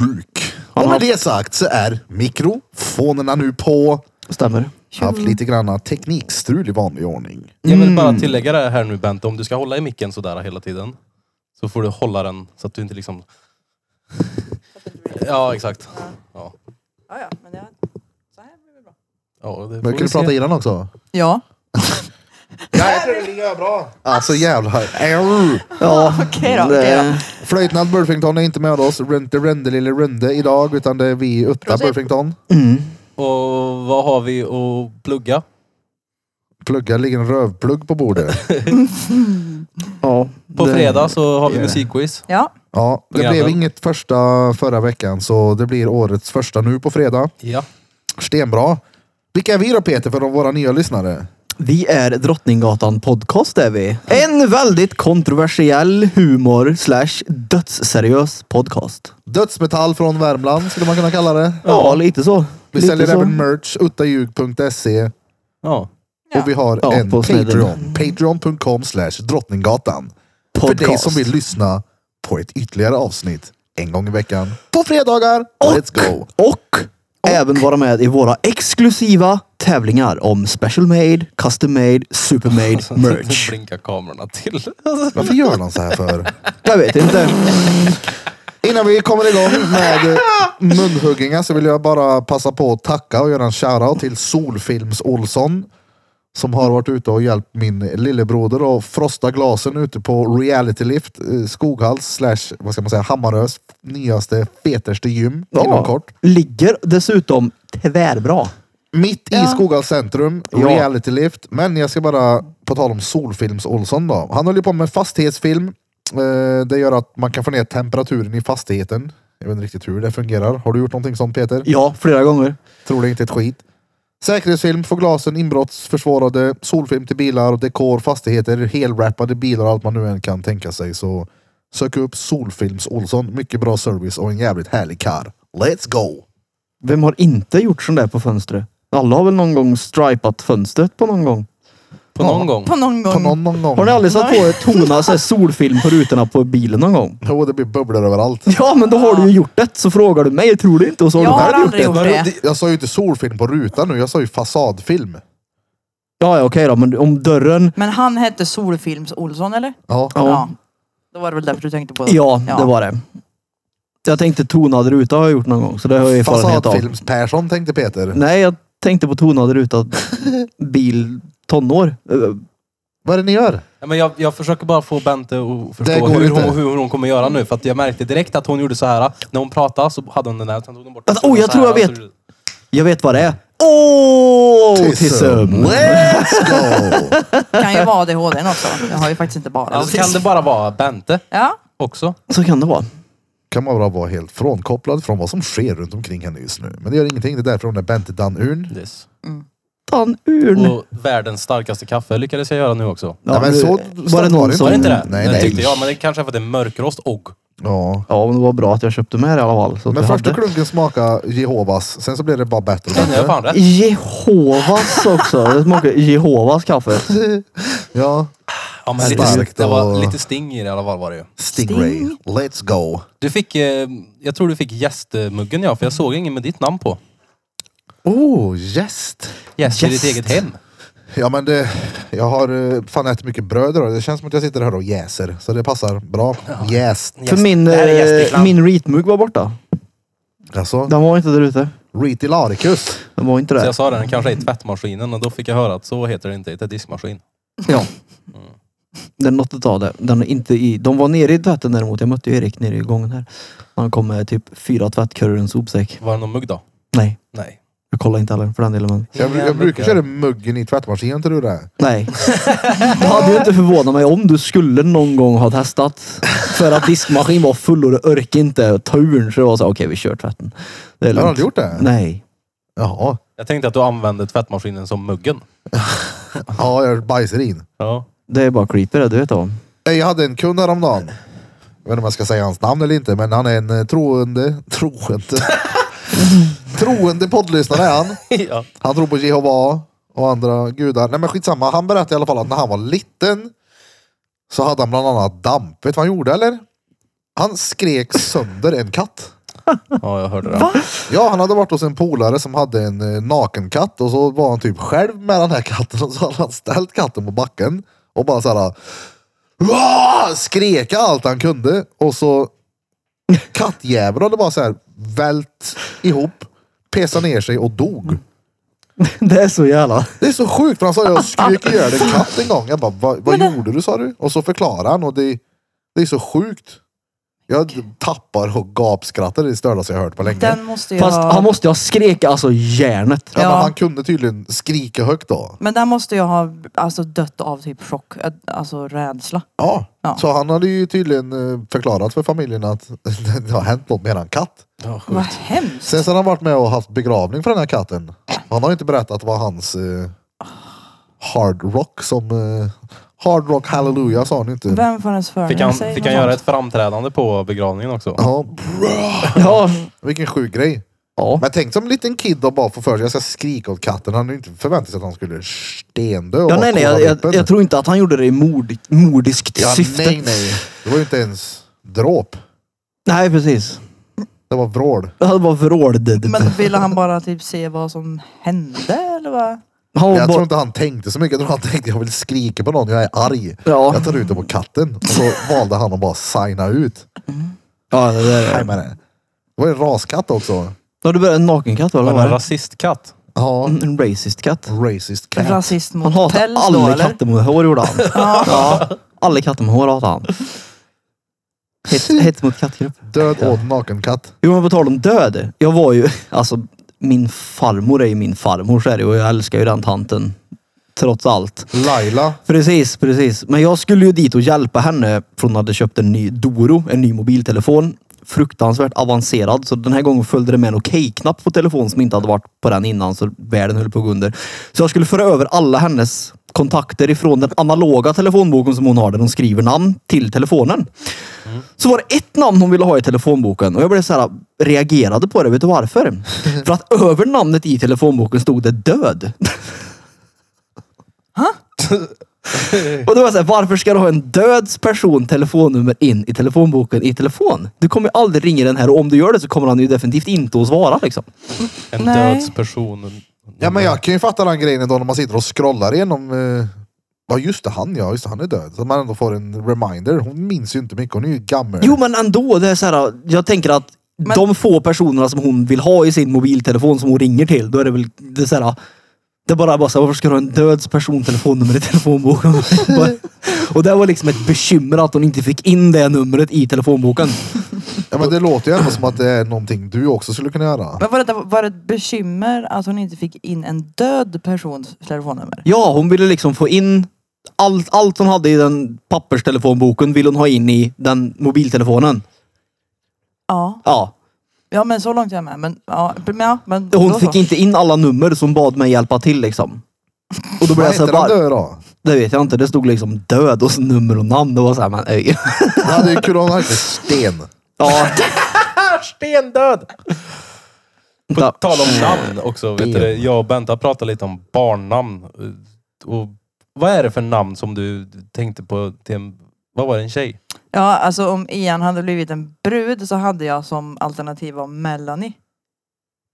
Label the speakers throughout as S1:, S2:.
S1: sjuk. Och med det sagt så är mikrofonerna nu på.
S2: Stämmer.
S1: Haft lite granna teknikstrul i vanlig ordning.
S3: Jag vill bara tillägga det här nu Bente, om du ska hålla i micken sådär hela tiden. Så får du hålla den så att du inte liksom... Ja, exakt. Ja,
S4: Ja, ja, men det, så här blir det bra.
S3: ja det
S1: Men
S3: får
S1: kan
S3: vi
S1: du prata
S3: se.
S1: i den också?
S4: Ja.
S1: Ja, jag tror det ligger bra. Alltså jävlar. Arr.
S2: Ja,
S4: Okej då, okej då.
S2: det-
S1: Flöjtnant Burfington är inte med oss. Runde, runde, lille runde idag. Utan det är vi Utta
S4: Prosit.
S1: Burfington.
S2: Mm.
S3: Och vad har vi att plugga?
S1: Plugga ligger en rövplugg på bordet.
S2: ja,
S3: På
S2: det-
S3: fredag så har vi musikquiz.
S4: Ja,
S1: Ja, det
S3: Programmen.
S1: blev inget första förra veckan. Så det blir årets första nu på fredag.
S3: Ja.
S1: Stenbra. Vilka är vi då Peter för de våra nya lyssnare?
S2: Vi är Drottninggatan podcast är vi. En väldigt kontroversiell humor slash dödsseriös podcast.
S1: Dödsmetall från Värmland skulle man kunna kalla det.
S2: Ja, lite så.
S1: Vi
S2: lite
S1: säljer
S2: så.
S1: även merch, uttaljug.se
S3: Ja.
S4: Ja.
S1: och vi har
S2: Ja,
S1: en
S2: på snedden.
S1: Patreon. Patreon.com slash Drottninggatan. För
S2: podcast.
S1: dig som vill lyssna på ett ytterligare avsnitt en gång i veckan. På fredagar. Let's go!
S2: Och, även vara med i våra exklusiva tävlingar om special made, custom made, super
S3: Så
S2: made,
S3: att
S2: merch.
S3: blinkar kamerorna till.
S1: Varför gör de så här för?
S2: Jag vet inte.
S1: Innan vi kommer igång med eh, munhuggningar så vill jag bara passa på att tacka och göra en shoutout till Solfilms Olsson. Som har varit ute och hjälpt min lillebroder att frosta glasen ute på Reality Lift, eh, Skoghals slash, vad ska man säga, Hammarös nyaste, fetaste gym inom kort.
S2: Ligger dessutom tvärbra.
S1: Mitt i
S4: Ja.
S1: Skoghals centrum,
S2: Ja.
S1: Reality Lift. Men jag ska bara, på tal om Solfilms Olsson då. Han håller på med fastighetsfilm. Eh, Det gör att man kan få ner temperaturen i fastigheten. Jag vet inte riktigt hur det fungerar. Har du gjort någonting sånt Peter?
S2: Ja, flera gånger.
S1: Tror det inte ett skit. Säkerhetsfilm för glasen, inbrottsförsvarade, solfilm till bilar, dekor, fastigheter, helwrappade bilar och allt man nu än kan tänka sig. Så sök upp Solfilms Olsson. Mycket bra service och en jävligt härlig kar. Let's go!
S2: Vem har inte gjort sånt där på fönstret? Alla har väl någon gång stripat fönstret på någon gång?
S3: På någon gång.
S4: på någon gång.
S1: På någon, någon gång.
S2: Mm. Har ni aldrig satt på ett tona så här solfilm på rutorna på bilen någon gång?
S1: Jo, Oh, det blir bubblor överallt.
S2: Ja, men då har du ju gjort det. Så frågar du mig, jag tror det inte. Och så har
S4: Jag
S2: du
S4: har
S2: själv
S4: aldrig
S2: gjort
S4: gjort
S2: det.
S4: det.
S1: Jag sa ju inte solfilm på rutan nu, jag sa ju fasadfilm.
S2: Ja, ja, okej då. Men om dörren...
S4: Men han hette Solfilms Olsson eller?
S1: Ja.
S2: Ja,
S4: Då var det väl därför du tänkte på det.
S2: ja, det var det. Jag tänkte tonad ruta har jag gjort någon gång. Så det har jag erfarenhet av.
S1: Fasadfilms Persson tänkte Peter.
S2: Nej, jag tänkte på tonad ruta bil tonår. Eh,
S1: Vad är det ni gör?
S3: Ja, men jag, jag försöker bara få Bente att
S1: Det
S3: förstå
S1: går
S3: hur
S1: inte.
S3: hon, hur hon kommer göra nu. För att jag märkte direkt att hon gjorde så här. När hon pratade så hade hon den där, sen tog hon bort den.
S2: Vänta, oj, jag
S3: Så
S2: tror
S3: här,
S2: jag
S3: och så-
S2: Jag vet vad det är. Åh! Oh,
S1: Autism.
S2: Autism!
S1: Let's go!
S4: Det kan ju vara ADHD också. Jag har ju faktiskt inte bara.
S3: Alltså, kan det bara vara Bente
S4: Ja,
S3: också?
S2: Så kan det vara.
S1: kan man bara vara helt frånkopplad från vad som sker runt omkring henne just nu. Men det gör ingenting, det är därför hon är Bente Danurn.
S3: Yes.
S2: Fan, urn.
S3: Och världens starkaste kaffe lyckades jag göra nu också.
S2: Ja,
S1: Nej, men
S2: det-
S1: så
S2: var det
S1: starkt var
S2: någon
S1: det
S2: som...
S3: Var det inte det?
S1: Mm, Nej,
S3: det
S1: nej.
S3: tyckte jag. Men det kanske är för att det är mörkrost och...
S1: Ja.
S2: Ja, men det var bra att jag köpte med det i alla fall. Så att
S1: Men
S2: vi
S1: första
S2: hade.
S1: klunken smakade Jehovas, sen så blev det bara bättre och
S3: Den är
S1: bättre.
S3: fan rätt.
S2: Jehovas också. Det smakar Jehovas kaffe.
S1: Ja.
S3: Ja, men lite,
S1: Starkt
S3: det var
S1: och-
S3: lite sting i det i alla fall var det ju.
S1: Stingray, let's go.
S3: Du fick, eh, jag tror du fick gästmuggen ja, för jag såg ingen med ditt namn på.
S1: Oh, gäst!
S3: Gäst i
S2: Gäst.
S3: ditt eget hem.
S1: Ja men det, jag har eh, fan ätit mycket bröd idag. Det känns som att jag sitter här och jäser. Så det passar bra. Jäst.
S2: För min,
S3: Det här är gäst i
S2: eh,
S3: klan.
S2: min reetmugg var borta.
S1: Alltså,
S2: Den var inte där ute.
S1: Riti Laricus.
S2: Den var inte
S3: Så
S2: där.
S3: jag sa det, den kanske är i tvättmaskinen och då fick jag höra att så heter det inte, det är diskmaskin.
S2: Ja. Den är något utav det. Den är inte i. De var nere i tvätten däremot. Jag mötte ju Erik nere i gången här. Han kom med typ fyra tvättkurrar och en sopsäck.
S3: Var det någon mugg då?
S2: Nej,
S3: Nej.
S2: jag kollar inte heller för den delen. Men...
S1: Jag,
S3: Inga
S1: jag brukar
S3: muggar.
S1: köra muggen i tvättmaskinen, tror du det?
S2: Nej. Det hade ju inte förvånat mig om du skulle någon gång ha testat. För att diskmaskin var full och det orkade inte ta ur den. Så det var så okej vi kör tvätten. Det är
S1: Jag har
S2: lugnt.
S1: aldrig gjort det.
S2: Nej.
S1: Jaha.
S3: Jag tänkte att du använde tvättmaskinen som muggen.
S1: Ja, jag bajsar in.
S3: Ja.
S2: Det är bara creepy det, du vet om.
S1: Nej, Jag hade en kund häromdagen. Jag vet inte om jag ska säga hans namn eller inte, men han är en eh, troende, troende, troende poddlyssnare är han.
S3: ja.
S1: Han tror på Jehova och andra gudar. Nej men skitsamma, han berättade i alla fall att när han var liten så hade han bland annat damp. Vet du vad han gjorde eller? Han skrek sönder en katt.
S3: Ja, jag hörde det.
S1: Ja, han hade varit hos en polare som hade en eh, nakenkatt och så var han typ själv med den här katten och så hade han ställt katten på backen och bara såhär "Wah!" skrek allt han kunde och så kattjäveln hade bara såhär vält ihop, pesade ner sig och dog.
S2: Det är så jävla...
S1: Det är så sjukt för han sa jag skrek ihjäl en katt en gång. Jag bara, "Va, vad gjorde du sa du? Och så förklarade han och det, det är så sjukt. Jag tappar och gapskrattar, det är det största jag hört på länge.
S4: Den måste jag...
S2: Fast han måste ju ha skrek alltså järnet.
S1: Ja,
S4: Ja.
S1: Men han kunde tydligen skrika högt då.
S4: Men den måste jag ha alltså, dött av typ chock, äh, alltså rädsla.
S1: Ja.
S4: Ja.
S1: Så han hade ju tydligen eh, förklarat för familjen att det har hänt något med den katt.
S3: Ja,
S4: Vad
S2: Mm.
S3: sjukt.
S4: hemskt.
S1: Sen så har han varit med och haft begravning för den här katten. Han har inte berättat vad hans eh, hard rock som eh, hard rock hallelujah sa han inte.
S4: Vem får ens för
S3: Fick han, fick han göra ett framträdande på begravningen också?
S1: Ja,
S2: Ja.
S1: vilken sjuk grej.
S2: ja.
S1: Men tänk som en liten kid och bara får för sig att jag ska skrika åt katten. Han hade ju inte förväntat sig att han skulle stendö och
S2: ja
S1: bara
S2: nej, nej,
S1: kolla
S2: jag, jag,
S1: vippen.
S2: jag tror inte att han gjorde det i mord, mordiskt
S1: ja,
S2: syfte.
S1: nej, nej. Det var ju inte ens dråp.
S2: Nej, precis.
S1: Det var vrål.
S2: Det hade bara vråldet.
S4: Men ville han bara typ se vad som hände eller vad?
S2: Han var
S1: Jag tror
S2: bara...
S1: inte han tänkte så mycket. Jag tror han tänkte jag vill skrika på någon, jag är arg.
S2: Ja.
S1: Jag tar ut det på katten. Och så valde han att bara signa ut.
S2: ja, det där
S1: Nej,
S2: är...
S1: men eh, det var ju en raskatt också.
S2: Har du börjat en nakenkatt eller?
S3: Men en
S2: vad?
S3: rasistkatt?
S1: Ja,
S2: En racist katt.
S1: racist cat.
S4: Rasist mot
S2: Han hatar
S4: päls då
S2: alla
S4: eller?
S2: katter med hår gjorde han. ja. Alla katter med hår hatar han. Hets, hets mot kattgrupp.
S1: Död åt naken katt.
S2: Jo men på tal om död. Jag var ju, alltså min farmor är ju min farmor så är det och jag älskar ju den tanten. Trots allt.
S1: Laila.
S2: Precis, precis. Men jag skulle ju dit och hjälpa henne för hon hade köpt en ny Doro, en ny mobiltelefon. Fruktansvärt avancerad. Så den här gången följde det med en okej-knapp på telefonen som inte hade varit på den innan så världen höll på att gå under. Så jag skulle föra över alla hennes kontakter ifrån den analoga telefonboken som hon har där hon skriver namn till telefonen. Så var det ett namn hon ville ha i telefonboken och jag blev så här, reagerade på det. Vet du varför? För att över namnet i telefonboken stod det död. Och då var jag såhär, varför ska du ha en döds person telefonnummer in i telefonboken i telefon? Du kommer ju aldrig ringa den här och om du gör det så kommer han ju definitivt inte att svara liksom.
S3: En
S4: Nej.
S3: dödsperson?
S1: Ja men jag kan ju fatta den grejen då när man sitter och scrollar igenom eh, Ja just det, han ja, just det, han är död. Så man ändå får en reminder. Hon minns ju inte mycket, hon är ju gammal.
S2: Jo men ändå, det är så här, jag tänker att
S4: Men-
S2: de få personerna som hon vill ha i sin mobiltelefon som hon ringer till, då är det väl det är så här, det är bara, bara så här, varför ska du ha en döds person telefonnummer i telefonboken? och det var liksom ett bekymmer att hon inte fick in det numret i telefonboken.
S1: Ja, men det låter ju ändå som att det är någonting du också skulle kunna göra.
S4: Men var det, var det ett bekymmer att hon inte fick in en död persons telefonnummer?
S2: Ja, hon ville liksom få in allt, allt hon hade i den papperstelefonboken vill hon ha in i den mobiltelefonen.
S4: Ja,
S2: Ja.
S4: ja men så långt är jag med. Men, ja, men, ja, men
S2: Hon
S4: då
S2: fick
S4: så.
S2: inte in alla nummer som bad mig hjälpa till liksom. Och då blev
S1: Vad
S2: jag
S1: heter
S2: såhär,
S1: han
S2: Alltså, bara,
S1: död då?
S2: det vet jag inte. Det stod liksom död och så nummer och namn. Det var såhär, men ej.
S1: Ja, det är kul om han hette Sten.
S2: Ja,
S3: Stendöd!
S2: vänta.
S3: Tal om namn också. Vet du, det? jag och Benta pratade lite om barnnamn. Och vad är det för namn som du tänkte på till en... Vad var det, en tjej?
S4: Ja, alltså om Ian hade blivit en brud så hade jag som alternativ var Melanie.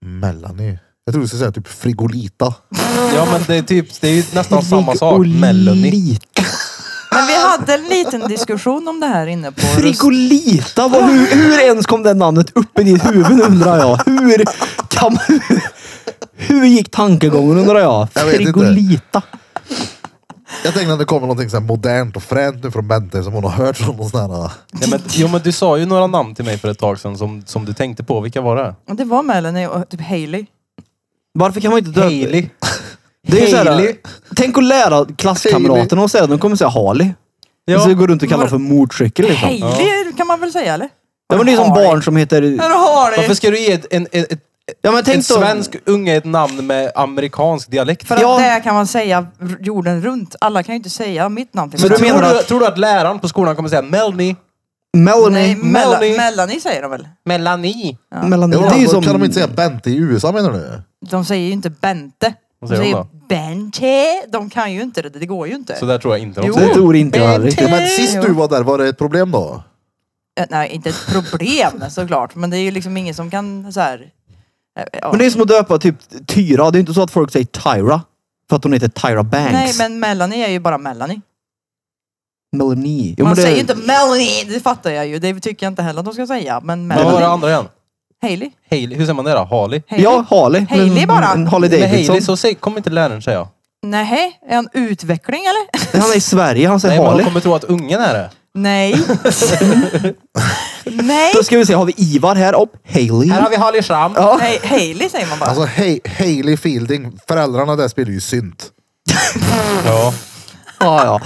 S1: Melanie. Jag tror du skulle säga typ Frigolita.
S3: Ja men det är typ, det är ju nästan samma sak. Melanie.
S2: Frigolita.
S4: Men vi hade en liten diskussion om det här inne på Rust-
S2: Frigolita. Vad, hur, hur ens kom det namnet upp i ditt huvud undrar jag. Hur, kan, man- hur gick tankegången undrar jag.
S1: Jag vet inte.
S2: Frigolita.
S1: Jag tänkte att det kommer någonting så här modernt och fränt nu från Bente som hon har hört från någon sån här...
S3: Ja, men, jo men du sa ju några namn till mig för ett tag sedan som, som du tänkte på. Vilka var det?
S4: Och Det var Melanie och typ Hailey.
S2: Varför kan man inte döpa... Haley. Det är ju så här,
S3: Hailey.
S2: tänk att lära klasskamraterna att säga, de kommer säga Harley.
S3: Ja.
S2: Och så går du runt och kallar det för mordcykel liksom.
S4: Hailey kan man väl säga eller?
S2: Ja, men det är som
S4: Harley.
S2: barn som heter...
S4: Eller Harley!
S3: Varför ska du ge ett, en, ett, ett,
S2: Ja men
S3: en
S2: tänk då...
S3: svensk unge ett namn med amerikansk dialekt?
S4: För att
S2: Ja.
S4: det kan man säga r- jorden runt. Alla kan ju inte säga mitt namn till
S2: Men du
S4: exempel.
S2: menar
S3: tror, du,
S2: att-
S3: tror du att läraren på skolan kommer säga Melanie?
S4: Nej,
S2: Melanie.
S4: Mela-
S3: Melanie.
S4: Melanie säger de väl?
S3: Melanie?
S2: Melanie.
S1: Ja,
S2: Det är ju
S1: då
S2: som...
S1: Kan de inte säga Bente i USA menar du?
S4: De säger ju inte Bente. De
S3: Vad säger de
S4: säger Bente. De kan ju inte det, det går ju inte.
S3: Så där tror jag inte de
S4: Jo.
S2: Det
S3: säger.
S2: tror inte jag heller.
S1: Ja, men sist
S4: Jo.
S1: du var där, var det ett problem då?
S4: eh, nej inte ett problem såklart, men det är ju liksom ingen som kan så här. eh, ja.
S2: Men det är som att döpa typ Tyra. Det är inte så att folk säger Tyra. För att hon heter Tyra
S4: Nej
S2: Banks.
S4: men Melanie är ju bara Melanie.
S2: Melanie. Jo,
S4: Man
S2: men det-
S4: säger ju inte Melanie, det fattar jag ju. Det tycker jag inte heller att de ska säga. Men
S3: Men vad var det
S4: Melanie.
S3: andra igen?
S4: Hailey.
S3: Haley. Hur säger man det då? Harley?
S4: Hailey.
S2: Ja, Harley.
S4: Hailey
S2: En-
S4: bara.
S2: En Harley
S3: Med
S2: Davidson.
S3: Haley så säger, kommer inte läraren säga.
S4: Nej, är han utveckling eller?
S2: Han är i Sverige, han
S3: Nej,
S2: säger
S3: men hon
S2: Harley.
S3: kommer tro att ungen är det.
S4: Nej. Nej.
S2: Då ska vi se, har vi Ivar här? Upp. Haley.
S3: Här har vi Harley Schram.
S2: Ja.
S4: Nej, Hailey säger man bara.
S1: Alltså Hay- Hailey Fielding, föräldrarna där spelar ju synt.
S3: Ja.
S2: ja, ja.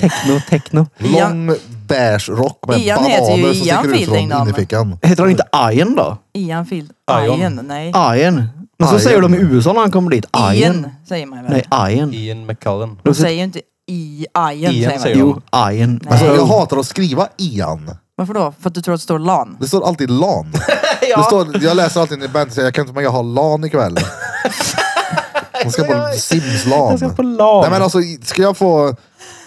S2: Techno, techno.
S1: Lång beige rock med
S4: Ian heter ju
S1: bananer som
S4: Ian
S1: sticker ut från
S4: Fielding, då, men-
S1: innerfickan.
S2: Heter han inte Iron då?
S4: Ian Field.
S3: Ion.
S4: Ian. Nej.
S2: Iron. Men så
S1: Iron.
S2: säger de i USA när han kommer dit. Iron.
S4: Ian säger man ju väl.
S2: Nej, Iron.
S3: Ian McCullen.
S4: De säger ju inte i Ian.
S3: Ian
S4: säger man.
S3: säger de.
S2: Jo, Iron.
S4: Nej.
S1: Alltså, jag hatar att skriva Ian.
S4: Varför då? För att du tror att det står LAN?
S1: Det står alltid LAN. det står, jag läser alltid när bandet säger jag kan inte men jag har LAN ikväll. Hon ska på Sims-LAN.
S3: Jag ska på LAN.
S1: Nej men alltså, ska jag få...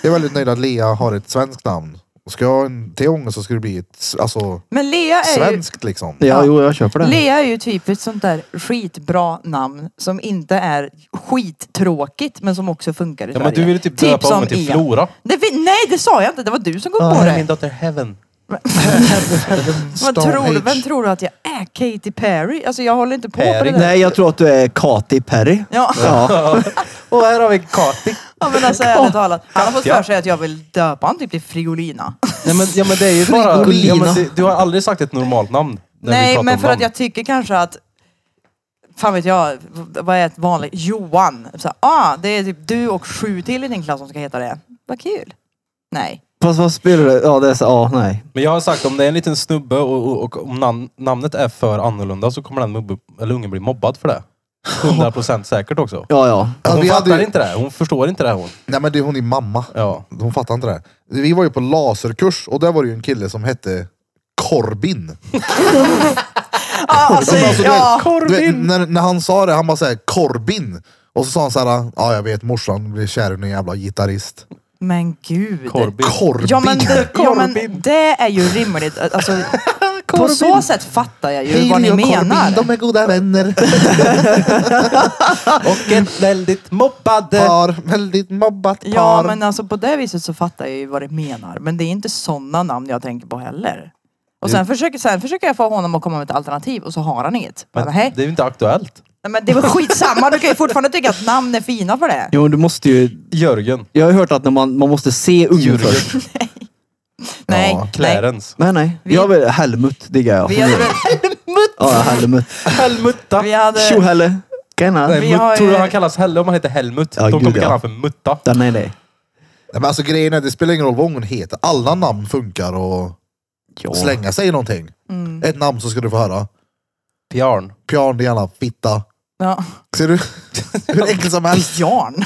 S1: Jag är väldigt nöjd att Lea har ett svenskt namn. Och Ska jag ha en till Ånge så ska det bli ett s- alltså,
S4: Men Lea är ju,
S1: svenskt liksom.
S2: Ja, jo, jag köper det.
S4: Lea är ju typ ett sånt där skitbra namn som inte är skittråkigt men som också funkar i
S3: Ja, men
S4: Sverige.
S3: du ville typ döpa
S4: som
S3: ungen till
S4: Ian.
S3: Flora.
S4: Det, fin- nej det sa jag inte, det var du som kom på
S3: Ah,
S4: det.
S3: min dotter Heaven.
S4: Vad
S1: Stone
S4: tror, du-
S1: Age.
S4: vem tror du att jag är? Katy Perry? Alltså jag håller inte på på
S3: Perry.
S4: det där.
S2: Nej, jag tror att du är Katy Perry.
S4: Ja,
S2: Ja.
S3: Och här har vi Kati.
S4: ja, men alltså ärligt talat. Han har fått
S3: Katja.
S4: för sig att jag vill döpa honom typ till Friolina.
S3: Nej men, ja, men det är ju bara...
S2: Frigolina.
S3: Ja, men det, du har aldrig sagt ett normalt namn. när vi
S4: Nej,
S3: pratar
S4: men
S3: om
S4: för
S3: namn.
S4: att jag tycker kanske att Fan vet jag, vad är ett vanligt? Johan. Så, här, ah, det är typ du och sju till i din klass som ska heta det. Vad kul. Nej.
S2: Fast vad spelar det? Ja, det är så, ja, nej.
S3: Men jag har sagt om det är en liten snubbe och, och, och om nam- namnet är för annorlunda så kommer den mubbe, eller ungen bli mobbad för det. 100% säkert också.
S2: Ja, ja.
S1: Ja,
S3: Hon
S1: vi hade
S3: fattar
S1: ju-
S3: inte det. Hon förstår inte det hon.
S1: Nej men det är hon är mamma.
S3: Ja.
S1: Hon fattar inte det. Vi var ju på laserkurs och där var det ju en kille som hette Corbin.
S4: Ah, alltså,
S1: Men alltså, du vet-
S4: ja.
S1: Du vet, när, när han sa det, han bara såhär Corbin. Och så sa han såhär, ja jag vet morsan blir kär i en jävla gitarrist.
S4: Men gud.
S3: Korbin.
S1: Corbin!
S4: Ja men, det, ja men
S3: Korbin.
S4: det är ju rimligt. Alltså, på så sätt fattar jag ju
S1: Hailey
S4: vad ni
S1: och
S4: menar.
S1: Corbin, de är goda vänner.
S3: Och en väldigt mobbad...
S1: Par, väldigt mobbat par.
S4: eh, Ja men alltså på det viset så fattar jag ju vad det menar. Men det är inte sådana namn jag tänker på heller. Och sen försöker, sen försöker jag få honom att komma med ett alternativ och så har han inget. Men,
S3: Men
S4: hej.
S3: det är ju inte aktuellt.
S4: Nej, men det var skitsamma, du kan ju fortfarande tycka att namn är fina för det.
S2: Jo, men du måste ju...
S3: Jörgen.
S2: Jag har ju hört att när man, man måste se ungen
S3: Jörgen.
S2: först.
S4: Nej, nej.
S3: Clarence.
S2: Nej, nej.
S4: Vi-
S2: Jag vill, Helmut diggar jag.
S4: Vi hade, väl-
S2: Ja, Helmut.
S3: Helmutta.
S4: vi
S2: Tjo
S4: hade,
S2: Helle. Tjena.
S3: Nej,
S4: Vi
S3: Mut-
S4: har ju-
S3: Tror du han kallas Helle om han heter Helmut?
S2: Ja,
S3: De kommer
S2: gud, ja.
S3: kalla honom för Mutta.
S2: Den är det.
S1: Nej, men alltså grejen är, det spelar ingen roll vad ungen heter. Alla namn funkar och
S2: Ja.
S1: slänga sig i någonting.
S4: mm,
S1: Ett namn så ska du få höra.
S3: Bjarn.
S1: Björn, din jävla fitta.
S4: ja,
S1: Ser du? Hur enkelt som helst.
S4: Björn.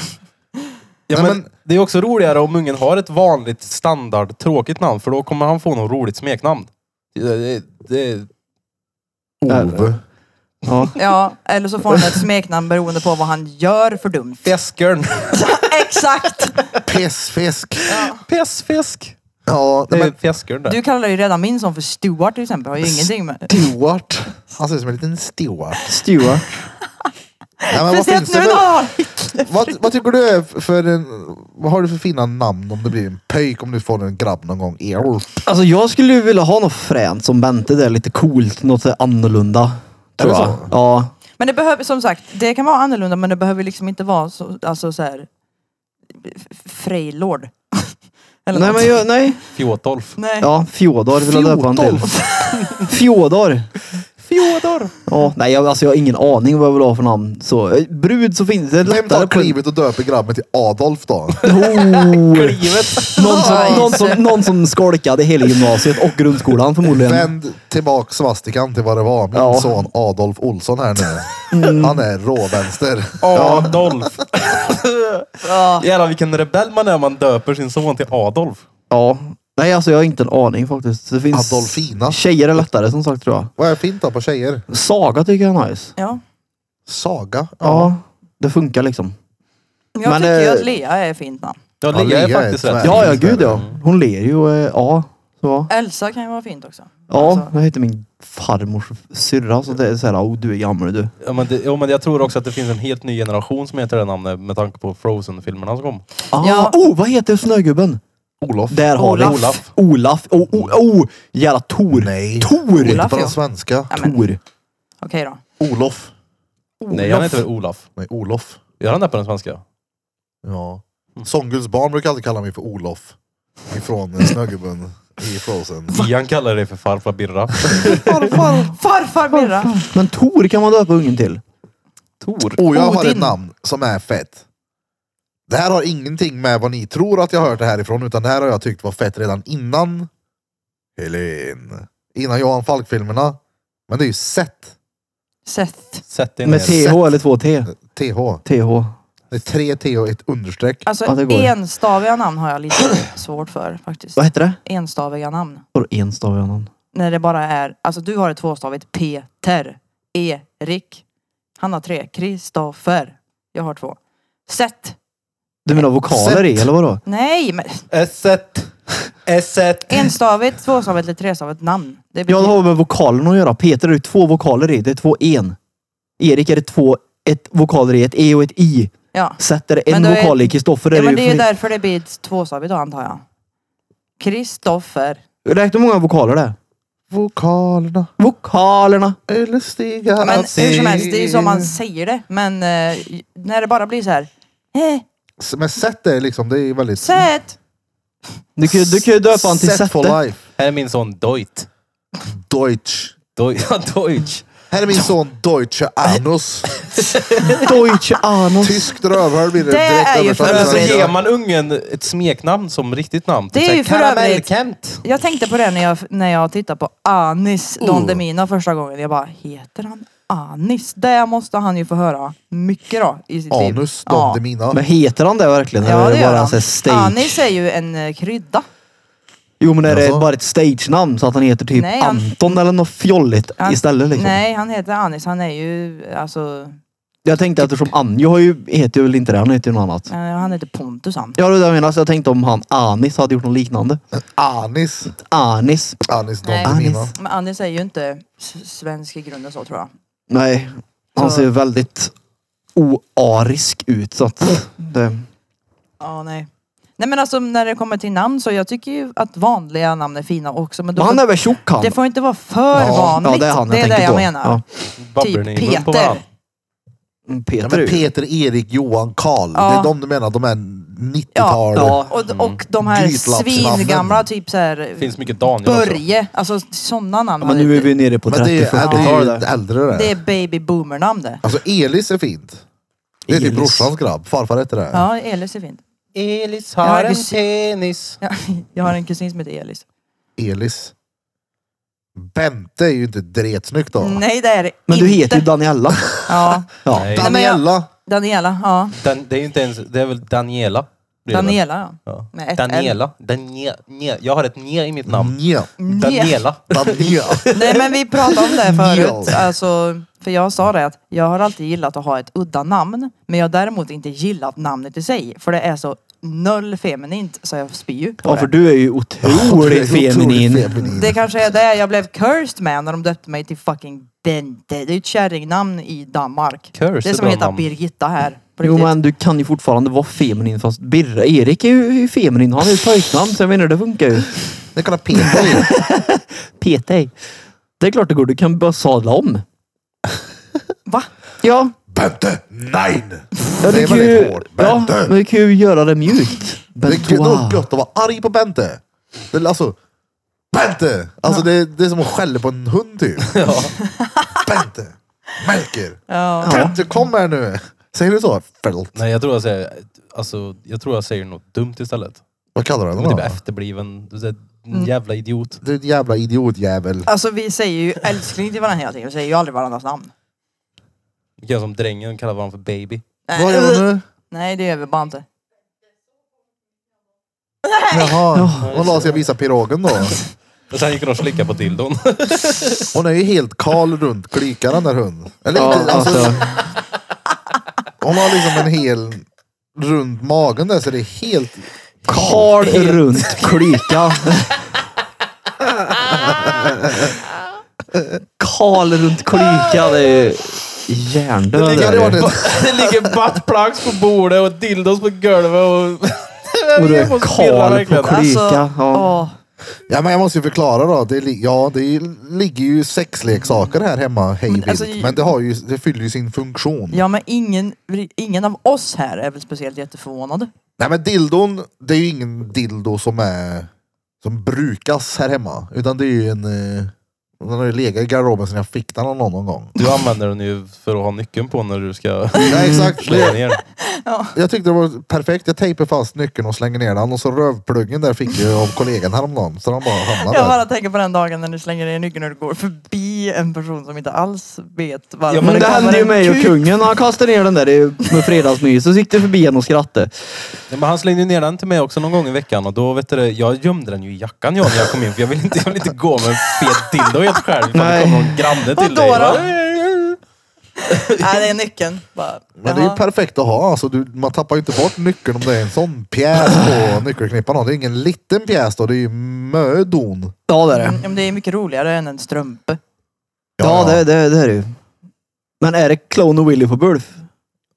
S3: Ja,
S1: Nej,
S3: men,
S1: men-
S3: det är också roligare om ungen har ett vanligt standard tråkigt namn för då kommer han få något roligt smeknamn. Det, det, det,
S1: Ove.
S2: Ja.
S4: Ja, eller så får han ett smeknamn beroende på vad han gör för dumt.
S3: Feskern.
S4: Exakt!
S1: Pessfisk.
S3: Pessfisk.
S1: Ja,
S3: Det
S1: nej,
S3: är
S1: men
S3: Feskern det.
S4: Du kallar ju redan min son för Stuart till exempel, har ju ingenting med...
S1: Stewart. Han ser ut som en liten Stewart.
S2: Stuart.
S1: Nej, men vad,
S4: Speciellt
S1: finns
S4: nu
S1: det
S4: när
S1: för,
S4: han
S1: vad, vad tycker du är för en, Vad har du för fina namn om det blir en pöjk om du får en grabb någon gång? Errol.
S2: Alltså jag skulle ju vilja ha något fränt som Bente där, lite coolt, något så här annorlunda. Tror
S1: det
S2: jag.
S1: så?
S2: Ja.
S4: Men det behöver, som sagt, det kan vara annorlunda men det behöver liksom inte vara så, alltså så här, f- Freylord. Eller
S2: Nej
S4: något.
S2: men jag, nej.
S3: Fjotolf.
S4: Nej.
S2: Ja, Fjodor vill jag döpa han till. Fjodor.
S3: Fjodor.
S2: Ja, nej jag, alltså jag har ingen aning vad jag vill ha för namn. Så, eh, brud så finns det
S1: Vem
S2: lättare
S1: tar
S2: på...
S1: klivet och döper grabben till Adolf då?
S2: Oh.
S3: Klivet.
S2: Någon
S4: Nice.
S2: som, någon, som, någon som skolkade hela gymnasiet och grundskolan förmodligen.
S1: Vänd tillbaka svastikan till vad det var. Min
S2: Ja. Mm.
S1: son Adolf Olsson här nu. Han är råvänster.
S3: Adolf.
S4: Ja.
S3: Jävlar vilken rebell man är om man döper sin son till Adolf.
S2: Ja. Nej alltså jag har inte en aning faktiskt. Det finns
S1: Adolfina.
S2: Tjejer är lättare som sagt tror jag.
S1: Vad är fint då på tjejer?
S2: Saga tycker jag är nice.
S4: Ja.
S1: Saga?
S2: Ja. Det funkar liksom.
S4: Jag
S2: Men,
S4: tycker ju
S2: eh,
S4: att Lea är fint namn.
S3: Ja,
S1: Ja,
S3: Lea är
S1: Lea är
S3: faktiskt
S1: tvär.
S3: rätt.
S2: Ja, ja
S1: finns det,
S2: gud ja. Hon ler ju och eh, ja. Ja,
S4: Elsa kan ju vara fint också.
S2: ja
S4: Alltså.
S2: det hette min farmors syrra. Så det är såhär, oh, du är gammal du.
S3: Ja, men det, ja, men jag tror också att det finns en helt ny generation som heter det namnet med tanke på Frozen-filmerna som kom.
S2: Ah,
S4: Ja.
S2: Oh, vad heter snögubben?
S1: Olof.
S2: Där har vi
S3: Olaf.
S2: Olaf. Oh, oh, oh. Jävla Tor.
S1: Nej.
S2: Tor.
S4: Olaf,
S1: På den
S4: ja.
S1: svenska.
S4: Ja, men-
S2: Tor.
S4: Okej då.
S1: Olof.
S3: Nej, han heter väl Olaf.
S1: Nej, Olof.
S3: Gör han det på den svenska?
S1: Ja.
S2: Mm.
S1: Sångguds barn brukar alltid kalla mig för Olof. Ifrån eh, Snögubben i Frozen.
S3: Ian kallar det för farfar Birra.
S4: Farfar! Farfar Birra!
S2: Men Tor kan man döpa ungen till.
S3: Tor.
S1: Och jag har
S4: Odin.
S1: ett namn som är fett. Det här har ingenting med vad ni tror att jag har hört det härifrån, utan det här har jag tyckt var fett redan innan Helen. Innan Johan Falk-filmerna. Men det är ju Seth.
S4: Seth.
S3: Sätt dig ner.
S2: Med TH eller två T?
S1: TH.
S2: TH.
S1: Det är tre T och ett understreck.
S4: Alltså
S2: Ja, det går.
S4: enstaviga namn har jag lite svårt för faktiskt.
S2: Vad heter det?
S4: Enstaviga namn.
S2: Vadå enstaviga namn?
S4: När det bara är, alltså du har ett tvåstavigt Peter, Erik, han har tre, Kristoffer, jag har två. Seth.
S2: Du menar vokaler i
S1: Sätt.
S2: eller vadå?
S4: Nej, men
S3: Esset. Esset.
S4: enstavigt, tvåstavigt eller trestavigt namn. Det
S2: Ja,
S4: betyder,
S2: det har med vokalen att göra. Peter är det två vokaler i. Det är två en. Erik är det två ett vokaler i. Ett e och ett i.
S4: ja.
S2: Sätt är det en
S4: Men då är-
S2: vokal i. Kristoffer är
S4: ja, men det är ju
S2: för-
S4: därför det blir ett tvåstavigt då antar jag. Kristoffer.
S2: Räkna hur många vokaler det är.
S1: Vokalerna
S2: Vokalerna.
S1: eller stigar
S4: Men
S1: att
S4: hur som helst, det är ju
S1: se.
S4: som man säger det. Men eh, när det bara blir så här, eh,
S1: Men Seth är liksom, det är ju väldigt...
S4: Seth.
S2: Du kan ju du kan ju döpa han till
S1: Seth
S2: Sätte.
S1: for life.
S3: Här är min son Deutsch.
S1: Deutsch.
S3: Deutsch. Ja, Deutsch.
S1: Här är min son Deutsche Anus.
S2: Deutsche Anos.
S1: Tyskt rövhål blir det
S4: Det är
S1: direkt
S4: ju
S1: översatt
S4: för
S1: till
S3: Men så
S1: svenska.
S3: ger man ungen ett smeknamn som riktigt namn. Typ
S4: Det är
S3: Så
S4: ju
S3: här,
S4: för övrigt- typ
S3: Karamell-Kent.
S4: Jag tänkte på det när jag, när jag tittade på Anis
S2: Oh.
S4: Don Demina första gången. Jag bara, heter han Anis? Det måste han ju få höra mycket då i sitt liv.
S1: Anus, de
S4: Ja.
S1: det mina.
S2: Men heter han det verkligen?
S4: Ja
S2: eller
S4: det
S2: är det
S4: gör
S2: bara så
S4: han.
S2: här stage?
S4: Anis är ju en eh, krydda.
S2: Jo men är det
S1: Jaså?
S2: bara ett stage-namn så att han heter typ
S4: Nej, han-
S2: Anton eller något fjolligt
S4: Han-
S2: istället liksom?
S4: Nej, han heter Anis. Han är ju, alltså,
S2: Jag tänkte eftersom Anjo har ju, heter ju väl inte det, han heter ju något annat.
S4: eh, han heter Pontus han.
S2: Ja det är det jag menar, så jag tänkte om han Anis hade gjort något liknande.
S1: Anis.
S2: Anis.
S1: Anis, de
S4: Nej.
S1: det mina.
S2: Anis.
S4: Men Anis är ju inte s- svensk i grunden så tror jag.
S2: Nej, han
S4: Så-
S2: ser väldigt oarisk ut så
S4: Mm.
S2: att det...
S4: Ja, nej. Nej men alltså när det kommer till namn så jag tycker ju att vanliga namn är fina också. Men, då
S2: Men han
S4: får,
S2: är väl tjock han?
S4: det får inte vara för
S2: ja,
S4: vanligt.
S2: ja det är han jag
S4: det är
S2: tänker
S4: det jag
S2: på.
S4: menar.
S2: Ja.
S3: Babblar
S4: Typ
S3: ni i mun på
S4: Peter.
S3: varandra?
S2: Mm,
S1: Ja,
S2: Peter
S1: men
S2: är ju...
S1: Peter, Erik, Johan, Karl.
S4: Ja.
S1: Det är de du menar, de är 90-tal.
S2: Ja.
S4: Och,
S2: Mm.
S4: och de här
S1: Grytlappsnamnen.
S4: svingamla, typ så här,
S3: Det finns mycket Daniel också.
S4: Börje, alltså sådana namn.
S2: Ja, men
S4: har
S2: nu är
S4: det-
S2: vi nere på
S1: Men det är ju
S2: 30-40-tal
S1: äldre,
S2: där.
S1: äldre det.
S4: Det är baby boomer namn det.
S1: Alltså Elis är fint. Det är typ
S2: Elis.
S1: brorsans grabb. Farfar heter det.
S4: Ja, Elis är fint.
S3: Elis
S4: har en
S3: penis.
S4: Ja, Jag har en kusin som heter Elis.
S1: Elis. Bente är ju inte dretsnyggt då.
S4: Nej det är det
S2: Men du
S4: inte.
S2: heter ju Daniella.
S4: Ja,
S2: Ja.
S3: Nej.
S4: men jag-
S1: Daniella.
S4: Daniela. Ja,
S3: Dan, det är ju inte ens, det är väl Daniela? Det är det väl?
S4: Daniela ja.
S3: Ja.
S4: Med ett
S3: Daniela. Daniela. Jag har ett nje i mitt namn.
S1: Nja.
S4: L. Nej.
S3: Daniela.
S1: Daniela.
S4: Nej men vi pratade om det förut.
S1: Ja.
S4: Alltså, för jag sa det att jag har alltid gillat att ha ett udda namn. Men jag har däremot inte gillat namnet i sig. För det är så noll feminint så jag spyr ju på
S2: Ja,
S4: det.
S2: för du är ju otroligt
S1: Det är otroligt
S2: feminin.
S1: feminin.
S4: Det kanske är det jag blev cursed med när de döpte mig till fucking Bente. Det är ett kärringnamn i Danmark.
S3: Curse
S4: det är
S3: är
S4: som
S3: bra
S4: att heta
S3: namn.
S4: Birgitta här. På
S2: Jo
S4: riktigt.
S2: men du kan ju fortfarande vara feminin fast Birra, Erik är ju är ju feminin. Han är ju pojknamn så jag menar det funkar ju.
S1: Det kan ha Peter i.
S2: Peter. Det är klart det går. Du kan bara sadla om.
S4: Va?
S2: Ja.
S1: Bente! Nein!
S2: ja
S1: Det
S2: du
S1: är
S2: kan
S1: väldigt
S2: ju,
S1: hårt.
S2: ja,
S1: Bente.
S2: men du kan ju göra det mjukt.
S1: Det är
S2: Bentoa.
S1: nog gött att vara arg på Bente. Det är alltså, Bente! Alltså det, det är som att skälla på en hund typ. Bente! Melker!
S4: Ja.
S1: Bente kom här nu! Säger du så? Fält.
S3: Nej, jag tror jag säger, alltså, jag tror jag säger något dumt istället.
S1: Vad kallar du
S3: Jag
S1: den
S3: är
S1: då?
S3: typ efterbliven. Du säger, en jävla idiot.
S1: Du är en jävla idiotjävel.
S4: Alltså vi säger ju älskling till varandra hela tiden. Vi säger ju aldrig varandras namn.
S3: Vi kan som drängen kallar varandra för baby.
S1: Vad gör du nu?
S4: Nej det gör vi bara inte.
S1: Jaha. Hon la sig och visade pirogen då.
S3: Och sen gick hon och slickade på dildon.
S1: Hon är ju helt kal runt klykan den där hunden. Eller
S2: Ja,
S1: inte, alltså,
S2: alltså,
S1: hon har liksom en hel rund magen där så det är helt...
S2: karl runt klyka. Karl runt klykan det är ju
S1: Det hade varit
S2: hjärndöd.
S1: ett
S3: det ligger buttplugs på bordet och dildos på golvet och...
S2: Och du är
S3: Jag måste pirra
S2: Karl
S3: verkligen.
S2: på klyka. ja.
S4: Alltså, åh.
S1: Ja, men jag måste ju förklara då. Det, li- ja, det är- ligger ju sexleksaker här hemma hej
S4: Men
S1: vilt.
S4: alltså,
S1: men det, har ju, det fyller ju sin funktion.
S4: Ja men ingen, ingen av oss här är väl speciellt jätteförvånad.
S1: Nej men dildon, det är ju ingen dildo som är som brukas här hemma. Utan det är ju en... eh, Den har ju legat i garderoben sedan jag fick den av någon, någon gång.
S3: Du använder den ju för att ha nyckeln på när du ska
S4: Mm.
S1: Nej exakt.
S3: slå
S1: Det,
S3: ner.
S1: jag tyckte det var perfekt. Jag tejpade fast nyckeln och slänger ner den. Och så rövpluggen där fick jag av kollegan häromdagen. Så den bara hamnade
S4: Jag
S1: där.
S4: bara tänker på den dagen när du slänger ner nyckeln och du går förbi en person som inte alls vet varför.
S3: Ja,
S2: Men det
S4: kommer
S2: hände ju
S4: en
S2: mig och
S4: kuk.
S2: kungen när han kastade ner den där i- med fredagsmys. Så gick det förbi en och skrattade.
S3: Nej, men han slängde ju ner den till mig också någon gång i veckan och då vet du, det, jag gömde den ju i jackan jag när jag kom in för jag vill inte, jag vill inte gå med en fet dildo helt själv ifall det
S2: Nej.
S3: kommer någon granne till
S4: Vadå
S3: dig.
S4: då?
S3: va?
S4: Nej det är nyckeln. Bara,
S1: Men det är ju
S4: jaha.
S1: perfekt att ha. Alltså, du, man tappar ju inte bort nyckeln om det är en sån pjäs på nyckelknippan. Det är ingen liten pjäs då. Det är ju mödon.
S2: Ja det är
S4: Mm,
S2: det.
S4: ja, men det är mycket roligare än en strumpe.
S2: Ja det, det, det är det ju. Men är det Clone och Willy på Bulf?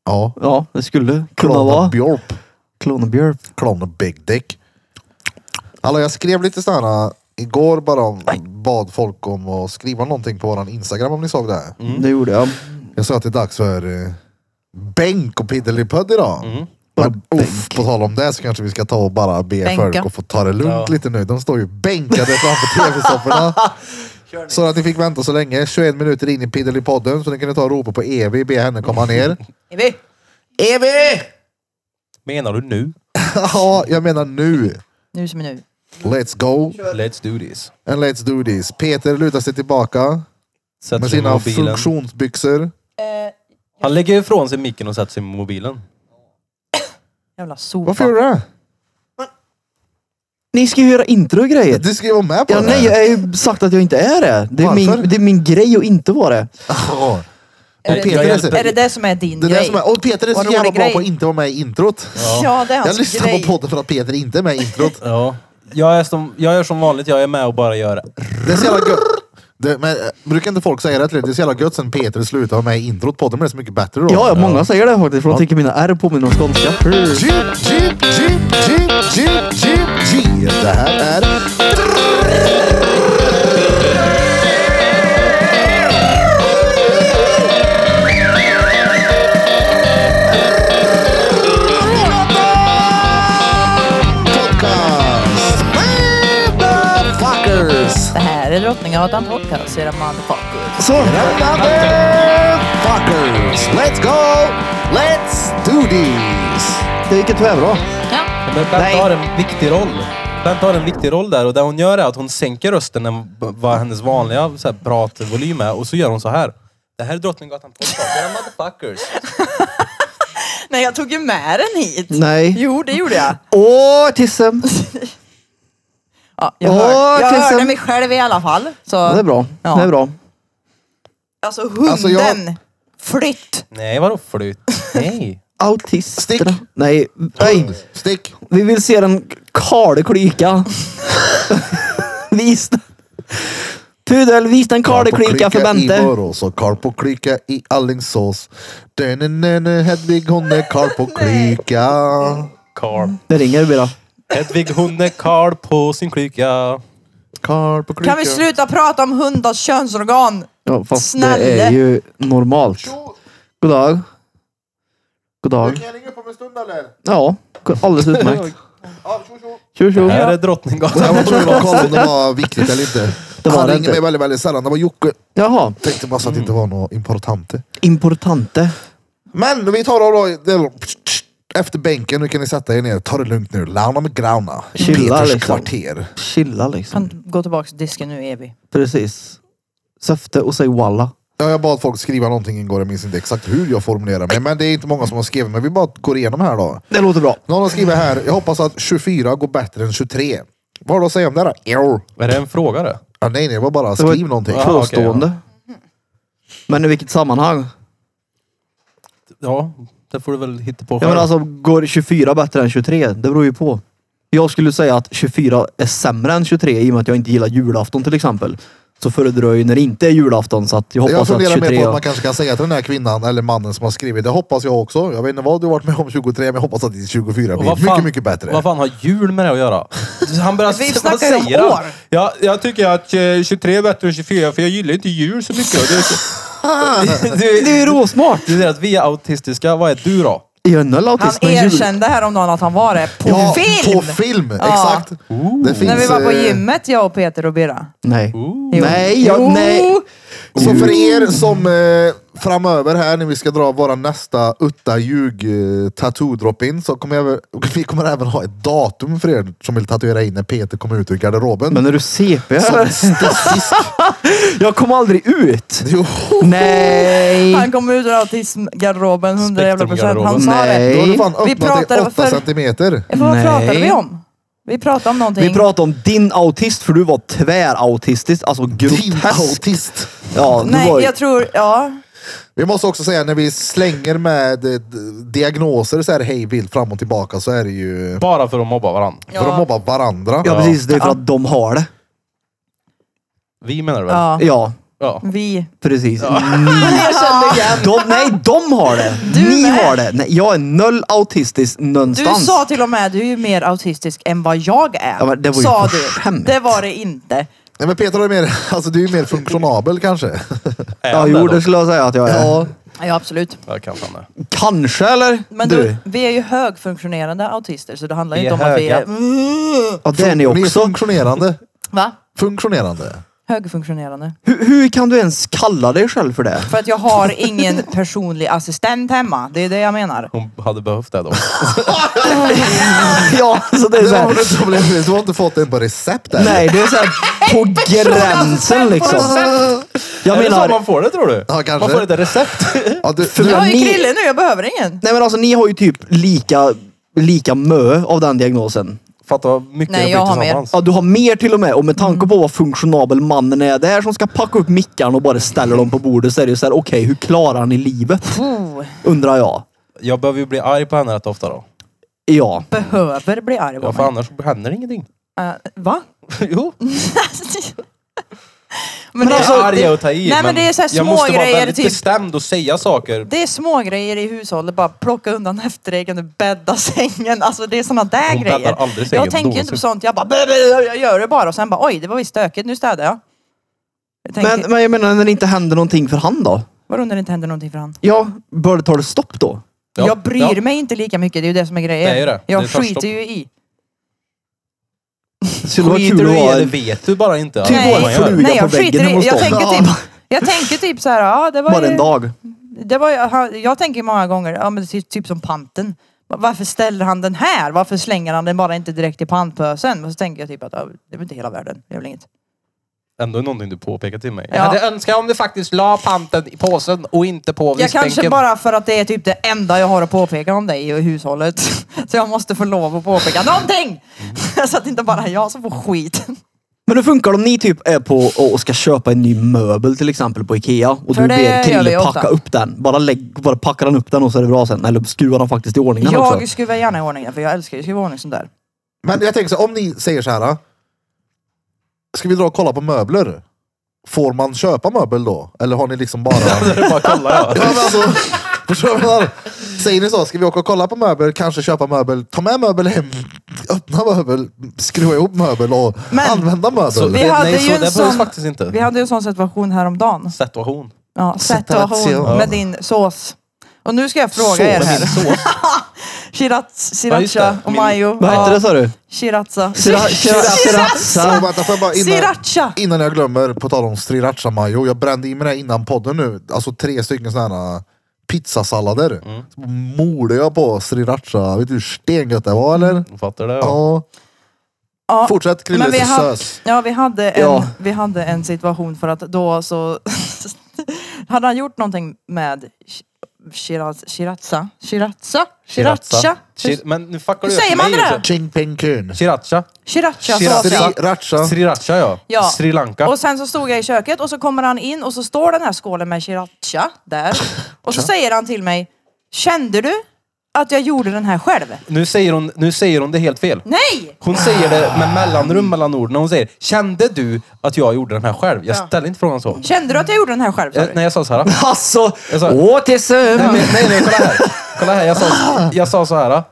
S1: Ja.
S2: Ja, det skulle kunna
S1: Klona
S2: vara.
S1: Björp.
S2: Clone och Björp.
S1: Klona Big Dick. Hallå, jag skrev lite sådana igår bara om, bad folk om att skriva någonting på våran Instagram om ni såg det. här.
S2: Det gjorde jag.
S1: Jag sa att det är dags för eh, bänk och piddelipödd idag. Men uff, på tal om det så kanske vi ska ta och bara be
S4: Bänka.
S1: folk att få ta det lugnt
S3: Ja.
S1: lite nu. De står ju bänkade framför tv-sofforna. Så att ni fick vänta så länge. 21 minuter in i Piddelipodden så ni kunde ta och ropa på Evi, be henne komma ner.
S4: Evi!
S1: Evi!
S3: Menar du nu?
S1: Ja, jag menar nu.
S4: Nu som är nu.
S1: Let's go
S3: Let's do this.
S1: and let's do this. Peter lutar sig tillbaka
S3: Sätter
S1: med
S3: sig i
S1: sina
S3: mobilen.
S1: funktionsbyxor.
S3: Han lägger ifrån sig micken och sätter sig i mobilen.
S4: Jävla sopa.
S1: Varför gör du det?
S2: Ni ska ju göra intro och grejer.
S1: Du ska ju vara med på
S2: Ja,
S1: det.
S2: nej, jag har ju sagt att jag inte är det. Det är,
S1: Varför?
S2: min, det är min grej att inte vara det.
S1: Ja.
S4: Är
S1: Och
S4: det-
S1: Peter är, så,
S4: Är det det som är din
S1: det är
S4: grej?
S1: det som är, och Peter är så
S4: Vad rolig
S1: jävla bra
S4: grej.
S1: på att inte vara med i introt.
S4: Ja. det är hans
S1: Jag lyssnar
S4: grej.
S1: på podden för att Peter inte är med i introt.
S3: Ja. Jag, är som, jag gör som vanligt, jag är med och bara gör
S1: Det är så jävla gött. Det, men, eh, brukar inte folk säga det till dig? Det är så jävla gött sen Peter slutade vara med i introt. Podden blev så mycket bättre då.
S2: Ja, ja många säger det faktiskt. För de tycker mina R påminner om skånska.
S1: Jeep, jeep, jeep, jeep, jeep, jeep, jeep. Det här är... Podcast! Motherfuckers!
S4: Det här är Drottninggatan Podcast, era motherfuckers.
S2: Så.
S1: Motherfuckers! Let's go! Let's do this!
S2: Det gick inte bra.
S4: Ja.
S3: Men Bente
S2: Nej.
S3: har en viktig roll. Bente har en viktig roll där och det hon gör är att hon sänker rösten än vad hennes vanliga så här, pratvolym är och så gör hon så här. Det här är Drottninggatan podcast, era motherfuckers.
S4: Nej, jag tog ju med den hit.
S2: Nej.
S4: Jo, det gjorde jag.
S2: Åh, tissen.
S4: Ja, jag
S2: Åh,
S4: hör, jag
S2: tusen.
S4: hörde mig själv i alla fall. Så.
S2: Ja, det är bra.
S4: Ja.
S2: Det är bra.
S4: Alltså hunden.
S1: Alltså, jag-
S4: Flytt!
S3: Nej, vadå flyt? Nej.
S1: Stick.
S2: Autisterna. Nej. Nej.
S1: Stick!
S2: Vi vill se den kale klyka. Vis den. Pudel, vis den kale klyka för
S1: i
S2: Bente.
S1: Borås och Karl på klyka i Alingsås. Dönenene Hedvig hon är Karl på klyka.
S3: Carl.
S2: Det ringer Bira.
S3: Hedvig Hunne Karl på sin klyka.
S1: Karl på klyka.
S4: Kan vi sluta prata om hundars könsorgan?
S2: Ja, fast det
S4: Snälla.
S2: är ju normalt. God dag. God dag.
S1: jag ringa upp om en stund eller?
S2: Ja, alldeles utmärkt. Tjo tjo.
S3: Det här är Drottninggatan.
S1: Jag var tvungen att kolla om det var viktigt eller inte.
S2: Det var
S1: Han
S2: det
S1: ringer
S2: inte. Mm.
S1: mig väldigt, väldigt sällan. Det var Jocke.
S2: Jaha.
S1: Tänkte bara så att det inte var något importante.
S2: Importante.
S1: Men vi tar då, då efter bänken, nu kan ni sätta er ner. Ta det lugnt nu. Launa med grauna.
S2: Chilla,
S1: Peters
S2: liksom.
S1: kvarter.
S2: Chilla liksom.
S4: Kan gå tillbaka till disken nu Evi.
S2: Precis. Söfte och säg walla.
S1: Ja, jag bad folk skriva någonting igår, jag minns inte exakt hur jag formulerade mig. Men det är inte många som har skrivit, men vi bara går igenom här då.
S2: Det låter bra.
S1: Någon har skrivit här, jag hoppas att 24 går bättre än 23. Vad har du att säga om det här då? Jo.
S3: Är det en fråga det?
S1: Ja, nej, nej, det var bara
S2: Det var
S1: skriv
S2: ett
S1: någonting.
S3: Ja.
S2: Påstående.
S3: okej,
S2: Men i vilket sammanhang?
S3: Ja, det får du väl hitta på
S2: Jag
S3: själv.
S2: alltså, menar alltså, går 24 bättre än 23? Det beror ju på. jag skulle säga att 24 är sämre än 23 i och med att jag inte gillar julafton till exempel. Så föredrar jag ju när det inte är julafton så att jag
S1: Jag
S2: hoppas att
S1: funderar mer
S2: 23...
S1: på att man kanske kan säga till den här kvinnan eller mannen som har skrivit. Det hoppas jag också. Jag vet inte vad du har varit med om 23 men jag hoppas att ditt 24
S3: Och
S1: blir
S3: vad
S1: mycket,
S3: fan-
S1: mycket bättre.
S3: Vad fan har jul med det att göra? Han börjar,
S4: Vi
S3: vad
S4: snackar ju om
S3: säger han?
S4: år.
S3: Ja, jag tycker att eh, 23 är bättre än 24 för jag gillar inte jul så mycket. Det är, så... det,
S2: Det är ju råsmart!
S3: det är att vi är autistiska. Vad är du då?
S2: Jag är noll
S4: Han
S2: autist, men jul-
S4: erkände häromdagen att han var det på
S1: ja,
S4: film!
S1: På film!
S4: Ja.
S1: Exakt! Det finns,
S4: När vi var på
S1: eh,
S4: gymmet jag och Peter och Birra.
S2: Nej.
S4: Jo.
S2: Nej, jag,
S4: Jo.
S2: nej.
S1: Så för er som eh, framöver här när vi ska dra våra nästa utta ljug eh, tattoo drop-in så kommer jag, väl- vi kommer även ha ett datum för er som vill tatuera in när Peter kommer ut ur garderoben.
S2: Men är du CP
S1: som
S2: eller?
S1: statistisk.
S2: Jag kom aldrig ut!
S1: Jo.
S2: Nej!
S4: Han kom ut ur autismgarderoben 100 jävla procent.
S3: Spektrumgarderoben.
S4: Han sa det.
S1: Då har du
S2: Nej.
S1: fan
S4: Vi
S1: öppnat dig
S4: pratade
S1: 8
S4: för-
S1: centimeter.
S4: Ja, för Vad
S2: Nej.
S4: pratade vi om? Vi pratade om någonting.
S2: Vi pratade om din autist för du var tvärautistisk, alltså
S1: Din
S2: grotesk.
S1: autist.
S2: Ja, du
S4: Nej,
S2: var ju-
S4: jag tror... Ja.
S1: Vi måste också säga när vi slänger med eh, d- diagnoser så här hej vilt fram och tillbaka så är det ju
S3: Bara för att mobba varandra.
S4: Ja.
S1: för att mobba varandra.
S2: Ja precis, det är för att de har det.
S3: Vi menar du väl?
S4: ja.
S2: Ja,
S3: Ja.
S4: Vi.
S2: precis. Ni. De, nej, de har det.
S4: Du
S2: Ni
S4: med.
S2: har det. Nej, jag är noll autistisk
S4: Du
S2: någonstans.
S4: sa till och med du är ju mer autistisk än vad jag är.
S2: Ja, men det var ju
S4: sa
S2: på
S4: du.
S2: skämt.
S4: Det var det inte.
S1: Nej men Peter är mer, alltså du är ju mer funktionabel kanske.
S3: Är
S2: Ja,
S3: han
S2: jo,
S3: där då?
S2: det skulle jag säga att jag är.
S1: Ja.
S4: Ja, absolut.
S3: Jag kan fan det.
S2: Kanske, eller?
S4: Men
S2: du?
S4: du, vi är ju högfunktionerande autister så det handlar ju
S3: Vi
S4: inte om
S3: är
S4: att vi
S3: höga.
S4: är... Mm.
S2: Ja, det är ni
S1: Ni är
S2: också.
S1: funktionerande.
S4: Va?
S1: Funktionerande.
S4: Högfunktionerande.
S2: Hur, hur kan du ens kalla dig själv för det?
S4: För att jag har ingen personlig assistent hemma. Det är det jag menar.
S3: Hon hade behövt det då.
S2: ja, så det är
S1: Det
S2: så
S1: var
S2: här,
S1: det problemet, du har inte fått den på recept än.
S2: Nej, det är så här på gränsen liksom. Jag
S3: är det så
S2: menar,
S3: man får det tror du?
S1: Ja, kanske.
S3: Man får ett recept.
S1: Ja, du,
S2: För-
S1: du,
S4: Jag är
S2: Ni-
S4: krille nu, jag behöver ingen.
S2: nej men alltså ni har ju typ lika, lika mö av den diagnosen.
S3: Fattar vad mycket
S4: Nej,
S3: det
S4: jag
S3: blir
S4: har mer.
S3: tillsammans.
S2: Ja, du har mer till och med och med tanke
S3: Mm.
S2: på vad funktionabel mannen är, det är som ska packa upp mickarna och bara ställa dem på bordet så är det ju så här, okej hur klarar ni livet?
S4: Oh,
S2: Undrar jag.
S3: Jag behöver ju bli arg på henne rätt ofta då.
S2: Ja.
S4: behöver bli arg på
S3: Ja, för
S4: mig.
S3: annars händer ingenting.
S4: Eh, va?
S3: jo.
S4: men det,
S3: Jag är arg
S4: det,
S3: att ta i.
S4: Nej, men det är så här
S3: alltså, jag
S4: små
S3: måste vara
S4: grejer,
S3: väldigt
S4: typ.
S3: bestämd och säga saker.
S4: det är små grejer i hushållet. Bara plocka undan efterreken, bädda sängen. Alltså det är sådana där
S3: Hon bäddar
S4: grejer.
S3: aldrig sängen
S4: Jag tänker ju inte
S3: någonsin.
S4: på sånt. Jag bara, "Bä, bä, bä", jag gör det bara och sen bara, oj, det var visst stökigt. Nu städar jag. jag tänker,
S2: Men, men jag menar när det inte händer någonting för han då?
S4: Vadå när det inte händer någonting för han?
S2: Ja, bör det ta det stopp då?
S3: Ja,
S4: Jag bryr
S3: ja.
S4: mig inte lika mycket. Det är ju det som är grejen.
S3: Det är ju det.
S4: Jag
S3: Det tar stopp.
S4: skiter ju i.
S2: Det skulle vara
S3: Skiter
S2: kul
S3: du
S2: att
S3: i
S2: vara
S3: eller vet du bara inte?
S2: Typ
S3: vad
S4: Nej.
S3: man gör?
S2: fru.
S4: Nej,
S2: på
S4: jag
S2: väggen
S4: skiter
S2: hemma
S4: i.
S2: hos
S4: Jag
S2: dem.
S4: tänker typ, jag tänker typ så här, ja det var
S2: bara
S4: ju-
S2: en dag.
S4: Det var, ju- han- jag tänker många gånger, ja, men det är typ som panten. Va- Varför ställer han den här? Varför slänger han den bara inte direkt i pantpösen? Och så tänker jag typ att ja, det är väl inte hela världen. Det är väl inget.
S3: Ändå är någonting du påpekar till mig.
S4: Ja. Jag hade
S3: önskat om du faktiskt la panten i påsen och inte på
S4: Jag kanske bara för att det är typ det enda jag har att påpeka om dig och hushållet. Så jag måste få lov att påpeka någonting! Så att det inte bara är jag som får skit.
S2: Men hur funkar det om ni typ är på och ska köpa en ny möbel till exempel på Ikea och
S4: För
S2: du
S4: det
S2: ber
S4: gör vi
S2: Krille
S4: ofta.
S2: packa upp den. Bara, lägg, bara packar han upp den och så är det bra sen. Eller skruvar han faktiskt i ordning den också?
S4: Jag skruvar gärna i ordning den, för jag älskar ju att skruva i ordning sånt där.
S1: men jag tänker så här, om ni säger så här. Ska vi dra och kolla på möbler? Får man köpa möbel då? Eller har ni liksom bara...
S3: bara kolla.
S1: ja, men alltså, förstår du vad jag menar? Säger ni så, ska vi åka och kolla på möbel, kanske köpa möbel, ta med möbel hem, öppna möbel, skruva ihop möbel och
S4: Men-
S1: använda möbel.
S3: Så,
S4: Vi hade
S3: nej,
S4: ju
S3: så
S4: en
S3: det
S4: sån-
S3: behövs faktiskt inte.
S4: Vi hade ju en sån situation häromdagen.
S3: Situation.
S4: Ja,
S1: Situation.
S4: situation med din sås. Och nu ska jag fråga
S2: Sås.
S4: er
S2: Med
S4: här.
S2: min
S3: sås.
S4: Sriracha,
S3: Ja, just
S4: sriracha
S3: det.
S4: och
S3: Min-
S4: mayo.
S2: Vad hette det sa du?
S4: Sriracha.
S2: Sira- sira-
S1: Ja,
S2: Sriracha.
S1: vänta, får jag bara innan,
S4: Sriracha!
S1: innan jag glömmer, på tal om sriracha mayo. Jag brände i mig det här innan podden nu. Alltså tre stycken sådana här äh, pizzasallader. Så morde jag på sriracha. Vet du hur stengött det var eller?
S3: Fattar det? Ja.
S1: Ja.
S4: Ja,
S1: Fortsätt
S4: men vi
S1: Krille,
S4: hade-
S1: sös.
S4: Ja, vi hade, en,
S2: Ja.
S4: vi hade en situation för att då så hade han gjort någonting med shi- shiraz- sriracha. Sriracha? Sriracha?
S3: Shir- Men nu fuckar du
S4: Hur säger
S3: upp mig
S4: man det
S3: också.
S1: Ching ping kun.
S3: Sriracha.
S4: Sriracha
S3: Sriracha.
S4: såsen.
S1: Sriracha.
S3: Sriracha ja.
S4: Ja.
S3: Sri Lanka.
S4: Och sen så stod jag i köket och så kommer han in och så står den här skålen med sriracha där. Och så säger han till mig, kände du att jag gjorde den här själv.
S3: Nu säger hon, nu säger hon det helt fel.
S4: Nej!
S3: Hon säger det med mellanrum mellan orden. Hon säger, kände du att jag gjorde den här själv? Jag
S4: Ja.
S3: ställer inte frågan så.
S4: Kände du att jag gjorde den här själv? sa
S3: Jag,
S4: du?
S3: Eh, nej, jag sa så här.
S2: Alltså,
S3: Jag sa-
S2: åh till
S3: Nej,
S2: sömn.
S3: men, nej, nej, kolla här. Kolla här. Jag, sa, jag sa så här. "Ah,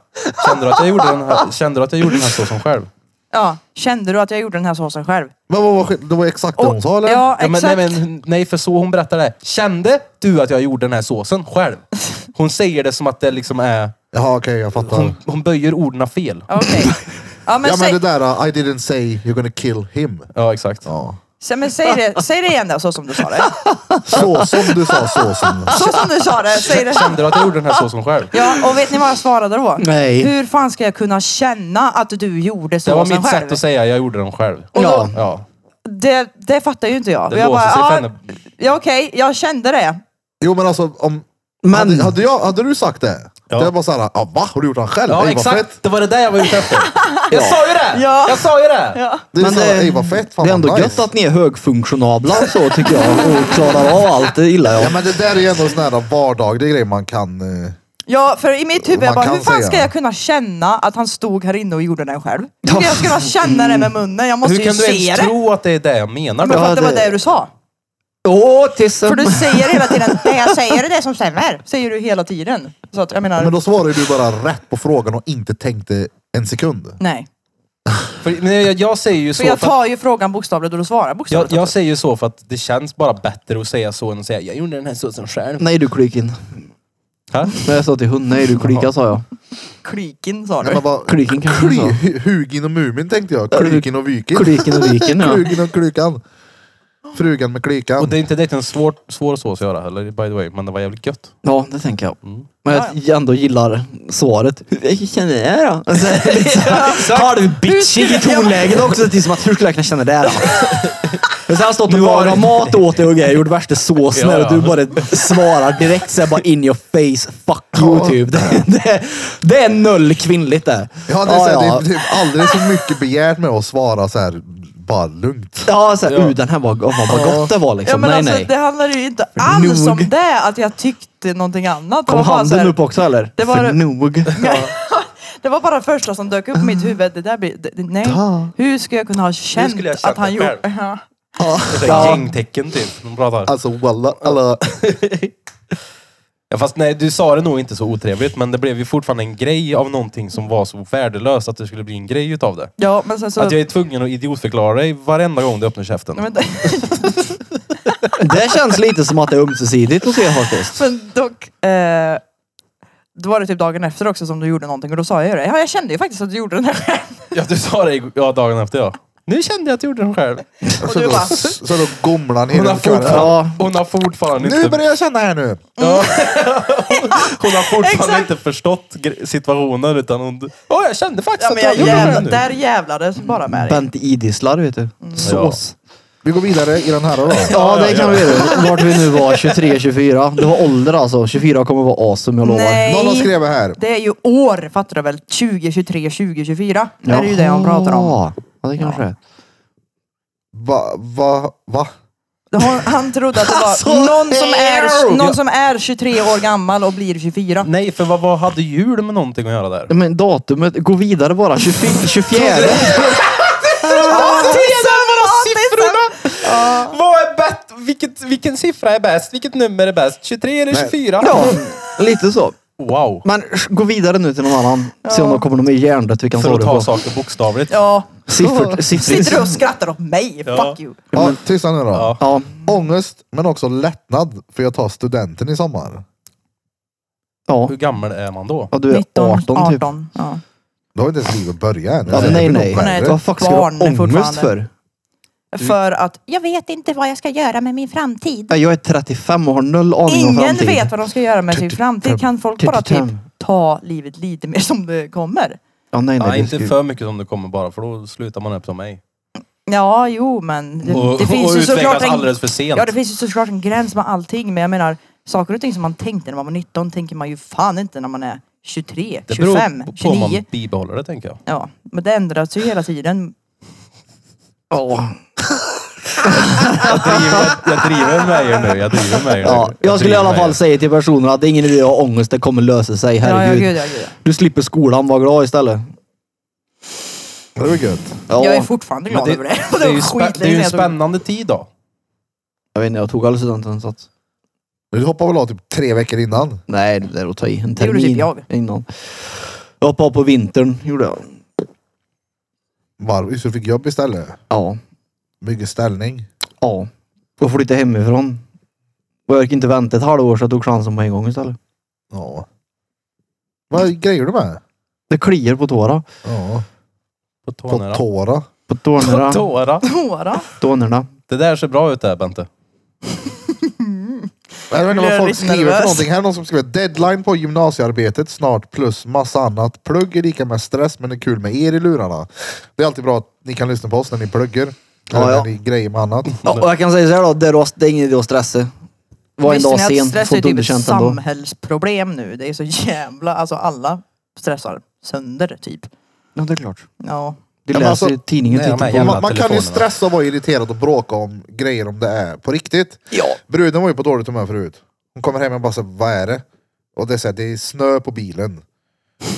S3: Kände du att jag gjorde den här, kände du att jag gjorde den här såsen själv?
S4: Ja. Kände du att jag gjorde den här såsen själv?
S1: Men vad var skill- Det var exakt det hon sa eller?
S4: ja,
S3: Ja, men,
S4: exakt.
S3: nej, men, nej, för så hon berättar det. här. Kände du att jag gjorde den här såsen själv? Hon säger det som att det liksom är...
S1: Jaha okej jag fattar.
S3: Hon, hon böjer orden fel.
S4: Okej. Ja, men,
S1: ja
S4: säg,
S1: men det där uh, I didn't say you're gonna kill him.
S3: Ja, exakt.
S1: Ja.
S4: sä- men säg, det, säg det igen då, så som du sa det.
S1: Så som du sa, så som.
S4: Så som du sa det, säg det.
S3: Kände du att jag gjorde den här såsen själv?
S4: Ja, och vet ni vad jag svarade då?
S2: Nej.
S4: Hur fan ska jag kunna känna att du gjorde
S3: Det var
S4: såsen
S3: mitt
S4: själv?
S3: sätt att säga jag gjorde den själv.
S4: Och då-
S2: Ja.
S3: Ja.
S4: Det, det fattar ju inte jag.
S3: Det
S4: jag
S3: låser sig för
S4: ja,
S3: henne.
S4: ja, okej, jag kände det.
S1: Jo men alltså om...
S2: Men
S1: Hade, hade, jag, hade du sagt det?
S3: Ja.
S1: Det var såhär, ah, va? Har du gjort den själv?
S3: Ja,
S1: Ey, vad
S3: exakt.
S1: fett.
S3: Det var det där jag var ute efter. Jag sa ju det!
S4: Ja.
S3: Jag sa ju det!
S1: Det är,
S2: Men
S1: såhär,
S2: det-
S1: ey, vad fett. Fan,
S2: det är ändå
S1: vad nice.
S2: gött att ni är högfunktionabla och så tycker jag. Och klarar av allt, det gillar
S1: Ja
S2: jag.
S1: men det där är ju ändå sån här uh, vardaglig grej man kan... eh,
S4: Ja, för i mitt huvud, jag
S1: Man
S4: bara,
S1: kan
S4: hur fan
S1: säga.
S4: ska jag kunna känna att han stod här inne och gjorde den själv? Hur ska jag kunna känna det med munnen? Jag måste
S3: Hur
S4: ju
S3: kan du
S4: se
S3: ens
S4: det.
S3: tro att det är det jag menar
S4: Men
S3: då?
S4: för att det var
S2: det-
S4: det du sa.
S2: Åh till
S4: För
S2: sömn.
S4: du säger hela tiden, det jag säger är det som stämmer. Säger du hela tiden. Så att jag menar,
S1: Men då svarade du bara rätt på frågan och inte tänkte en sekund.
S4: nej.
S3: För, men jag, jag säger ju så
S4: För jag
S3: för att,
S4: tar ju frågan bokstavligt och du svarar
S3: jag,
S4: bokstavligt.
S3: jag
S4: också.
S3: säger ju så för att det känns bara bättre att säga så än att säga jag gjorde den här såsen själv.
S2: Nej du Klykin.
S3: Ha?
S2: Nej, Jag sa till hund, nej du Klyka sa jag.
S4: Kliken sa
S1: Nej,
S4: du.
S1: men vad,
S2: Klyken kanske
S1: Kly,
S2: sa.
S1: Hu- Hugin och Mumin tänkte jag.
S2: Ja, det-
S1: Klyken och Vykin.
S2: Klyken och Viken ja.
S1: Klyken och Klykan. Frugan med
S3: Och
S1: Klykan.
S3: det är inte direkt en svår, svår sås att göra heller by the way, men det var jävligt gött.
S2: Ja, det tänker jag.
S3: Mm.
S2: Men jag ändå gillar svaret. Hur känner jag då? Alltså, Har du bitchig i tonläget också? Det är som att, hur skulle jag kunna känna det här då? Men sen har jag stått och
S3: var
S2: lagat
S3: det-
S2: mat åt dig och grejer, gjort värsta såsen
S3: Ja,
S2: här
S3: ja.
S2: och du bara svarar direkt såhär bara in your face, fuck you typ. Det, det, det är noll kvinnligt det.
S1: Jag hade
S2: ja,
S1: såhär,
S2: ja.
S1: Det är typ aldrig så mycket begärt med att svara så här bara lugnt.
S2: ja såhär,
S3: Ja.
S2: uh, den här var, oh, vad gott det var liksom.
S4: Ja men
S2: nej
S4: alltså
S2: nej.
S4: det handlade ju inte alls
S2: Nog.
S4: om det, att jag tyckte någonting annat. Det
S2: Kom
S4: var bara så
S2: handen
S4: här-
S2: upp också eller?
S4: Det var-
S2: För nog.
S4: Det var bara det första som dök upp i mitt huvud. Det där blir, det, det- nej. Hur ska jag kunna ha känt
S3: skulle jag
S4: att
S3: känt
S4: han
S3: det
S4: gjorde...
S3: själv?
S4: Ja.
S3: Det är
S2: Ja.
S3: gängtecken typ. De pratar.
S1: Alltså walla, alla.
S3: Ja, fast nej, du sa det nog inte så otrevligt, men det blev ju fortfarande en grej av någonting som var så värdelöst att det skulle bli en grej utav det.
S4: ja, men sen så...
S3: Att jag är tvungen att idiotförklara dig varenda gång du öppnar käften.
S4: men,
S2: Det känns lite som att det är ömsesidigt hos er faktiskt.
S4: men dock... Eh, då var det typ dagen efter också som du gjorde någonting och då sa jag ju det. Ja, jag kände ju faktiskt att du gjorde den här själv.
S3: Ja, du sa det igår- ja, dagen efter ja. Nu kände jag att jag gjorde den själv.
S1: Så
S4: du
S1: då,
S4: bara-
S1: så då gomlar ni
S3: Hon har
S1: runt kören.
S3: fortfarande,
S2: Ja.
S3: hon har fortfarande
S1: Nu
S3: inte...
S1: börjar jag känna här nu.
S3: Ja. Hon har fortfarande
S4: Exakt.
S3: inte förstått gre- situationen utan hon... Ja, jag kände faktiskt
S4: Ja,
S3: att
S4: men
S3: jag
S4: jag
S3: gjorde den här nu.
S4: jävla, där jävlades bara med dig.
S2: Bent idisslar vet du.
S4: Mm.
S2: Sås.
S1: Vi går vidare i den här då.
S2: Ja,
S3: Ja,
S2: det
S3: ja,
S2: kan
S3: ja.
S2: vi göra. Vart vi nu var, 23, 24. Det var ålder alltså. 24 kommer vara awesome, jag lovar.
S1: Någon har
S4: Nej,
S1: skrivit här.
S4: det är ju år fattar du väl? 2023, 2024. Det är ju det han pratar om.
S2: Jaha. Ja, det kanske är.
S1: Va, va, va?
S4: Han, han trodde att det var
S2: Alltså,
S4: någon, som
S2: ew.
S4: är, någon som är 23 år gammal och blir 24.
S3: Nej, för vad, vad hade jul med någonting att göra där?
S2: Men datumet, gå vidare bara. 24. 24.
S4: typ!
S3: Vad är bäst? Vilket, vilken siffra är bäst? Vilket nummer är bäst? 23 eller 24?
S2: ja, lite så.
S3: Wow.
S2: Men gå vidare nu till någon annan. Se om de kommer någon mer hjärndött vi kan
S3: För
S2: ta
S3: att
S2: det
S3: ta
S2: på.
S3: saker bokstavligt.
S4: Ja.
S2: Siffror,
S4: Sitter du
S2: siffror.
S4: och skrattar åt mig?
S3: Ja.
S4: Fuck you.
S1: Ja, tysta nu då.
S3: Ja.
S2: Ja,
S1: Ångest men också lättnad för jag tar studenten i sommar.
S2: ja.
S3: Hur gammal är man då?
S2: ja, du är 18, typ.
S4: Ja.
S1: Då har inte ens livet börjat än.
S2: Ja,
S1: Det
S2: nej,
S1: blir nog
S2: nej.
S1: värre.
S4: Nej,
S2: Vad fuck ska du ha
S4: Barn är
S2: ångest
S4: fortfarande.
S2: för?
S4: För att jag vet inte vad jag ska göra med min framtid.
S2: Ja, Jag är 35 och har Typ- noll aning om
S4: Ingen
S2: framtiden.
S4: vet vad de ska göra med sin framtid. Kan folk bara typ
S2: Tututum.
S4: ta livet lite mer som det kommer?
S2: Ja, nej, nej,
S3: Nej,
S2: det
S3: inte
S2: skulle-
S3: för mycket som det kommer bara, för då slutar man upp som mig.
S4: Ja, jo, men det,
S3: Och,
S4: det finns
S3: och
S4: ju
S3: utvecklas
S4: såklart en,
S3: alldeles för sent.
S4: ja, det finns ju såklart en gräns med allting. Men jag menar, saker och ting som man tänkte när man var 19 tänker man ju fan inte när man är 23,
S3: Det beror
S4: 25,
S3: på om man
S4: 29.
S3: bibehåller det, tänker jag.
S4: Ja, men det ändras ju hela tiden.
S2: Ja.
S3: Jag driver, jag driver med er nu. Jag driver med er
S2: Ja,
S3: nu.
S2: jag skulle i
S3: driver
S2: alla
S3: med er.
S2: fall säga till personen att det är ingen idé att ha ångest, det kommer lösa sig.
S4: Ja, ja,
S2: Herregud.
S4: gud, ja, gud, ja.
S2: Du slipper skolan, var glad istället.
S1: Det var gött.
S2: Ja,
S4: Jag är fortfarande glad
S3: Men det,
S4: över det.
S3: det, är ju
S4: skitlänge
S3: spä, det är ju
S4: sedan
S3: en
S4: jag tog-
S3: spännande tid då.
S2: jag vet inte, jag tog aldrig studenten så att...
S1: Du hoppade väl av typ tre veckor innan?
S2: Nej, det är att ta i. En
S4: Det gjorde
S2: termin
S4: typ jag.
S2: innan. Jag hoppade av på vintern, gjorde jag.
S1: Varv, så du fick jobb istället.
S2: Ja.
S1: Mycket ställning.
S2: Ja. Och flyttade hemifrån. Och jag orkade inte vänta ett halvår så jag tog chansen på en gång istället.
S1: Ja. Vad grejer du med?
S2: Det kliar på tårna.
S1: Ja.
S3: På
S1: På
S3: tårna.
S1: tåra.
S2: På tårna.
S3: Tåra.
S4: Tårar.
S2: Tårna.
S3: Det där ser bra ut där Bente.
S1: Jag vet inte
S4: Blir
S1: vad
S4: jag
S1: folk
S4: lite
S1: skriver
S4: nervös?
S1: för någonting. Här är någon som skriver deadline på gymnasiearbetet snart plus massa annat. Plugg är lika med stress men det är kul med er i lurarna. Det är alltid bra att ni kan lyssna på oss när ni pluggar.
S2: Ja,
S1: eller
S2: ja.
S1: när ni grejer med annat.
S2: Ja, och jag kan säga så här då, det är, rost- det är ingen idé att stressa. Var en
S4: Visste
S2: dag
S4: ni att
S2: sen,
S4: stress
S2: får
S4: är
S2: inte
S4: typ ett
S2: underkänt ändå.
S4: samhällsproblem nu? Det är så jävla... Alltså alla stressar sönder typ.
S2: Ja, det är klart.
S4: Ja.
S2: Det
S1: Ja, men
S2: läser
S1: alltså-
S2: i tidningen.
S3: Nej, de
S2: tittar
S3: här
S2: på.
S3: jävla
S1: Man, man kan ju
S3: telefonerna.
S1: stressa och vara irriterad och bråka om grejer om det är på riktigt.
S2: Ja.
S1: Bruden var ju på dåligt humör förut. Hon kommer hem och bara säger, vad är det? Och det är, så här, det är snö på bilen.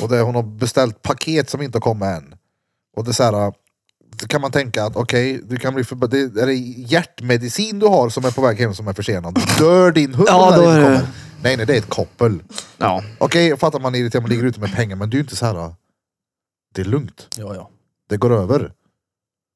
S1: Och det, hon har beställt paket som inte har kommit än. Och det är så här, då kan man tänka att okej, du kan bli förb- det, är det hjärtmedicin du har som är på väg hem som är försenad? Dör din hund
S2: Ja,
S1: när
S2: då
S1: den
S2: är
S1: inte
S2: det-
S1: kommer? Nej, nej, det är ett koppel.
S2: ja.
S1: Okej, jag fattar man är irriterad, man ligger ute med pengar, men du är ju inte så här. Det är lugnt,
S3: Ja, ja.
S1: det går över.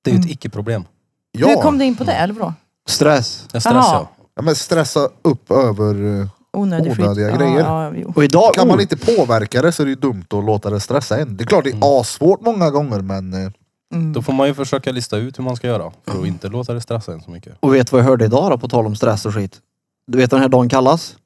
S3: Det är ju ett icke-problem.
S1: Ja,
S4: Hur kom du in på det? Eller vadå?
S2: Stress.
S3: Jag stressar.
S4: Jaha.
S3: Ja.
S1: ja, men stressa upp över... eh,
S4: Onödig skit.
S1: Onödiga
S4: Ja,
S1: grejer.
S4: Ja, jo.
S2: Och idag...
S1: Kan
S2: oh,
S1: man inte påverka det så är det ju dumt att låta det stressa en. Det är klart det är assvårt många gånger men eh,
S4: Mm.
S3: Då får man ju försöka lista ut hur man ska göra för att inte låta det stressa en så mycket.
S2: Och vet du vad jag hörde idag då, på tal om stress och skit? Du vet vad den här dagen kallas?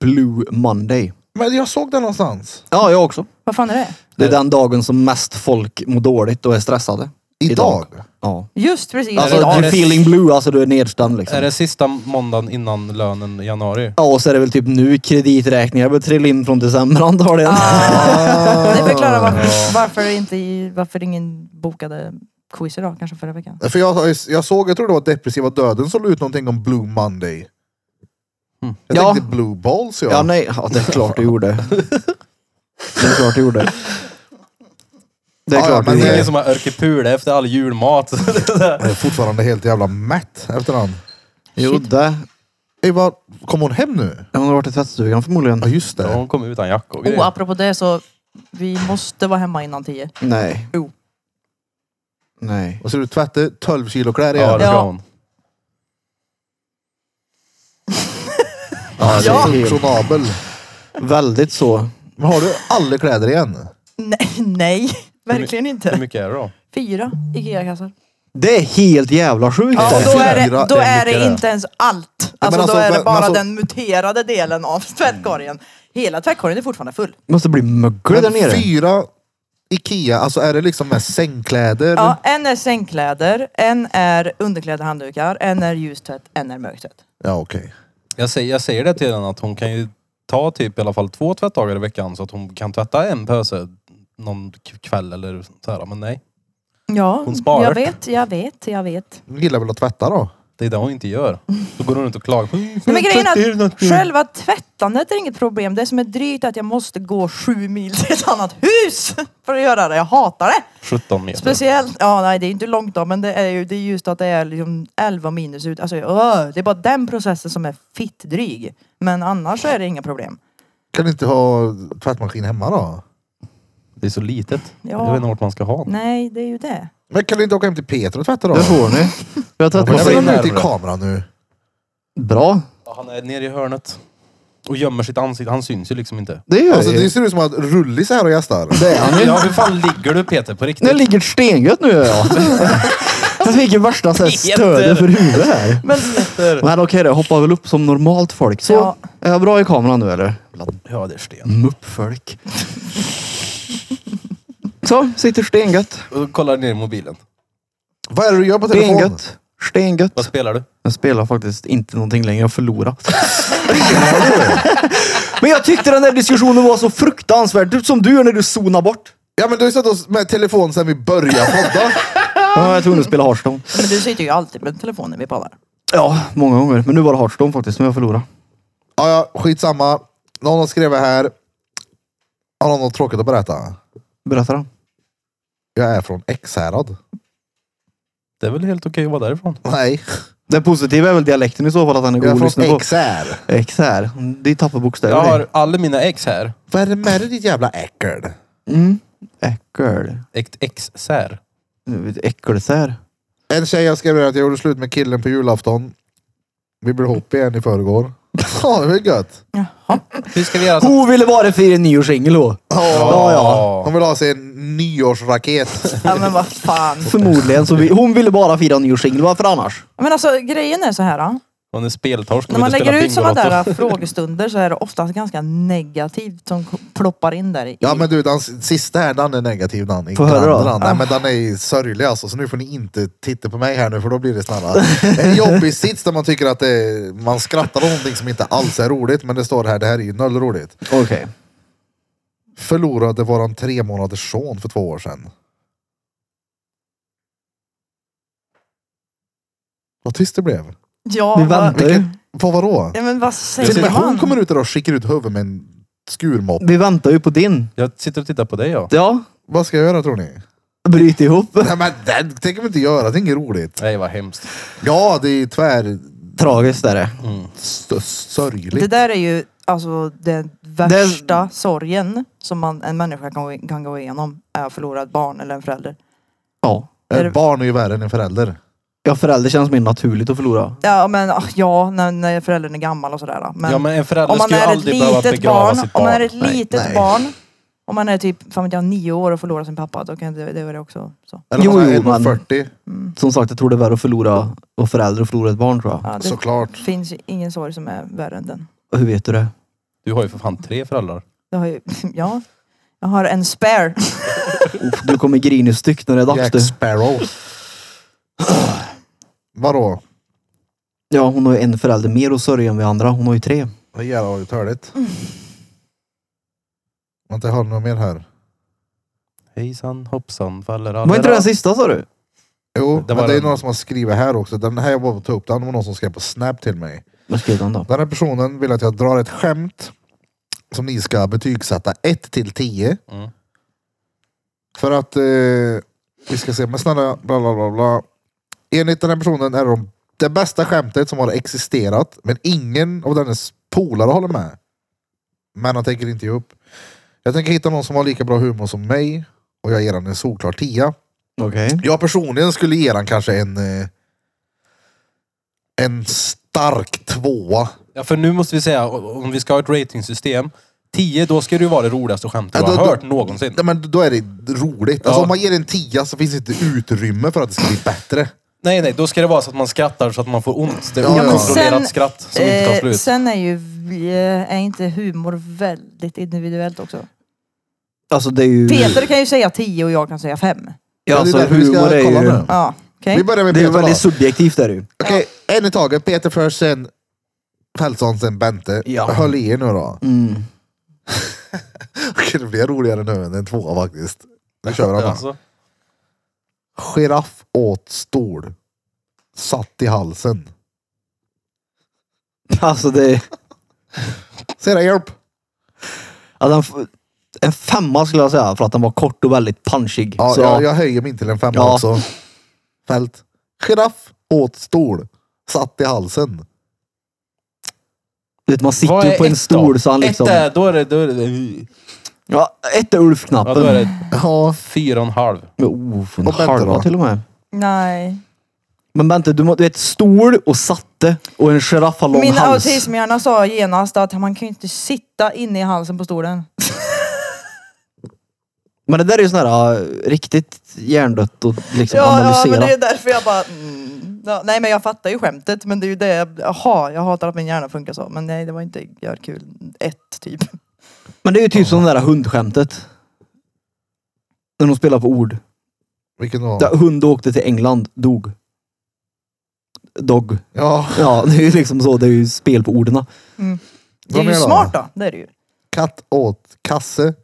S2: Blue Monday.
S1: Men jag såg det någonstans.
S2: Ja, jag också.
S4: Vad fan är det?
S2: Det är den dagen som mest folk mår dåligt och är stressade.
S1: Idag.
S2: Ja.
S4: Just precis.
S2: Alltså,
S4: idag.
S3: är
S2: du
S3: det-
S2: feeling blue, alltså du är nedstämd liksom.
S3: Är det sista måndagen innan lönen i januari?
S2: Ja, och så är det väl typ nu krediträkningar börjar trilla in från december antagligen.
S4: Ah. Det förklarar varför, varför, inte, i- varför ingen bokade quiz idag, kanske förra veckan.
S1: För jag, jag såg, jag tror det var Depressiva Döden som la ut någonting om Blue Monday.
S3: Mm.
S1: Jag
S2: Ja.
S1: tänkte Blue Balls ja.
S2: Ja, nej. Ja, det är klart du gjorde. Det är klart du gjorde. Det är
S1: Ja, ja,
S2: klart
S1: men
S2: du
S3: Det
S1: det- liksom-
S3: är
S2: gjorde.
S3: ingen som har örkepul efter all julmat.
S1: Jag är fortfarande helt jävla mätt efter den.
S2: Jo, det.
S1: Ey, vad kom hon hem nu?
S2: Hon har varit i tvättstugan förmodligen.
S1: Ja just
S3: Ja,
S1: det.
S3: Hon kom utan jacka och
S4: Och
S3: grejer.
S4: Oh, apropå det så, vi måste vara hemma innan tio.
S2: Nej.
S4: Jo.
S2: Nej.
S1: Och så du tvättade 12 kilo kläder
S3: Ja,
S1: igen.
S3: det
S4: Ja.
S3: ska hon.
S2: Ja, det är fel.
S1: Funktionabel.
S2: Väldigt så.
S1: Men har du alla kläder igen?
S4: Nej, nej verkligen
S3: Hur
S4: inte.
S3: mycket är det då?
S4: Fyra Ikea-kassar.
S2: Det är helt jävla sjukt.
S4: Ja, och då är
S1: Fyra,
S4: det, då
S1: det är
S4: är
S1: mycket
S4: det
S1: det.
S4: inte ens allt.
S1: men
S4: Alltså,
S1: alltså,
S4: då är det
S1: men
S4: bara
S1: alltså-
S4: den muterade delen av tvättkorgen. Hela tvättkorgen är fortfarande full.
S2: Måste bli mögel där
S1: Men
S2: nere.
S1: Fyra Ikea, alltså är det liksom med sängkläder?
S4: Ja, en är sängkläder, en är underkläder, handdukar, en är ljustvätt, en är mörktvätt.
S1: Ja okej.
S3: Jag säger, jag säger det till henne att hon kan ju ta typ i alla fall två tvättdagar i veckan så att hon kan tvätta en pöse någon k- kväll eller så här. Men nej,
S4: Ja,
S3: Hon sparar.
S4: jag vet, jag vet, jag vet.
S1: Hon gillar väl att tvätta då?
S3: det är det hon inte gör. Då går hon runt och klagar.
S4: Nej, men grejen Mm, är att själva tvättandet är inget problem. Det som är drygt är att jag måste gå sju mil till ett annat hus för att göra det. Jag hatar det.
S3: 17 meter.
S4: Speciellt, ja nej det är ju inte långt då men det är ju det är just att det är liksom 11 minus ut. Alltså öh, det är bara den processen som är fitt dryg. Men annars så är det inga problem.
S1: Kan du inte ha tvättmaskin hemma då?
S3: Det är så litet.
S4: Ja.
S3: Jag vet inte vart man ska ha den.
S4: Nej, det är ju det.
S1: Men kan du inte åka hem till Peter och tvätta då?
S2: Det får ni. Vi har
S1: Men
S3: Varför
S1: Jag
S2: tvättmaskin.
S3: är
S1: vill
S3: det
S1: ut i
S3: nerver?
S1: kameran nu.
S2: Bra.
S3: Ja, Han är nere i hörnet. Och gömmer sitt ansikte. Han syns ju liksom inte.
S2: Det gör
S1: Alltså,
S2: jag
S1: det
S2: ju.
S1: ser ut som att Rullis är här och gästar.
S2: Det är han ju.
S3: Ja, hur fan ligger du Peter på riktigt?
S2: Det ligger stengött nu gör jag. Jag fick ju värsta så här stödet för huvudet här.
S4: Men
S2: Men okej då, jag hoppar väl upp som normalt folk. Så,
S4: Ja.
S2: är jag bra i kameran nu eller?
S3: Ja, det är sten.
S2: Muppfolk. Så, sitter stengött.
S3: Och då kollar ner i mobilen.
S1: Vad är det du gör på telefon?
S2: Stengött. Stengött.
S3: Vad spelar du?
S2: Jag spelar faktiskt inte någonting längre, jag förlorar. Men jag tyckte den där diskussionen var så fruktansvärd. Typ som du gör när du zonar bort.
S1: Ja men du har ju sett oss med telefon sedan vi började podda.
S2: Ja, jag tror hon spela Hearthstone.
S4: Men du sitter ju alltid med telefonen när vi pratar.
S2: Ja, många gånger. Men nu var det Hearthstone faktiskt, men jag förlorade.
S1: Ja, ja, skitsamma. Någon har skrivit här. Har någon något tråkigt att berätta?
S2: Berätta då.
S1: Jag är från Ekshärad.
S3: Det är väl helt okej att vara därifrån.
S1: Nej,
S2: Det positiva är väl dialekten i så fall, att den är
S1: jag
S2: god
S1: är
S2: att lyssna
S1: från
S2: på.
S1: Ekshär.
S2: X här. Mm, Det är tapperbokstäver
S3: Jag
S2: det.
S3: har alla mina ex här.
S1: Vad är det med dig ditt jävla äckel?
S2: Mm. Äckel.
S3: Ett ex-sär.
S2: Äckelsär.
S1: En tjej har skrivit att jag gjorde slut med killen på julafton. Vi blev ihop igen i förrgår. Ja, det var ju gött.
S3: Hur ska vi göra så?
S2: Hon ville bara fira nyårssingel då. Ja, ja.
S1: De vill ha sin nyårsraket.
S4: Ja men vad fan.
S2: Förmodligen. Så vi, hon ville bara fira nyårssingel. Varför annars?
S4: Men alltså grejen är så här. ja.
S3: Hon är speltorsk.
S4: När man lägger ut sådana där frågestunder så är det oftast ganska negativt som k- ploppar in där. I.
S1: Ja men du, den sista här den är negativ den. Inte
S2: Får höra
S1: den
S2: då. Ah.
S1: andra. Nej men den är sörjlig alltså. Så nu får ni inte titta på mig här nu för då blir det snälla. En jobbig sits där man tycker att det, man skrattar åt någonting som inte alls är roligt. Men det står här, det här är ju noll roligt.
S2: Okej.
S1: Förlorade våran tre månaders son för två år sedan. Vad tyst det blev.
S4: ja,
S2: Vi
S4: vad-
S2: väntar ju.
S1: Vilket, vad vadå?
S4: Ja, men vad
S1: Till och
S4: säger
S1: med hon
S4: man?
S1: kommer ut där och skickar ut huvudet med en skurmopp.
S2: Vi väntar ju på din.
S3: Jag sitter och tittar på dig ja.
S2: Ja.
S1: Vad ska jag göra tror ni?
S2: Bryt ihop.
S1: Nej men det tänker vi inte göra, det är inget roligt.
S3: Nej vad hemskt. Mm.
S1: Ja, det är tvär
S2: Tragiskt är det.
S1: stö-
S4: Det
S1: sörjligt.
S4: där är ju alltså den värsta sorgen som man, en människa kan, kan gå igenom. Är att förlora ett barn eller en förälder.
S2: Ja.
S1: Ett barn är ju värre än en förälder.
S2: Ja, förälder känns mer naturligt att förlora.
S4: Ja men ah, ja, när, när föräldern är gammal och sådär. ah. Men,
S3: Ja men en förälder ska ju aldrig behöva begrava
S4: barn,
S3: sitt
S4: om man är
S3: barn.
S4: ett litet
S1: nej.
S4: barn. Om man är typ, fan vet jag, nio år och förlorar sin pappa. Då kan det, det är det också så.
S1: Eller
S2: Jo,
S1: jo,
S2: jo, men-
S1: 1,40.
S2: Som sagt, jag tror det är värre att förlora och förälder och förlora ett barn tror jag.
S4: Ja, det
S1: Såklart.
S4: finns ju ingen sorg som är värre än den.
S2: Hur vet du det?
S3: Du har ju för fan tre föräldrar.
S4: Jag har ju, ja. Jag har en spare.
S2: Uff, Du kommer grinig styck när det är dags
S1: Jack
S2: du.
S1: Sparrow. Vadå?
S2: Ja, hon har ju en förälder mer att sörja än vi andra. Hon har ju tre.
S1: Det jävla var ju törligt. Vänta, jag har något mer här.
S3: Hejsan hoppsan faller alla.
S2: Var inte det den sista sa du?
S1: Jo,
S3: Det var
S1: men det är
S3: den.
S1: några som har skrivit här också. Den här jag var på att ta upp, den var någon som skrev på Snap till mig.
S2: Vad skrev den då?
S1: Den här personen vill att jag drar ett skämt som ni ska betygsätta 1 till 10.
S3: Mm.
S1: För att eh, vi ska se, men snälla bla bla bla bla. Enligt den här personen är de det bästa skämtet som har existerat men ingen av dennes polare håller med. Men han tänker inte ge upp. Jag tänker hitta någon som har lika bra humor som mig och jag ger han en solklar 10.
S2: Okej.
S1: Jag personligen skulle ge den kanske en eh, en stark tvåa.
S3: Ja för nu måste vi säga, om vi ska ha ett ratingsystem. 10, då ska det ju vara det roligaste skämtet
S1: Ja,
S3: du
S1: då-
S3: har hört
S1: då-
S3: någonsin.
S1: Nej, men då är det roligt. Alltså,
S3: Ja.
S1: Om man ger en tia så finns det inte utrymme för att det ska bli bättre.
S3: Nej nej, då ska det vara så att man skrattar så att man får ont. Det är
S1: Ja, men
S3: okontrollerat
S4: sen-
S3: skratt som inte tar
S4: Eh,
S3: slut.
S4: sen är ju vi- eh, är inte humor väldigt individuellt också.
S2: Mm. Alltså det är ju...
S4: Peter kan ju säga 10 och jag kan säga 5.
S2: Ja, alltså
S1: det är därför vi ska
S2: humor är
S1: kolla
S2: ju...
S1: nu.
S4: Ja, okej.
S1: Vi börjar med
S2: Det är
S1: Peter
S2: ju
S1: då.
S2: väldigt subjektivt är det ju.
S1: Okej, en i taget. Peter först, sen Pälsson, sen Bente.
S2: Ja.
S1: Höll i er nu då.
S2: Mm.
S1: Okej, det blir roligare nu än en tvåa faktiskt. Nu kör vi den här.
S3: Alltså,
S1: Giraff åt stol. Satt i halsen.
S2: Alltså det...
S1: Sera hjälp.
S2: Ja, den, f- en femma skulle jag säga för att den var kort och väldigt punchig.
S1: Ja,
S2: så,
S1: jag, jag höjer min till en femma
S2: Ja.
S1: också. Fält. Giraff åt stol. Satt i halsen.
S2: du vet, man sitter
S3: vad
S2: ju
S3: är
S2: på en
S3: ett
S2: stol
S3: då?
S2: så han liksom...
S3: Ett är, då är det... Då är det
S2: Ja, ett är
S3: ja,
S2: Ulf-knappen.
S3: då är det
S1: Ja.
S3: fyra och en halv.
S2: Men, oh, en
S1: Och Bente
S2: halva
S1: då?
S2: till och med.
S4: Nej.
S2: Men Bente, du, må- du vet stol och satte och en giraff har lång
S4: Min
S2: hals.
S4: autismhjärna sa genast att man kan ju inte sitta inne i halsen på stolen.
S2: Men det där är ju sån här äh, riktigt hjärndött och liksom
S4: Ja, ja,
S2: analysera.
S4: men det är därför jag bara... Mm, ja, nej, men jag fattar ju skämtet. Men det är ju det jag... Jaha, jag hatar att min hjärna funkar så. Men nej, det var inte gör kul. Ett, typ.
S2: ju typ som det där hundskämtet. När de spelar på ord.
S1: Vilken då?
S2: Där hund åkte till England, dog. Dog.
S1: Ja.
S2: Ja, det är ju liksom så. Det är ju spel på orden.
S4: Det är
S1: Vad
S4: ju
S1: mer då?
S4: smart då. Det är det ju.
S1: Katt åt kasse.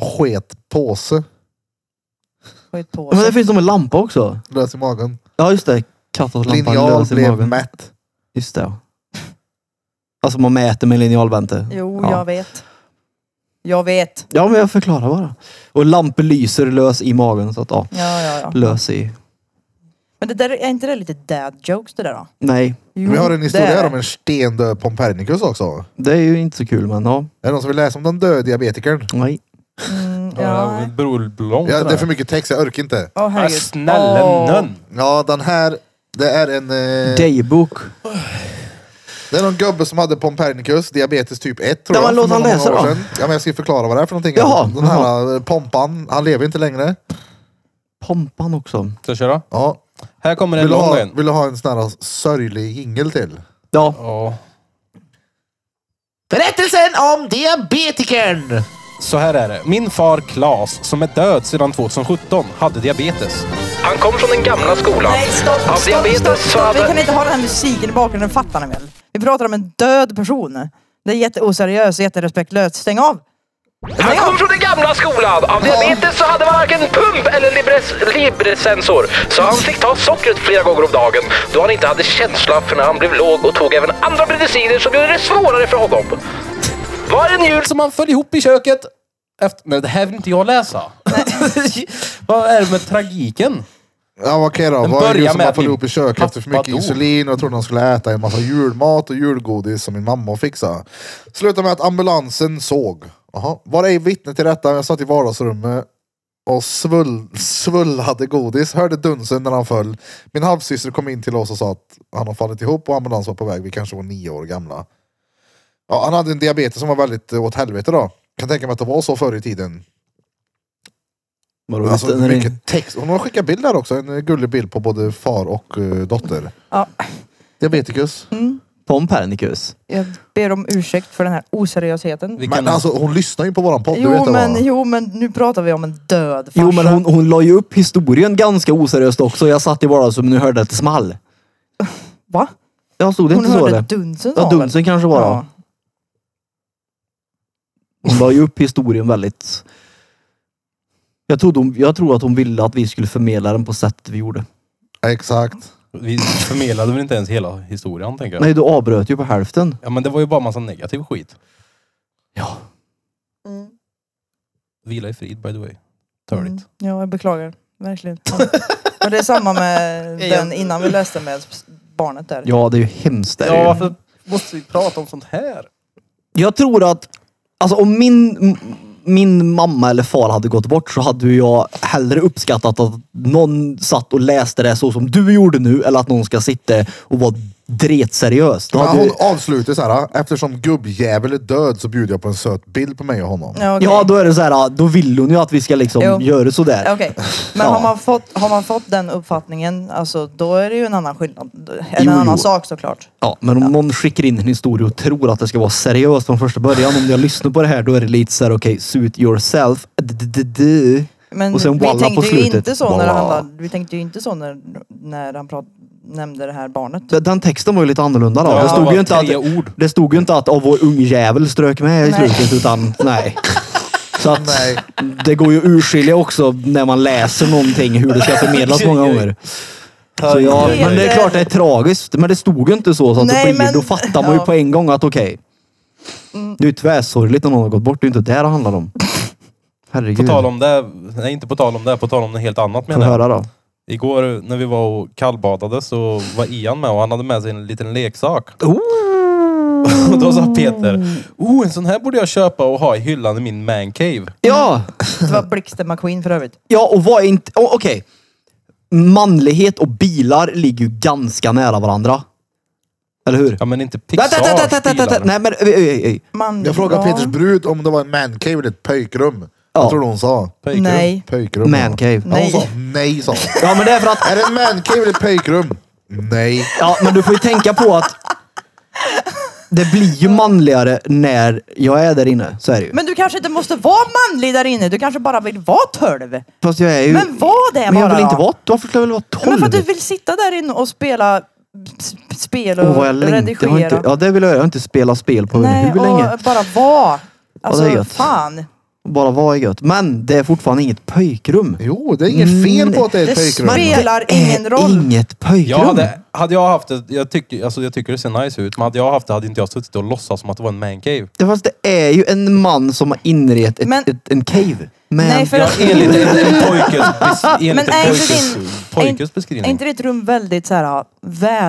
S1: Sket påse.
S2: Men det
S4: skitpåse.
S2: finns som en lampa också.
S1: Lös i magen.
S2: Ja just det. Kattens lampa
S1: Linjal
S2: lös i
S1: blev
S2: magen.
S1: mätt.
S2: Just det. ja. Alltså man mäter med linjal Bente.
S4: Jo,
S2: Ja.
S4: jag vet. Jag vet.
S2: Ja men jag förklarar bara. Och lampor lyser lös i magen så att ja.
S4: Ja, ja, ja.
S2: Lös i.
S4: Men det där, är inte det lite dad jokes det där då?
S2: Nej.
S4: Jo,
S1: Vi har en historia
S4: det är
S1: här
S4: det.
S1: om en stendöd Pompernicus också.
S2: Det är ju inte så kul men ja.
S1: Är det någon som vill läsa om den döda diabetikern?
S2: Nej.
S4: Mm,
S3: Ja.
S4: ja.
S3: Bror Blond.
S1: Ja, det är för mycket text, jag orkar inte.
S4: Åh
S3: Ja,
S4: herregud.
S3: snälla
S4: Åh.
S3: nån.
S1: Ja, den här. Det är en... Eh,
S2: Daybok.
S1: det är någon gubbe som hade Pompernicus, diabetes typ 1 tror
S2: Ja,
S1: jag.
S2: men
S1: för
S2: låt han
S1: många, många
S2: läsa
S1: år
S2: då.
S1: sedan. Ja, men jag ska ju förklara vad det är för någonting.
S2: Jaha,
S1: den här eh, Pompan, han lever inte längre.
S2: Pompan också.
S3: Ska jag köra?
S1: Ja.
S3: Här kommer en
S1: Vill, du
S3: lång
S1: ha,
S3: en.
S1: vill du ha en sån här sörjlig jingel till?
S2: Ja.
S3: Ja.
S1: Berättelsen om diabetikern!
S3: Så här är det. Min far Klas, som är död sedan 2017, hade diabetes.
S5: Han kom från den gamla skolan.
S4: Nej, stopp,
S5: Av
S4: stopp,
S5: diabetes
S4: stopp,
S5: så
S4: stopp.
S5: hade-
S4: Vi kan inte ha den här musiken i bakgrunden, fattar ni väl? Vi pratar om en död person. Det är jätteoseriöst och jätterespektlöst. Stäng av!
S5: Han kom från den gamla skolan. Av diabetes så hade man varken pump eller libres- libresensor. Så han fick ta sockret flera gånger om dagen. Då han inte hade känsla för när han blev låg och tog även andra mediciner som gjorde det svårare för honom. Var en jul
S3: Som han föll ihop i köket. Efter... Nej, det här vill inte jag läsa. Vad är det med tragiken?
S1: Ja vad okej då,
S3: Den
S1: vad är
S3: börjar
S1: det som
S3: med
S1: man
S3: att
S1: får
S3: min
S1: ihop i köket efter för
S3: pappa
S1: mycket
S3: dog.
S1: insulin och jag trodde han skulle äta en massa julmat och julgodis som min mamma fixade. Slutade med att ambulansen såg. Aha. Var ej vittne till detta, jag satt i vardagsrummet och svull, svullade godis. Hörde dunsen när han föll. Min halvsyster kom in till oss och sa att han har fallit ihop och ambulans var på väg. Vi kanske var nio år gamla. Ja, han hade en diabetes som var väldigt eh, åt helvete då. Kan tänka mig att det var så förr i tiden.
S2: Vadå,
S1: Alltså,
S2: visst, när det-
S1: mycket text. Hon har skickat bild där också. En eh, gullig bild på både far och eh, dotter.
S4: Ja,
S1: Diabetikus.
S2: Pompernicus.
S4: jag ber om ursäkt för den här oseriösheten.
S3: Vi
S1: Men
S3: kan...
S1: alltså hon lyssnar ju på våran podd. du
S4: Jo
S1: vet det, va?
S4: men, jo men nu pratar vi om en död farsa.
S2: Jo men hon, hon la ju upp historien ganska oseriöst också. Jag satt i vardagsrummet och nu hörde att det small.
S4: Va?
S2: Ja stod det
S4: Hon
S2: inte så
S4: hörde
S2: eller?
S4: dunsen sa
S2: Ja
S4: hon väl?
S2: dunsen kanske var ja.
S4: Ja.
S2: Hon la ju upp historien väldigt... Jag, trodde hon, jag tror att hon ville att vi skulle förmedla den på sättet vi gjorde.
S1: Exakt.
S3: Vi förmedlade väl inte ens hela historien, tänker jag.
S2: Nej, du avbröt ju på hälften.
S3: Ja, men det var ju bara massa negativ skit.
S2: Ja.
S4: Mm.
S3: Vila i frid, by the way. Törligt.
S4: Mm. Ja, jag beklagar. Verkligen. Ja. Och det är samma med den innan vi läste med barnet där.
S2: Ja, det är ju hemskt. Det är
S3: Ja,
S2: ju.
S3: varför måste vi prata om sånt här?
S2: Jag tror att, alltså om min, m- min mamma eller far hade gått bort så hade ju jag hellre uppskattat att någon satt och läste det så som du gjorde nu, eller att någon ska sitta och vara dretseriös. Då
S1: Men
S2: hade
S1: hon
S2: ju,
S1: avslutar så här. Eftersom gubbjävel är död så bjuder jag på en söt bild på mig och honom.
S4: Ja, okej.
S2: ja, då är det så här, ja, då vill hon ju att vi ska liksom
S4: Jo.
S2: göra sådär.
S4: Okej, men
S2: Ja.
S4: har, man fått, har man fått den uppfattningen, alltså, då är det ju en annan skillnad. En
S2: Jo,
S4: annan
S2: jo.
S4: sak såklart.
S2: Ja, men om någon skickar in en historia och tror att det ska vara seriöst från första början. Om jag lyssnar på det här då är det lite så här, okej, suit yourself. D-d-d-d.
S4: Men
S2: Och sen
S4: vi
S2: walla
S4: tänkte
S2: på
S4: ju
S2: slutet.
S4: inte så när det
S2: Walla.
S4: handlade, vi tänkte ju inte så när, när han prat, nämnde det här barnet.
S2: Den- Den texten var ju lite annorlunda då.
S3: Ja,
S2: det,
S3: det
S2: stod
S3: var
S2: ju inte att,
S3: tre ord.
S2: det stod ju inte att av vår ungjävel strök med i
S4: Nej.
S2: slutet utan nej. Så att
S1: Nej.
S2: det går ju att urskilja också när man läser någonting hur det ska förmedlas många gånger. Så ja, men det är klart det är tragiskt. Men det stod ju inte så. så att
S4: Nej,
S2: det blir,
S4: men-
S2: Då fattar man ju
S4: ja. Mm.
S2: på en gång att okej. Det är ju tvärsorgligt när någon har gått bort. Det är ju inte det det handlar om.
S3: På
S2: Herregud.
S3: tal om det, nej inte på tal om det, på tal om något helt annat
S2: Får
S3: menar jag.
S2: höra då.
S3: Igår när vi var och kallbadade så var Ian med och han hade med sig en liten leksak. Och då sa Peter, oh en sån här borde jag köpa och ha i hyllan i min mancave.
S2: Ja!
S4: Det var Blixten McQueen för övrigt.
S2: Ja, och vad är inte... Oh, Okej. Manlighet och bilar ligger ju ganska nära varandra. Eller hur?
S3: Ja men inte
S2: Vänta, vänta, vänta, vänta, vänta. Nej,
S3: Pixar-stilar.
S2: men... Oj, oj, oj.
S4: Man,
S1: Jag frågade
S4: ja.
S1: Peters brud om det var en mancave eller ett pöjkrum.
S2: Ja.
S1: Jag tror hon sa.
S3: Pöjkrum.
S4: Nej.
S1: Pöjkrum.
S2: Mancave.
S1: Ja, hon sa
S4: Nej.
S1: nej. Sa. hon.
S2: Ja, men det är för att...
S1: är det en mancave eller ett pöjkrum? Nej.
S2: Ja, men du får ju tänka på att... Det blir ju manligare när jag är där inne. Så är det ju.
S4: Men du kanske inte måste vara manlig där inne, du kanske bara vill vara tolv.
S2: Fast jag är ju...
S4: Men var det
S2: Men jag
S4: bara
S2: vill
S4: då.
S2: inte vara... Varför skulle jag vilja vara tolv?
S4: Men för att du vill sitta där inne och spela s- spel och
S2: Åh, vad jag längtar. Jag
S4: redigera.
S2: har inte, ja, det vill jag. Jag har inte spelat spel på
S4: Nej,
S2: hur länge.
S4: och bara vara. Alltså,
S2: det är gött.
S4: fan.
S2: Och bara vara gött. Men det är fortfarande inget pöjkrum.
S1: Jo, det är inget fel på att det är ett
S4: Det
S1: pojkrum.
S4: smakar- Spelar ingen roll.
S2: inget pöjkrum.
S3: Jag hade, hade jag haft det, jag tycker, alltså jag tycker det ser nice ut, men hade jag haft det hade inte jag suttit och låtsats som att det var en mancave.
S2: Det, fast det är ju en man som har inrett ett,
S4: Men-
S2: ett, en cave. Men
S4: Nej, för-
S3: Ja, enligt en pojkes, bes- enligt
S4: Men
S3: en
S4: är inte,
S3: pojkes,
S4: din, är,
S3: pojkes
S4: inte- är
S3: beskrivning.
S4: inte ditt rum väldigt så här, ah,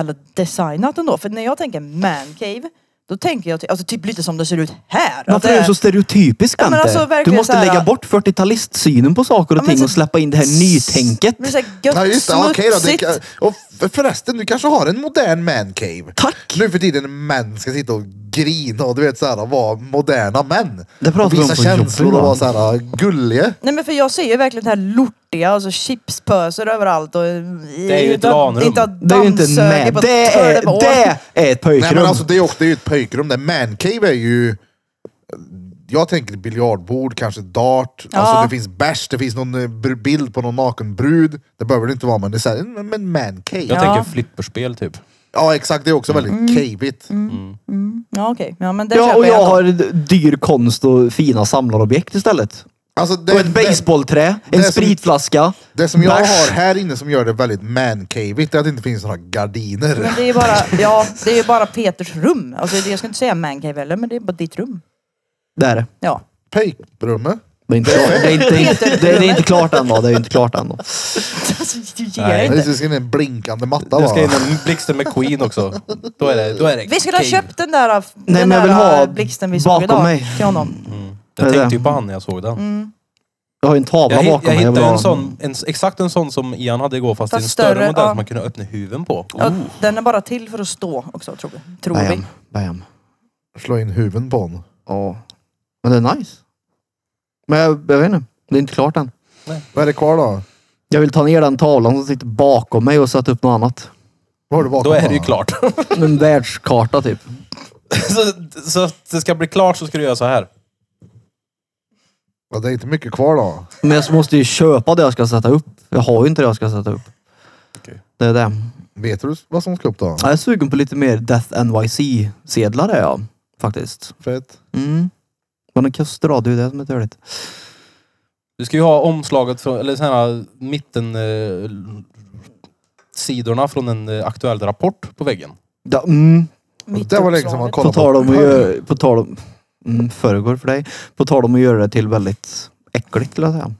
S4: väldesignat ändå? För när jag tänker mancave, då tänker jag ty- alltså, typ lite som det ser ut här. Att
S2: varför
S4: det
S2: är du så stereotypisk
S4: Ja, men
S2: Ante?
S4: alltså,
S2: Du
S4: verkligen
S2: måste
S4: så här-
S2: lägga bort 40-talistsynen på saker och
S4: Ja, men
S2: ting
S4: så-
S2: och släppa in det här nytänket.
S4: Det blir så här gött,
S1: Ja just det, okej då. Det,
S4: smutsigt.
S1: kan- och för- förresten, du kanske har en modern mancave?
S2: Tack!
S1: Nu för tiden när män ska sitta och grina och du vet såhär, vara moderna män.
S2: Det pratar
S1: och
S2: vi om
S1: visa
S2: på
S1: känslor
S2: jobbet,
S1: och
S2: va?
S1: vara såhär gulliga.
S4: Nej men för jag ser ju verkligen det här lortiga, alltså chipspöser överallt och... Det är
S3: ju ett LAN-rum.
S4: Inte
S2: Det är ju inte en
S4: dammsöger
S2: man.
S4: på
S2: Det är,
S4: 12 år.
S2: det är ett
S1: Nej
S2: pöjkrum.
S1: men alltså det är också det är ju ett pojkrum. Det mancave är ju... Jag tänker biljardbord, kanske dart. Alltså
S4: Ja.
S1: det finns bärs, det finns någon eh, br- bild på någon naken brud. Det behöver det inte vara men det är såhär, men men mancave.
S3: Jag
S1: Ja.
S4: Ja.
S3: tänker flipperspel typ. type.
S1: exakt, det är också väldigt
S2: Mm.
S1: caveigt.
S4: Ja okej, ja men det
S2: ja,
S4: köper
S2: och jag
S4: ändå.
S2: har dyr konst och fina samlarobjekt istället.
S1: Alltså, det,
S2: och ett baseballträ, en
S1: det som-
S2: spritflaska.
S1: Det, det som jag
S2: bärs.
S1: har här inne som gör det väldigt mancaveigt är att det inte finns några gardiner.
S4: Men det är ju bara, ja, det är ju bara Peters rum. Alltså det- jag ska inte säga mancave heller, men det är bara ditt rum.
S2: Det är det.
S4: Ja.
S1: Pöjkrummet.
S2: Det är inte, klart. det är inte, det är inte klart än då. Det är inte klart än då.
S4: Alltså, du ger
S3: Nej.
S1: Det
S4: inte.
S1: ska in en blinkande matta
S3: Du ska
S1: bara.
S3: in en Blixten McQueen också. Då är det, då är det
S4: Vi skulle ha
S3: cave.
S4: köpt den där,
S2: Nej,
S4: den
S2: men jag vill
S4: där äh,
S2: ha
S4: blixten vi såg
S2: bakom
S4: idag
S2: mig.
S4: till honom.
S2: Är
S3: Mm. Jag
S2: det
S3: tänkte ju
S2: det?
S3: på han när jag såg den.
S2: Jag har ju en tavla
S3: Jag, hit-
S2: bakom
S3: jag
S2: mig. vill
S3: hittade
S2: ha
S3: en sån, en, exakt en sån som Ian hade igår fast,
S4: Fast
S3: i en större,
S4: större,
S3: modell
S4: ja.
S3: som man kunde öppna huven på.
S4: Ja, den är bara till för att stå också, tror vi. Tror vi.
S2: Bam, bam.
S1: Slå in huven på honom.
S2: Ja. Men det är nice. Men jag, jag vet inte. Det är inte klart än.
S1: Vad är det kvar då?
S2: Jag vill ta ner den tavlan som sitter bakom mig och sätta upp något annat.
S1: Vad har du bakom?
S3: Då är det ju
S1: bara?
S3: klart.
S2: En världskarta typ.
S3: så, så att det ska bli klart så ska du göra så här.
S1: Ja, det är inte mycket kvar då.
S2: Men jag måste ju köpa det jag ska sätta upp. Jag har ju inte det jag ska sätta upp.
S3: Okej.
S2: Det är det.
S1: Vet du vad som ska upp då?
S2: Jag är sugen på lite mer Death NYC-sedlar är jag faktiskt.
S1: Fett.
S2: Mm. Men de kostar då, det är ju det som är dåligt.
S3: Du ska ju ha omslaget från, eller såna här mitten eh, sidorna från en eh, aktuell rapport på väggen.
S2: Ja, mm.
S4: Mitt
S1: Det var länge
S4: uppslag.
S1: sedan man
S2: På
S1: kollade
S2: tal om att göra... På tal om... Mm, föregår för dig. På tal om att göra det till väldigt äckligt, skulle jag säga.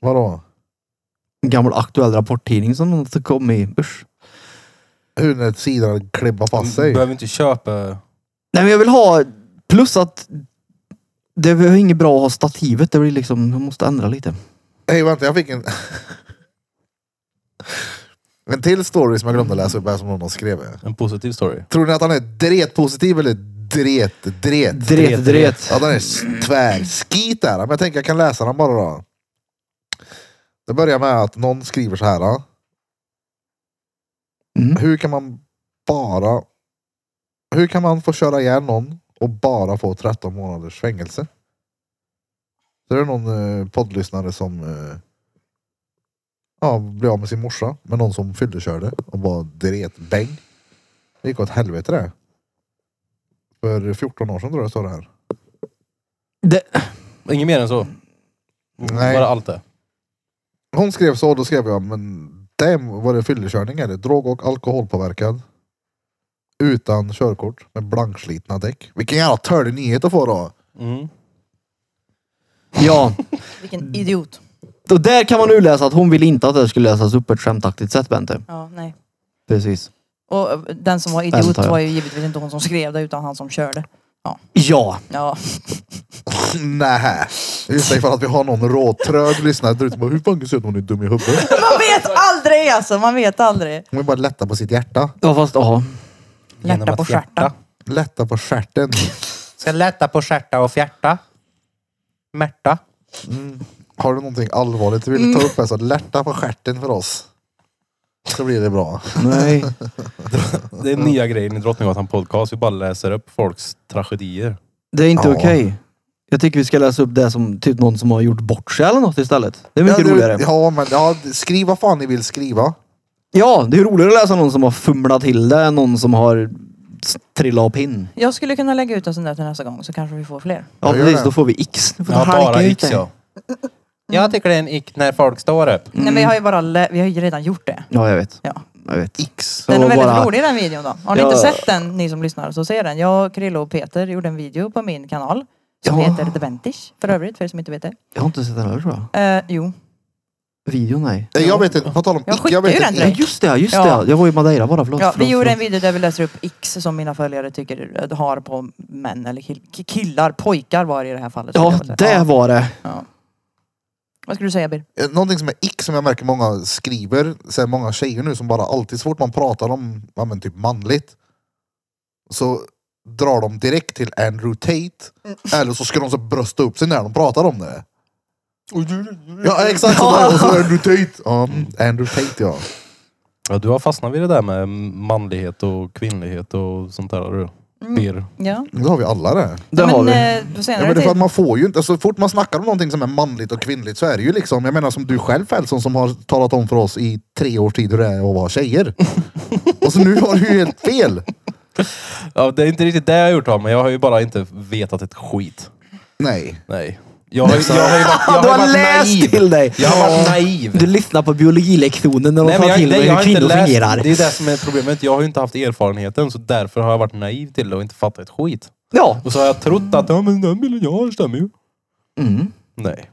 S1: Vadå?
S2: En gammal aktuell rapporttidning som någon kom i. Usch.
S1: Hur när sidan klibbar fast
S3: Du
S1: sig.
S3: behöver inte köpa...
S2: Nej, men jag vill ha... Plus att... Det är inget bra att ha stativet. Det blir liksom... Jag måste ändra lite.
S1: Hej vänta, jag fick en... en till story som jag glömde läsa upp här som någon har skrev.
S3: En positiv story.
S1: Tror ni att han är dretpositiv eller dret-dret?
S2: Dret, dret.
S1: Ja, den är s- tvärskit där. Men jag tänker jag kan läsa den bara då. Det börjar med att någon skriver så här. Då.
S2: Mm.
S1: Hur kan man bara... Hur kan man få köra ihjäl någon och bara få 13 månaders fängelse? Så är det någon eh, poddlyssnare som eh, ja, blev av med sin morsa med någon som fyllekörde och var dretbäng. Det gick åt helvete det. För 14 år sedan tror jag står det här.
S2: Det,
S3: Inget mer än så.
S1: Nej.
S3: Bara allt det.
S1: Hon skrev så, då skrev jag, men det var det fyllekörning eller drog och alkoholpåverkad. Utan körkort med blankslitna däck. Vilken jävla törlig nyhet att få då.
S3: Mm.
S2: ja.
S4: Vilken idiot.
S2: Och där kan man nu läsa att hon vill inte att det skulle läsas upp på ett skämtaktigt sätt, Bente.
S4: Ja, nej.
S2: Precis.
S4: Och eh, den som var
S2: Vänta,
S4: idiot
S2: ja.
S4: var ju givetvis inte hon som skrev det utan han som körde.
S2: Ja.
S4: Ja.
S1: Nej. Just det, ifall att vi har någon råtrög lyssnare där ute. som bara, Hur fan kan det se ut hon är dum i huvudet?
S4: Man vet aldrig alltså, man vet aldrig.
S1: Hon vill bara lätta på sitt hjärta.
S2: Ja, fast ja.
S4: Hjärta
S3: Genom att
S4: på stjärta.
S3: hjärta.
S1: Lätta på stjärten.
S3: Ska lätta på stjärta och fjärta. Märta.
S1: Har du någonting allvarligt du vill ta upp här så lätta på stjärten för oss. Så blir det bra.
S2: Nej.
S3: Det är nya grejen i Drottninggatan podcast. Vi bara läser upp folks tragedier.
S2: Det är inte
S1: Ja.
S2: okej. Jag tycker vi ska läsa upp det som typ någon som har gjort bort sig eller något istället. Det är mycket
S1: ja, du-
S2: roligare. Ja.
S1: Ja, men ja, skriv vad fan ni vill skriva.
S2: det är roligare att läsa någon som har fumlat till det än någon som har s- trilla av pinn.
S4: Jag skulle kunna lägga ut en sån där till nästa gång så kanske vi får fler.
S2: Ja,
S1: Ja, gör
S2: precis.
S1: det.
S2: Då får vi X. Då får
S3: Ja,
S2: vi halka
S3: bara
S2: ut
S3: x
S2: det.
S3: ja. Jag tycker det är en ick när folk står upp.
S4: Nej men vi har ju bara, lä- vi har ju redan gjort det.
S2: Ja, jag vet.
S4: Ja.
S2: Jag vet.
S1: X.
S4: Den
S2: Så
S4: är väldigt
S2: bara-
S4: rolig den videon då. Har ni
S2: Ja.
S4: inte sett den, ni som lyssnar, så se den. Jag, Krille och Peter gjorde en video på min kanal. Som
S2: Ja.
S4: heter The Ventish, för övrigt, för er som inte vet det.
S2: Jag har inte sett den här tror jag.
S4: Eh, jo,
S2: Videon, nej.
S1: Nej, Jag vet inte, på tal om
S4: Jag
S1: ick, jag
S4: skickar ju
S1: vet
S4: den
S2: Ja,
S1: inte.
S4: direkt.
S2: just det. Just
S4: Ja.
S2: det. Jag var i Madeira bara. Förlåt.
S4: Ja, vi
S2: förlåt,
S4: gjorde en
S2: förlåt.
S4: video där vi läser upp X som mina följare tycker eh, har på män eller kill- ki- killar, pojkar var det i det här fallet. skulle jag
S2: Ja,
S4: vilja säga.
S2: det
S4: Ja.
S2: var det.
S4: Vad skulle du säga Bir?
S1: Eh, Någonting som är ick som jag märker många skriver, så här många tjejer nu som bara alltid så fort man pratar om ja, men typ manligt så drar de direkt till Andrew Tate eller så ska de så brösta upp sig när de pratar om det. Ja exakt sådär, och så Andrew Tate. Ja, mm, Andrew Tate ja.
S3: Ja, du har fastnat vid det där med manlighet och kvinnlighet och sånt där. Du.
S2: Mm.
S3: Bir.
S4: Ja.
S1: Nu har vi alla det.
S2: Det
S4: men
S2: har vi.
S4: eh, på senare
S1: Ja, men det är för att
S4: tid.
S1: man får ju inte, alltså, så fort man snackar om någonting som är manligt och kvinnligt så är det ju liksom, jag menar som du själv Fältson som har talat om för oss i tre års tid hur det är att vara tjejer. och så nu har du ju helt fel.
S3: Ja, det är inte riktigt det jag har gjort av mig. Jag har ju bara inte vetat ett skit.
S1: Nej.
S3: Nej. Jag har, ju- jag har ju varit, jag
S2: Du har
S3: har ju varit
S2: läst
S3: naiv.
S2: till dig.
S3: Jag har varit naiv.
S2: Du lyssnar på biologilektionen när de
S3: Nej, men
S2: sa
S3: jag,
S2: till
S3: nej,
S2: dig
S3: jag
S2: hur
S3: har inte
S2: kvinnor
S3: läst,
S2: fungerar.
S3: Det är det som är problemet. Jag har ju inte haft erfarenheten så därför har jag varit naiv till det och inte fattat ett skit.
S2: Ja.
S3: Och så har jag trott att ja, men den bilden jag har stämmer ju.
S2: Mm.
S3: Nej.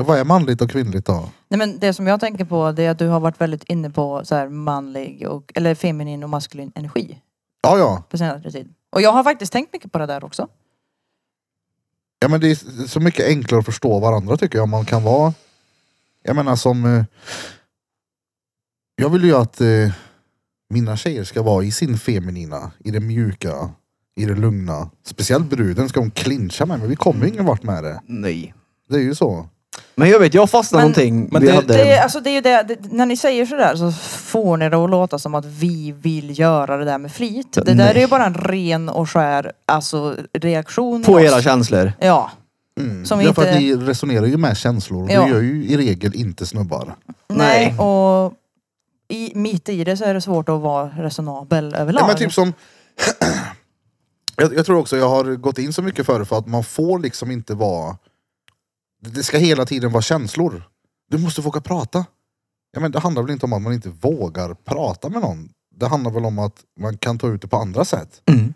S1: Vad är manligt och kvinnligt då?
S4: Nej, men det som jag tänker på det är att du har varit väldigt inne på så här manlig och, eller feminin och maskulin energi
S1: Ja, ja.
S4: på senare tid. Och jag har faktiskt tänkt mycket på det där också.
S1: Ja men det är så mycket enklare att förstå varandra tycker jag. Man kan vara, jag menar som, eh, jag vill ju att eh, mina tjejer ska vara i sin feminina, i det mjuka, i det lugna. Speciellt bruden ska hon clincha med men vi kommer ju ingen vart med det.
S2: Nej.
S1: Det är ju så.
S2: Men jag vet, jag fastnade
S4: Men-
S2: någonting.
S3: men
S2: vi
S3: det-
S2: hade...
S4: Det, är- alltså, det är ju det, det, när ni säger sådär så får ni det att låta som att vi vill göra det där med flit. Det där
S2: Nej.
S4: är ju bara en ren och skär alltså, reaktion. i
S2: På
S4: oss.
S2: era känslor.
S4: Ja.
S1: Mm.
S4: Som
S1: Därför
S4: inte-
S1: att ni resonerar ju med känslor och
S4: Ja.
S1: det gör ju i regel inte snubbar.
S4: Nej,
S2: Nej.
S4: och i, mitt i det så är det svårt att vara resonabel överlag.
S1: Ja, men typ som... jag, jag tror också jag har gått in så mycket för det för att man får liksom inte vara... Det ska hela tiden vara känslor. Du måste våga prata. Ja, men det handlar väl inte om att man inte vågar prata med någon. Det handlar väl om att man kan ta ut det på andra sätt.
S2: Mm.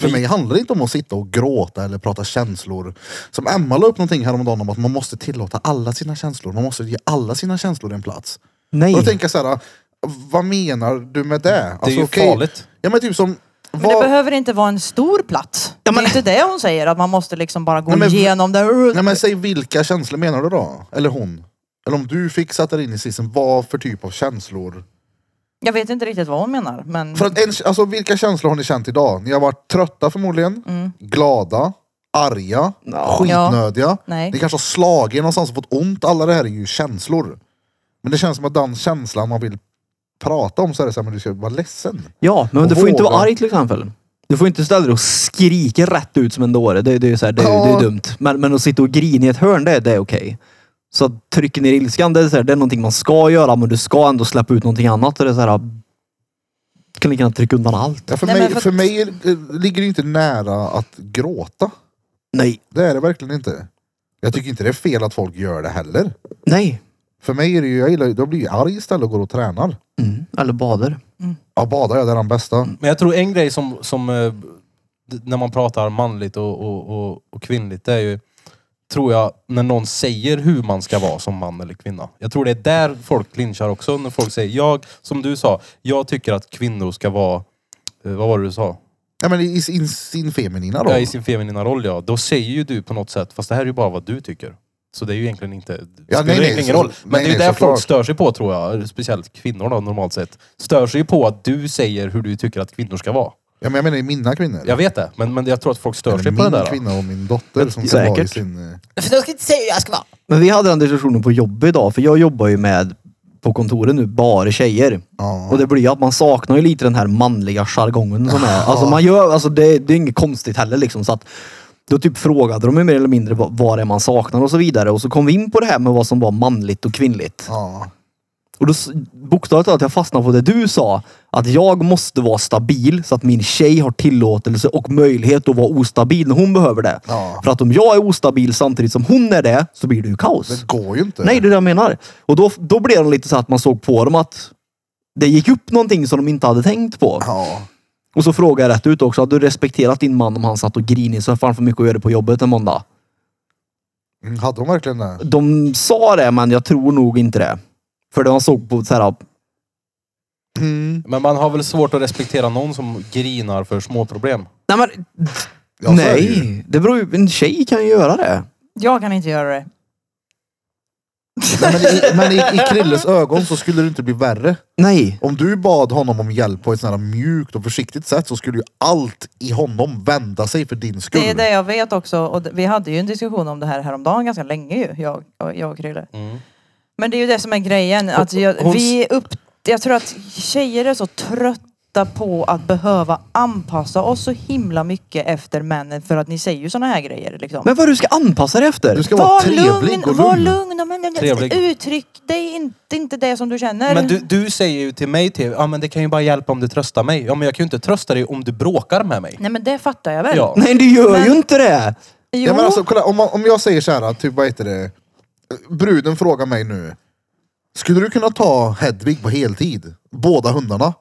S1: För mig handlar det inte om att sitta och gråta eller prata känslor. Som Emma la upp någonting häromdagen om att man måste tillåta alla sina känslor. Man måste ge alla sina känslor en plats.
S2: Nej.
S1: Och då tänker jag så här, vad menar du med det? Alltså,
S3: Det är ju
S1: okej.
S3: farligt.
S1: Ja men typ som...
S4: Men det
S1: vad-
S4: behöver inte vara en stor plats. Det är inte det hon säger, att man måste liksom bara gå
S1: Nej, men-
S4: igenom det.
S1: Nej men säg vilka känslor menar du då? Eller hon? Eller om du fick sätta dig in i sitsen, vad för typ av
S4: Mm.
S1: känslor?
S4: Jag vet inte riktigt vad hon menar, men
S1: För att en, alltså vilka känslor har ni känt idag? Ni har varit trötta förmodligen,
S4: Mm.
S1: glada, arga, skitnödiga.
S4: Nej.
S1: Ni kanske har slagit er någonstans och fått ont. Alla det här är ju känslor. Men det känns som att den känslan man vill prata om så är det så här, men du ska vara ledsen.
S2: Ja, men
S1: Och
S2: du får ju inte vara
S1: våga.
S2: arg till exempel. Du får inte ställa dig och skrika rätt ut som en dåre. Det, det, är ju så här, det, det är
S1: Ja.
S2: ju dumt. Men, men att sitta och grina i ett hörn, det, det är okej. Så att trycka ner ilskan, det är, så här, det är någonting man ska göra, men du ska ändå släppa ut någonting annat. Och det är så här, du kan lika gärna trycka undan allt.
S1: Ja, för,
S4: Nej,
S1: mig,
S4: men för
S1: för...
S4: att-
S1: mig eh, ligger det inte nära att gråta.
S2: Nej.
S1: Det är det verkligen inte. Jag tycker inte det är fel att folk gör det heller.
S2: Nej.
S1: För mig är det ju, jag gillar, då blir jag arg istället och går och tränar.
S2: Mm. Eller bader.
S1: Ja, badar jag, det är den bästa.
S3: Men jag tror en grej som, som eh, d- när man pratar manligt och, och, och, och kvinnligt, det är ju, tror jag, när någon säger hur man ska vara som man eller kvinna. Jag tror det är där folk clinchar också. När folk säger, jag, som du sa, jag tycker att kvinnor ska vara, eh, vad var det du sa?
S1: Ja, men i, i sin, sin feminina roll.
S3: Ja, i sin feminina roll ja. Då säger ju du på något sätt, fast det här är ju bara vad du tycker. Så det är ju egentligen inte... det
S1: Ja, nej,
S3: spelar
S1: nej,
S3: egentligen ingen
S1: så-
S3: roll. Men
S1: nej,
S3: det är ju
S1: nej,
S3: där folk
S1: såklart.
S3: stör sig på tror jag. Speciellt kvinnor då, normalt sett. Stör sig ju på att du säger hur du tycker att kvinnor ska vara.
S1: Ja, men jag menar i mina kvinnor.
S3: Jag vet det, men, men jag tror att folk stör sig
S1: Eller
S3: på det
S1: min
S3: där.
S1: kvinna och min dotter som ska
S2: Säkert.
S1: vara i sin... eh,
S2: Men vi hade den diskussionen på jobbet idag, för jag jobbar ju med på kontoret nu, bara tjejer.
S1: Ja.
S2: Och det blir ju att man saknar ju lite den här manliga jargongen som är. Alltså man gör, alltså det, det är inget konstigt heller liksom. Så att, då typ frågade de ju mer eller mindre vad, vad det är man saknar och så vidare. Och så kom vi in på det här med vad som var manligt och kvinnligt.
S1: Ja.
S2: Och då s- bokstavligt talat, jag fastnade på det du sa. Att jag måste vara stabil så att min tjej har tillåtelse och möjlighet att vara ostabil när hon behöver det.
S1: Ja.
S2: För att om jag är ostabil samtidigt som hon är det, så blir det ju kaos.
S1: Det går ju inte.
S2: Nej, det är det jag menar. Och då, då blev de lite så att man såg på dem att det gick upp någonting som de inte hade tänkt på.
S1: Ja.
S2: Och så frågade jag rätt ut också. Hade du respekterat din man om han satt och grinade i soffan för mycket att göra på jobbet en måndag?
S1: Mm, Hade de verkligen det?
S2: De sa det, men jag tror nog inte det. För det man såg på så här,
S3: Men man har väl svårt att respektera någon som grinar för små problem.
S2: nej men
S1: Ja, så är det ju.
S2: nej. Det beror ju, en tjej kan ju göra det.
S4: Jag kan inte göra det.
S1: Nej, men i, men i, i Krilles ögon så skulle det inte bli värre.
S2: Nej.
S1: Om du bad honom om hjälp på ett sånt här mjukt och försiktigt sätt så skulle ju allt i honom vända sig för din skull.
S4: Det är det jag vet också. Och d- vi hade ju en diskussion om det här häromdagen ganska länge ju, jag, och- jag och Krille.
S1: Mm.
S4: Men det är ju det som är grejen. Att jag,
S3: hon-
S4: vi upp, jag tror att tjejer är så trötta på att behöva anpassa oss så himla mycket efter männen för att ni säger ju såna här grejer liksom.
S2: Men vad du ska anpassa dig efter?
S1: Du ska vara trevlig och
S4: var
S1: lugn.
S4: lugn. och Men,
S3: Trevlig.
S4: Uttryck dig inte, inte det som du känner.
S3: Men du, du säger ju till mig till, ja men det kan ju bara hjälpa om du tröstar mig. Ja men jag kan ju inte trösta dig om du bråkar med mig.
S4: Nej men det fattar jag väl.
S3: Ja.
S2: Nej, du gör
S4: Men-
S2: ju inte det.
S4: Jo.
S1: Ja, men alltså, kolla, om, man, om jag säger så här, typ vad heter det? Bruden frågar mig nu. Skulle du kunna ta Hedvig på heltid? Båda hundarna?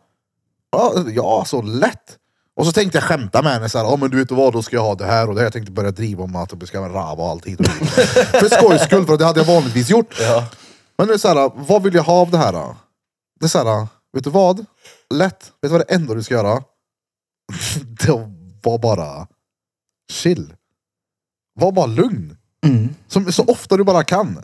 S1: Ja, ja så lätt. Och så tänkte jag skämta med henne så här, ja men du vet vad, då ska jag ha det här och det här. Jag tänkte börja driva om att vi ska ha en rava och allt hit och dit. För skojs skull, för det hade jag vanligtvis gjort. Men nu så här, vad vill jag ha av det här? Då? Det är så här, vet du vad? Lätt. Vet du vad det enda du ska göra? det var bara chill. Var bara lugn.
S2: Mm.
S4: Eh,
S1: Som, så ofta du bara kan.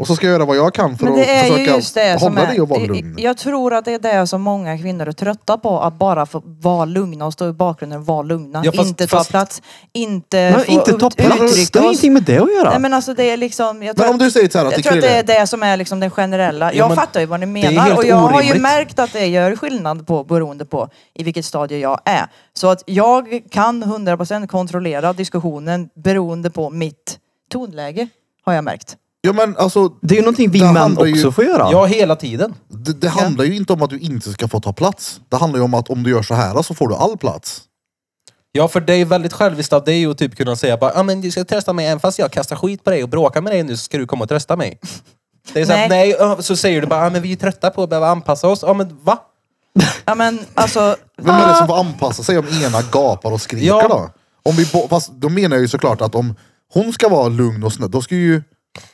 S1: Och så ska jag göra vad jag kan för
S4: Men det
S1: att
S4: är ju
S1: försöka
S4: just det som
S1: hålla
S4: är.
S1: dig och vara
S4: det-
S1: lugn.
S4: Jag tror att det är det som många kvinnor är trötta på. Att bara få vara lugna och stå i bakgrunden och vara lugna.
S3: Ja, fast-
S4: inte ta
S3: fast-
S4: plats. Inte
S2: Men
S4: få
S2: inte ta
S4: ut-
S2: plats. Det
S4: uttrycka
S2: har
S4: oss.
S2: ingenting med det att göra.
S4: Nej men alltså det är liksom. Jag tror,
S1: Men om du säger så här
S4: att,
S1: till
S4: jag tror att det är
S1: Krille.
S4: det som är liksom den generella.
S3: Jo,
S4: jag
S3: men
S4: fattar ju vad ni
S3: är ju
S4: menar
S3: helt
S4: och jag har ju
S3: orimligt.
S4: märkt att det gör skillnad på beroende på i vilket stadie jag är. Så att jag kan 100% kontrollera diskussionen beroende på mitt tonläge har jag märkt.
S1: Ja, men alltså,
S2: det är ju någonting vi
S1: Det
S2: män
S1: handlar
S2: också
S1: ju-
S2: får göra.
S3: Ja hela tiden.
S1: det, det handlar ju inte om att du inte ska få ta plats. Det handlar ju om att om du gör så här så får du all plats.
S3: Ja för det är väldigt själviskt av dig att typ kunna säga bara, ja men du ska trösta mig även fast jag kastar skit på dig och bråkar med dig nu så ska du komma och trösta mig. Det är så här, nej.
S4: Nej.
S3: ja, så säger du bara, ja men vi är trötta på att behöva anpassa oss. Ja men va?
S4: Ja men alltså.
S1: Vem är det som får anpassa sig om ena gapar och skriker
S3: Ja.
S1: då? Om vi bo- fast då menar jag ju såklart att om hon ska vara lugn och snäll, då ska ju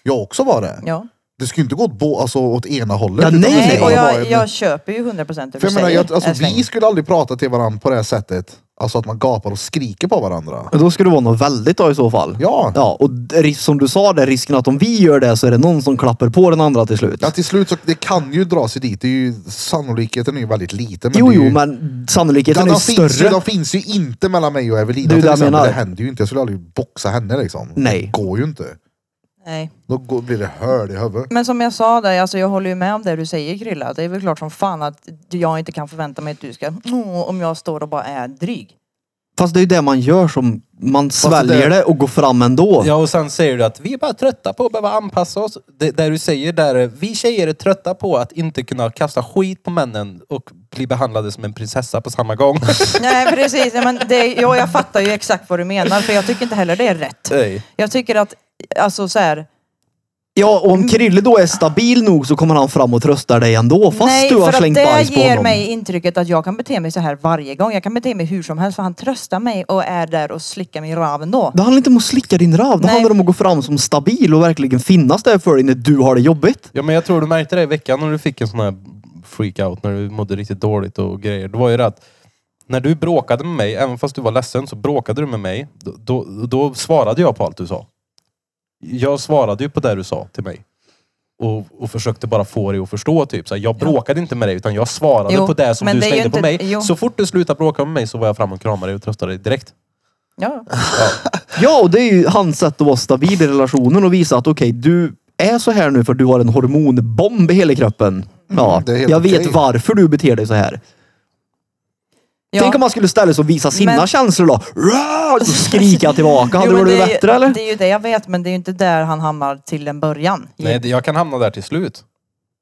S1: jag också vara det.
S4: Ja.
S1: Det ska ju inte gå åt, bo- alltså, åt ena hållet.
S2: Ja,
S1: utan
S2: nej,
S1: det ska
S4: Nej,
S2: nej.
S4: och
S1: bara vara
S4: jag,
S1: en-
S4: jag köper ju 100 procent det
S1: För
S4: du
S1: jag menar,
S4: säger.
S1: jag, alltså,
S4: än så länge.
S1: vi skulle aldrig prata till varandra på det här sättet. Alltså att man gapar och skriker på varandra.
S2: Men Då ska det vara något väldigt då i så fall.
S1: Ja.
S2: Ja, och ris- som du sa, det risken att om vi gör det så är det någon som klappar på den andra till slut.
S1: Ja, till slut så det kan ju dra sig dit. Det är ju, sannolikheten är ju väldigt liten.
S2: jo,
S1: det är ju,
S2: jo, men sannolikheten
S1: Den,
S2: är
S1: den, finns ju,
S2: större.
S1: den finns ju inte mellan mig och Evelina.
S2: Det är
S1: till
S2: det jag
S1: exempel.
S2: menar.
S1: det händer ju inte. Jag skulle aldrig boxa henne liksom.
S2: Nej.
S1: Det går ju inte.
S4: Nej.
S1: Då går, blir det hål i huvudet.
S4: Men som jag sa där, alltså jag håller ju med om det du säger Krilla. Det är väl klart som fan att jag inte kan förvänta mig att du ska, "Åh", om jag står och bara är dryg.
S2: Fast det är ju det man gör som man
S1: det-
S2: sväljer det och går fram ändå.
S3: Ja och sen säger du att vi är bara trötta på att behöva anpassa oss. Det där du säger där är, vi tjejer är trötta på att inte kunna kasta skit på männen och bli behandlade som en prinsessa på samma gång.
S4: Nej precis, Nej, men det, ja, jag fattar ju exakt vad du menar för jag tycker inte heller det är rätt.
S3: Nej.
S4: Jag tycker att, alltså så här,
S2: Ja, och om Krille då är stabil nog så kommer han fram och tröstar dig ändå. Fast
S4: nej
S2: du har
S4: för att
S2: slängt
S4: det
S2: bajs på
S4: ger
S2: honom.
S4: mig intrycket att jag kan bete mig så här varje gång. Jag kan bete mig hur som helst för han tröstar mig och är där och slickar min rav ändå.
S2: Det handlar inte om att slicka din rav. Det
S4: Nej.
S2: handlar om att gå fram som stabil och verkligen finnas där för dig när du har det jobbigt.
S3: Ja men jag tror du märkte det i veckan när du fick en sån här freakout när du mådde riktigt dåligt och grejer. Det var ju det att när du bråkade med mig, även fast du var ledsen, så bråkade du med mig. Då, då, då svarade jag på allt du sa. Jag svarade ju på det du sa till mig. Och, och försökte bara få dig att förstå. Typ. Så här, jag bråkade inte med dig utan jag svarade
S4: Jo,
S3: på det som
S4: men
S3: du
S4: det är ju
S3: slängde på
S4: inte-
S3: mig.
S4: jo.
S3: Så fort du slutade bråka med mig så var jag fram och kramade dig och tröstade dig direkt.
S4: Ja.
S2: Ja, och det är ju hans sätt att vara stabil i relationen och visa att okej, du är så här nu för du har en hormonbomb i hela
S3: Mm,
S2: kroppen. Ja,
S1: det är helt
S2: jag vet
S1: okej.
S2: varför du beter dig så här.
S4: Ja.
S2: Tänk om man skulle ställa sig och visa sina
S4: Men-
S2: känslor då. Rah! Och skrika tillbaka. Hade
S4: Jo,
S2: det varit
S4: men det är ju-
S2: bättre eller?
S4: Det är ju det jag vet men det är ju inte där han hamnar till en början.
S3: Nej, det- jag kan hamna där till slut.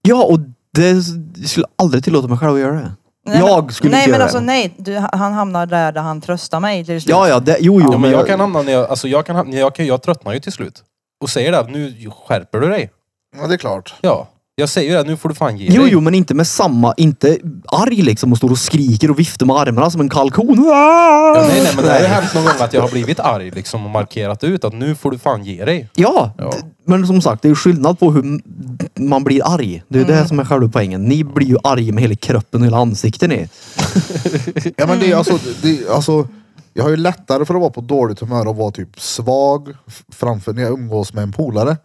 S2: Ja, och Det jag skulle aldrig tillåta mig själv att göra det.
S4: Nej, men-
S2: jag skulle
S4: nej,
S2: inte
S4: men
S2: göra
S4: alltså,
S2: det.
S4: nej, du, han hamnar där, där han tröstar mig till slut.
S2: Ja, ja, det, jo, jo.
S3: Ja, men jag kan hamna när jag, alltså jag kan, hamna- jag, kan, jag tröttnar ju till slut. Och säger det, nu skärper du dig.
S1: Ja, det är klart.
S3: Ja. Jag säger det, nu får du fan ge
S2: Jo,
S3: dig.
S2: jo, men inte med samma, inte arg liksom och står och skriker och viftar med armarna som en kalkon.
S3: Ja, nej, nej, men det har ju hänt någon gång att jag har blivit arg liksom och markerat ut att nu får du fan ge dig.
S2: Ja, d- men som sagt, det är ju skillnad på hur m- man blir arg. Det är ju
S4: Mm.
S2: det som är själva poängen. Ni blir ju arg med hela kroppen och hela ansiktet ni.
S1: Ja, men
S4: Mm.
S1: det är alltså, det är, alltså, jag har ju lättare för att vara på dåligt humör och vara typ svag f- framför när jag umgås med en polare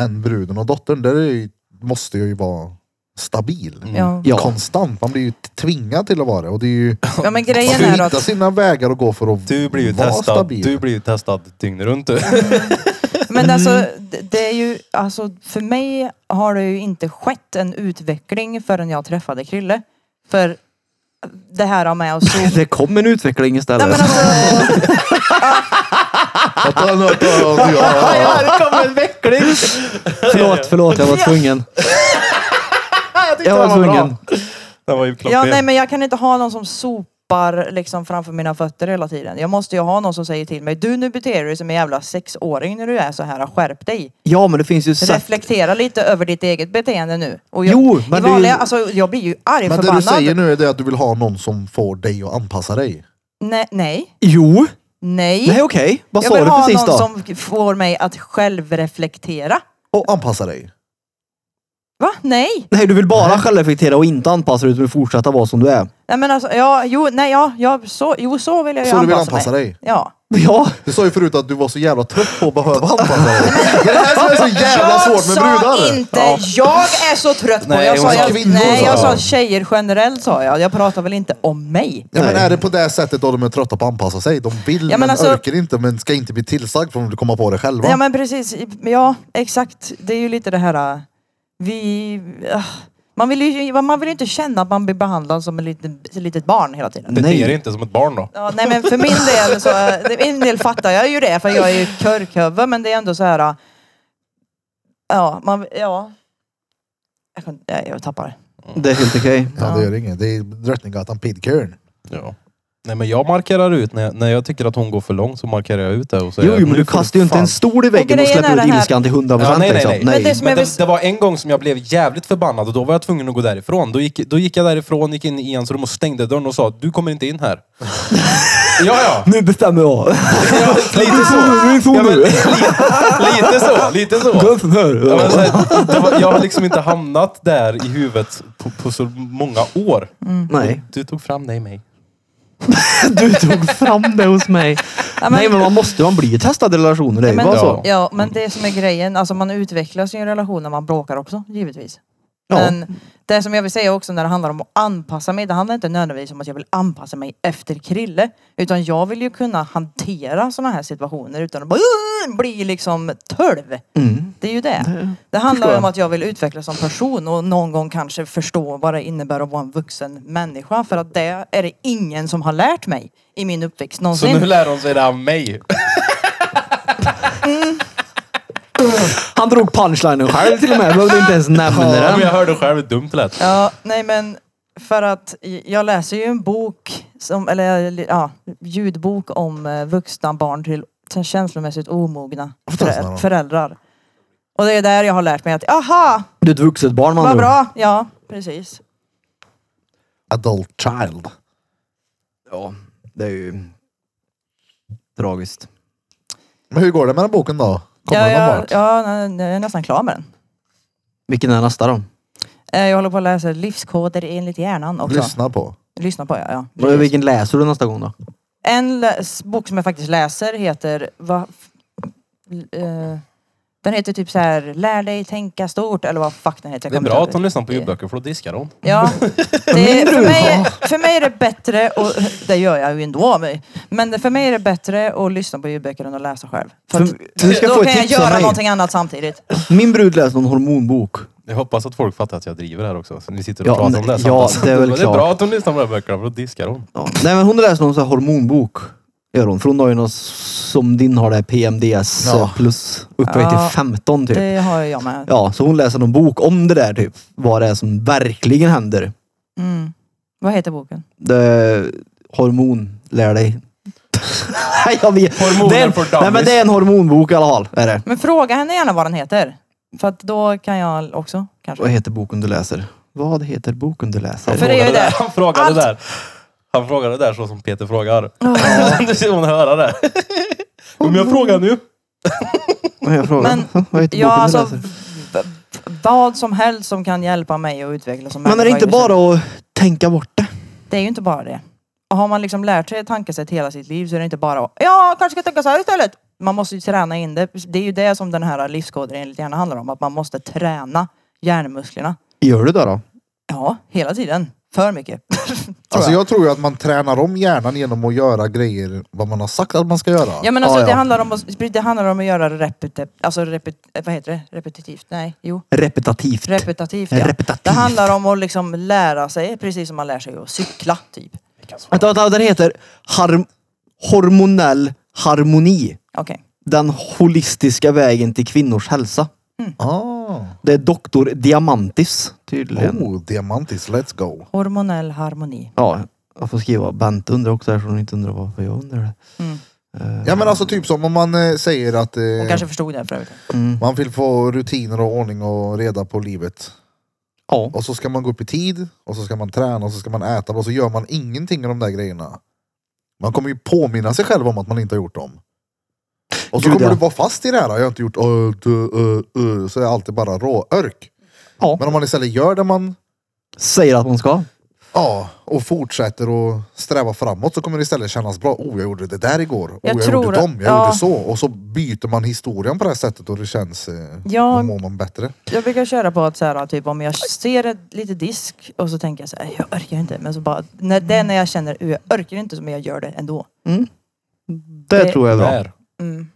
S1: än bruden och dottern. Där är ju, måste jag ju vara stabil.
S4: Mm. Ja.
S2: Ja.
S1: Konstant. Man blir ju tvingad till att vara det. Och det är ju,
S4: ja, men
S1: man
S4: grejen
S1: får ju
S4: är
S2: alltså.
S1: hitta
S4: att...
S1: sina vägar att gå för att
S3: Du blir ju
S1: vara
S3: testad,
S1: stabil.
S3: du blir ju testad dygnet runt du.
S4: Men
S2: Mm.
S4: alltså, det- det är ju, alltså, för mig har det ju inte skett en utveckling förrän jag träffade Krille. För det här med att sova...
S2: Det kom en utveckling
S4: Nej
S2: istället.
S4: men alltså,
S1: Ja,
S2: ja, det kom en veckling! förlåt, förlåt. Jag var tvungen. jag var tvungen.
S3: Det var ju klart
S4: ja,
S3: fel.
S4: nej, men jag kan inte ha någon som sopar liksom framför mina fötter hela tiden. Jag måste ju ha någon som säger till mig, du nu beter du dig som en jävla sexåring när du är så här, skärp dig.
S2: Ja, men det finns ju sätt.
S4: Reflektera lite över ditt eget beteende nu. Och jag,
S2: Jo,
S4: i
S2: men det är ju-
S4: vanliga, alltså, jag blir ju arg
S1: Men det du
S4: förbannad.
S1: säger nu är det att du vill ha någon som får dig att anpassa dig.
S4: Nej, nej,
S2: Jo.
S4: nej.
S2: Nej, okej. Vad
S4: jag
S2: sa
S4: vill
S2: du
S4: ha
S2: precis
S4: någon
S2: då?
S4: som får mig att självreflektera.
S1: Och anpassa dig.
S4: Va? Nej.
S2: Nej, du vill bara självreflektera och inte anpassa dig utan fortsätta vara som du är.
S4: Nej men alltså, ja, jo, nej, ja, ja, så, jo, så vill jag ju
S1: Så du vill
S4: anpassa,
S1: anpassa
S4: mig.
S1: dig?
S4: Ja.
S2: Ja,
S1: Du sa ju förut att du var så jävla trött på att behöva anpassa dig. Det är det här som är så jävla svårt med
S4: Jag sa
S1: brudar.
S4: inte jag är så trött på
S3: Nej,
S4: jag sa,
S3: hon sa
S4: jag,
S1: kvinnor,
S4: Nej,
S1: sa
S4: jag sa
S1: hon.
S4: tjejer generellt sa jag. Jag pratar väl inte om mig.
S1: Ja, men
S2: Nej.
S1: är det på det sättet då de är trötta på att anpassa sig? De vill
S4: Ja, men
S1: men,
S4: alltså-
S1: orkar inte men ska inte bli tillsagd för att komma på det själva.
S4: Ja men precis, ja exakt. Det är ju lite det här, äh, vi... äh, Man vill ju man vill ju inte känna att man blir behandlad som ett litet, ett litet barn hela tiden.
S3: Bete
S2: nej.
S3: dig inte som ett barn då.
S4: Ja, nej men för min del så, för min del fattar jag ju det för jag är ju körkhöve men det är ändå så här. Ja, man, ja. Jag, kan, jag, jag tappar det.
S2: det är helt okej.
S1: Ja, det gör inget. Det är Drottninggatan Pidkörn.
S3: Ja. Nej men jag markerar ut, när jag, när jag tycker att hon går för långt så markerar jag ut det och säger
S2: Jo, jo, men
S3: "Nu
S2: du
S3: får
S2: kastar ju inte
S3: fan
S2: en stol i väggen och
S4: grejen är
S2: släpper
S4: det
S2: ut
S4: här-
S2: ilskan till 100
S3: Ja,
S2: procent.
S3: nej, nej, nej.
S2: liksom.
S4: Men det som
S3: Men
S4: jag
S3: det, det var en gång som jag blev jävligt förbannad och då var jag tvungen att gå därifrån. Då gick, då gick jag därifrån, gick in i hans rum och stängde dörren och sa du kommer inte in här. ja, ja.
S2: Nu bestämmer jag.
S3: Lite så.
S2: Min son
S3: Ja, men,
S2: nu.
S3: li, lite så, lite så.
S2: Dansen här.
S3: Ja, men, så här, det var- jag har liksom inte hamnat där i huvudet på, på så många år.
S2: Nej,
S3: Du tog fram det i mig.
S2: du tog fram det hos mig.
S4: Ja, men-
S2: Nej, men man måste, man blir ju testad i relationer. Det är ju
S4: Men,
S2: bara så.
S3: Ja.
S4: ja, men det som är grejen, alltså man utvecklas ju i en relation när man bråkar också, givetvis.
S2: Ja.
S4: Men det som jag vill säga också när det handlar om att anpassa mig, det handlar inte nödvändigtvis om att jag vill anpassa mig efter Krille. Utan jag vill ju kunna hantera sådana här situationer utan att bara "Ugh!" bli liksom tölv. Det är ju det. Det handlar
S2: förstår
S4: om
S2: jag.
S4: att jag vill utvecklas som person och någon gång kanske förstå vad det innebär att vara en vuxen människa. För att det är det ingen som har lärt mig i min uppväxt
S3: Så
S4: någonsin.
S3: nu lär hon sig det av mig.
S2: Han drog punchlinen själv till och med. Behövde inte ens nämna
S3: Ja, men
S2: den.
S3: jag hörde själv hur dumt det lät.
S4: Ja, nej men för att jag läser ju en bok, som, eller ja, ljudbok om eh, vuxna barn till till känslomässigt omogna
S1: ta såna
S4: förä-
S1: då.
S4: föräldrar. Och det är där jag har lärt mig att, aha,
S2: Du är ett vuxet barn man
S4: vad bra, ja precis.
S1: Adult child.
S2: Ja, det är ju tragiskt.
S1: Men hur går det med den boken då? Kommer
S4: Ja,
S1: den någon
S4: jag,
S1: vart?
S4: ja, nej, jag är nästan klar med den.
S2: Vilken är nästa då?
S4: Eh, Jag håller på att läsa livskoder enligt hjärnan också.
S1: Lyssna på.
S4: Lyssna på, ja. ja.
S2: Vad- Vilken läser du nästa gång då?
S4: En läs- bok som jag faktiskt läser heter... Va, f- l- eh, den heter typ så här Lär dig tänka stort eller vad fuck den heter. jag
S3: Det är
S4: kommer
S3: bra
S4: inte
S3: att hon
S4: ihåg.
S3: lyssnar på ljudböcker för då diskar hon.
S4: Ja. Det är,
S2: Mindre
S4: för, mig,
S2: urval.
S4: för mig är det bättre, och det gör jag ju ändå av mig, men för mig är det bättre att lyssna på ljudböcker än att läsa själv. För att,
S2: För- du ska
S4: då
S2: få ett
S4: kan jag
S2: tips av
S4: göra
S2: mig.
S4: någonting annat samtidigt.
S2: Min brud läser någon hormonbok.
S3: Jag hoppas att folk fattar att jag driver här också. Så ni sitter och
S2: Ja,
S3: pratar om det
S2: nej, ja,
S3: samtidigt.
S2: det är väl
S3: Det är
S2: klart.
S3: bra att hon lyssnar på de här böckerna för då diskar hon.
S2: Ja. Nej men hon läser någon sån här hormonbok. Gör hon. För hon har ju något som din har där, PMDS
S1: Ja.
S2: eh, plus. Upphöjt
S4: Ja,
S2: till 15 typ.
S4: Det har jag med.
S2: Ja, så hon läser någon bok om det där typ. Vad det är som verkligen händer.
S4: Mm. Vad heter boken?
S2: Det, hormon, lär dig. Nej, jag vet.
S3: Hormoner
S2: det är, en-
S3: för dummies.
S2: Nej men det är en hormonbok i alla fall. Är det.
S4: Men fråga henne gärna vad den heter. För att då kan jag också kanske.
S2: Vad heter boken du läser? Vad heter boken du läser?
S4: För det är ju det.
S3: Han frågade
S4: Allt-
S3: där. Han frågade där så som Peter frågar.
S4: Ja.
S3: Nu ser hon höra det. Om jag frågar nu.
S2: Vad jag frågar.
S4: Men-
S2: Vad heter
S4: Ja,
S2: boken
S4: alltså,
S2: du läser?
S4: v- v- vad som helst som kan hjälpa mig att utvecklas som
S2: Men är det
S4: människa
S2: inte
S4: just nu.
S2: bara att tänka bort det?
S4: Det är ju inte bara det. Och har man liksom lärt sig ett tankesätt hela sitt liv så är det inte bara att ja, kanske ska tänka så här istället. Man måste ju träna in det. Det är ju det som den här livskoden enligt gärna handlar om. Att man måste träna hjärnmusklerna.
S2: Gör du det då?
S4: Ja, hela tiden. För mycket.
S1: Alltså jag tror ju att man tränar om hjärnan genom att göra grejer vad man har sagt att man ska göra. Ah,
S4: Ja men alltså
S2: Ja, ja.
S4: Det, handlar om att, det handlar om att göra repetit... Alltså repet, eh, vad heter det? Repetitivt? Nej, jo.
S2: Repetitivt.
S4: Repetitivt ja.
S2: Repetitivt.
S4: Det handlar om att liksom lära sig, precis som man lär sig att cykla typ.
S2: Vänta, vänta, den heter harm- Hormonell harmoni.
S4: Okej.
S2: Den holistiska vägen till kvinnors hälsa.
S1: Ah.
S2: Det är doktor Diamantis tydligen.
S1: Oh, diamantis, let's go.
S4: Hormonell harmoni.
S2: Ja, jag får skriva Bent undrar också här så hon inte undrar varför jag undrar Eh, det.
S4: Mm.
S1: Ja men alltså typ som om man eh, säger att eh,
S4: Hon kanske förstod det för övrigt.
S2: mm.
S1: man vill få rutiner och ordning och reda på livet.
S2: Ja.
S1: Och så ska man gå upp i tid och så ska man träna och så ska man äta och så gör man ingenting av de där grejerna. Man kommer ju påminna sig själv om att man inte har gjort dem. Och så
S2: Gud,
S1: kommer
S2: ja.
S1: du vara fast i det här. Jag har inte gjort ö, dö, ö, ö, så är alltid bara råörk.
S2: Ja.
S1: Men om man istället gör det man
S2: Säger att man ska.
S1: Ja, och fortsätter och sträva framåt så kommer det istället kännas bra. Oh, jag gjorde det där igår. Oh,
S4: Jag
S1: jag,
S4: tror
S1: gjorde
S4: att-
S1: dem. Jag
S4: ja.
S1: gjorde så. Och så byter man historien på det här sättet och det känns... Eh,
S4: Ja.
S1: Då mår man bättre.
S4: Jag brukar köra på att så här, typ om jag ser ett, lite disk och så tänker jag så här, jag orkar inte. Men så bara, när, det är när jag känner, "Uh, jag orkar inte, som jag gör det ändå.
S2: Det,
S4: Det-
S2: tror jag är bra.
S3: Där.
S4: Mm.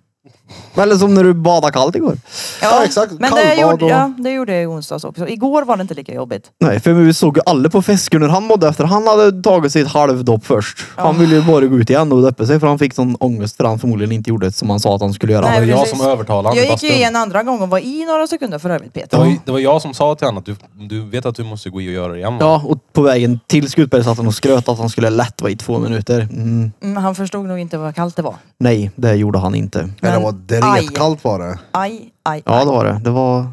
S2: Eller som när du badade kallt igår.
S1: Ja, exakt.
S4: Men det
S1: Kallbad
S4: gjorde,
S1: och-
S4: ja, det gjorde jag i onsdags också. Igår var det inte lika jobbigt.
S2: Nej, för vi såg ju alla på fesken hur han mådde efter. Han hade tagit sitt halvdopp först. Han ville ju bara gå ut igen och deppa sig för han fick sån ångest för han förmodligen inte gjorde som han sa att han skulle göra.
S4: Nej,
S3: Det var jag
S4: precis.
S3: som övertalade honom i
S4: Jag gick ju
S3: bastun.
S4: i en andra gång och var i några sekunder för övrigt
S3: Det
S4: Peter.
S3: var, ju- det var jag som sa till honom att du, du vet att du måste gå i och göra det igen. va?
S2: Ja, och på vägen till Skutberg satt han och skröt att han skulle lätt vara i två minuter. Mm,
S4: Mm, han förstod nog inte vad kallt det var.
S2: nej, det gjorde han inte.
S1: Men, det
S4: Men-
S1: var dretkallt var det.
S4: Aj, aj,
S2: Ja,
S4: aj.
S2: det var det. Det var,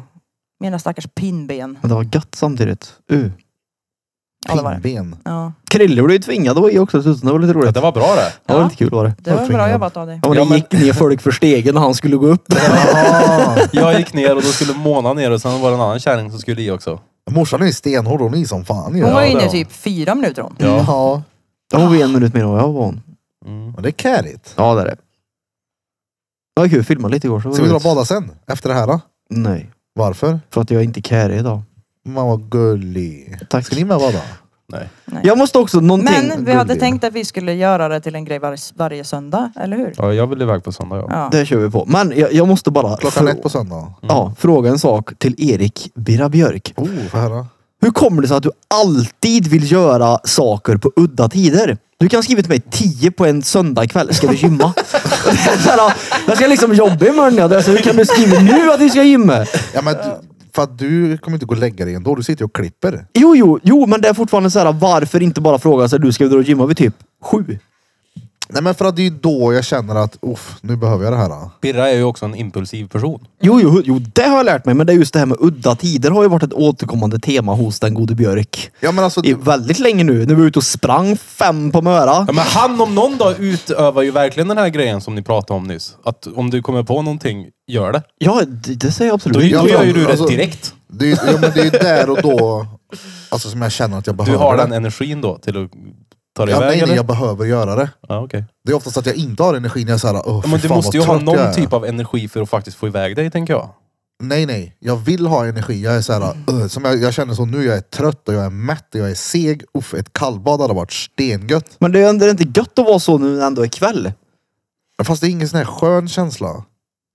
S4: Mina stackars pinnben.
S2: det var gött samtidigt. Uh.
S4: Ja, det var det.
S1: Pinnben.
S4: Ja,
S2: Krille blev ju tvingad att vara i också dessutom. Det var lite
S3: Ja,
S2: roligt.
S3: Det var bra det.
S2: Det var
S4: Ja.
S2: lite kul var det.
S4: det var bra
S1: tvingad.
S4: jobbat av dig.
S2: Ja, men
S3: Ja,
S2: det
S3: men-
S2: gick ner folk för stegen när han skulle gå upp.
S1: Ah,
S3: Jag gick ner och då skulle Mona ner och sen var det en annan kärring som skulle i också.
S1: morsan är ju stenhård, hon är ju som fan ju.
S4: Hon var
S3: det
S4: inne
S3: var
S4: i
S3: hon.
S4: typ fyra minuter hon.
S3: Ja.
S1: Ja.
S2: Hon var en minut mer än vad jag var. hon.
S3: Mm.
S1: Men det är kärigt.
S2: Ja, det är det. Det var kul. Filma lite igår. Så var
S1: Ska vi dra och
S2: roligt.
S1: bada sen? Efter det här då?
S2: Nej,
S1: Varför?
S2: för att jag är inte carry idag.
S1: Man var gullig.
S2: Tack.
S1: Ska ni med bada?
S3: Nej.
S2: Jag måste också någonting.
S4: Men vi hade
S1: gullig.
S4: tänkt att vi skulle göra det till en grej var, varje söndag, eller hur?
S3: Ja, jag vill iväg på söndag jag.
S4: Ja.
S2: Det kör vi på. Men jag, jag måste bara
S1: Klockan
S2: frå-
S1: ett på söndag.
S2: ja, fråga en sak till Erik Birra Björk.
S1: Oh, får jag höra.
S2: Hur kommer det sig att du alltid vill göra saker på udda tider? Du kan ha skrivit till mig 10 på en söndagkväll. Ska vi gymma? Det är så här, jag ska liksom jobba imorgon. ja. Det är så, Hur kan du skriva nu att vi ska gymma?
S1: Ja, men, du- för att du kommer inte gå och lägga dig ändå. Du sitter ju och klipper.
S2: Jo, jo, jo, men det är fortfarande så här. Varför inte bara fråga så här, du ska vi dra och gymma vid typ sju?
S1: Nej men för att det är ju då jag känner att uff, nu behöver jag det här. då."
S3: Birra är ju också en impulsiv person.
S2: Jo, jo, jo, det har jag lärt mig. Men det är just det här med udda tider har ju varit ett återkommande tema hos den gode Björk.
S1: Ja men alltså,
S2: I väldigt länge nu. När vi var ute och sprang fem på Möra.
S3: Ja, men han om någon dag utövar ju verkligen den här grejen som ni pratade om nyss. Att om du kommer på någonting, gör det.
S2: Ja, det, det säger jag absolut.
S3: Då,
S1: Ja,
S3: då
S1: men
S3: gör ju du
S1: alltså-
S3: det direkt.
S1: det, är ju- ja, men det är ju där och då alltså, som jag känner att jag behöver
S3: Du har den
S1: det.
S3: energin då till att ta dig
S1: Ja,
S3: iväg
S1: nej, nej,
S3: eller?
S1: jag behöver göra det.
S3: Ja, okej.
S1: Det är oftast att jag inte har energi när jag säger åh
S3: Ja,
S1: fy
S3: men du
S1: fan,
S3: måste ju
S1: vad
S3: ha
S1: trött jag
S3: någon
S1: är."
S3: typ av energi för att faktiskt få iväg dig, tänker jag.
S1: Nej nej, jag vill ha energi. Jag är så här, "Ugh", som jag, jag känner så nu, jag är trött och jag är mätt och jag är seg. Uff, ett kallbad hade varit stengött.
S2: Men det är ändå inte gött att vara så nu ändå ikväll.
S1: Fast det är ingen sån här skön känsla.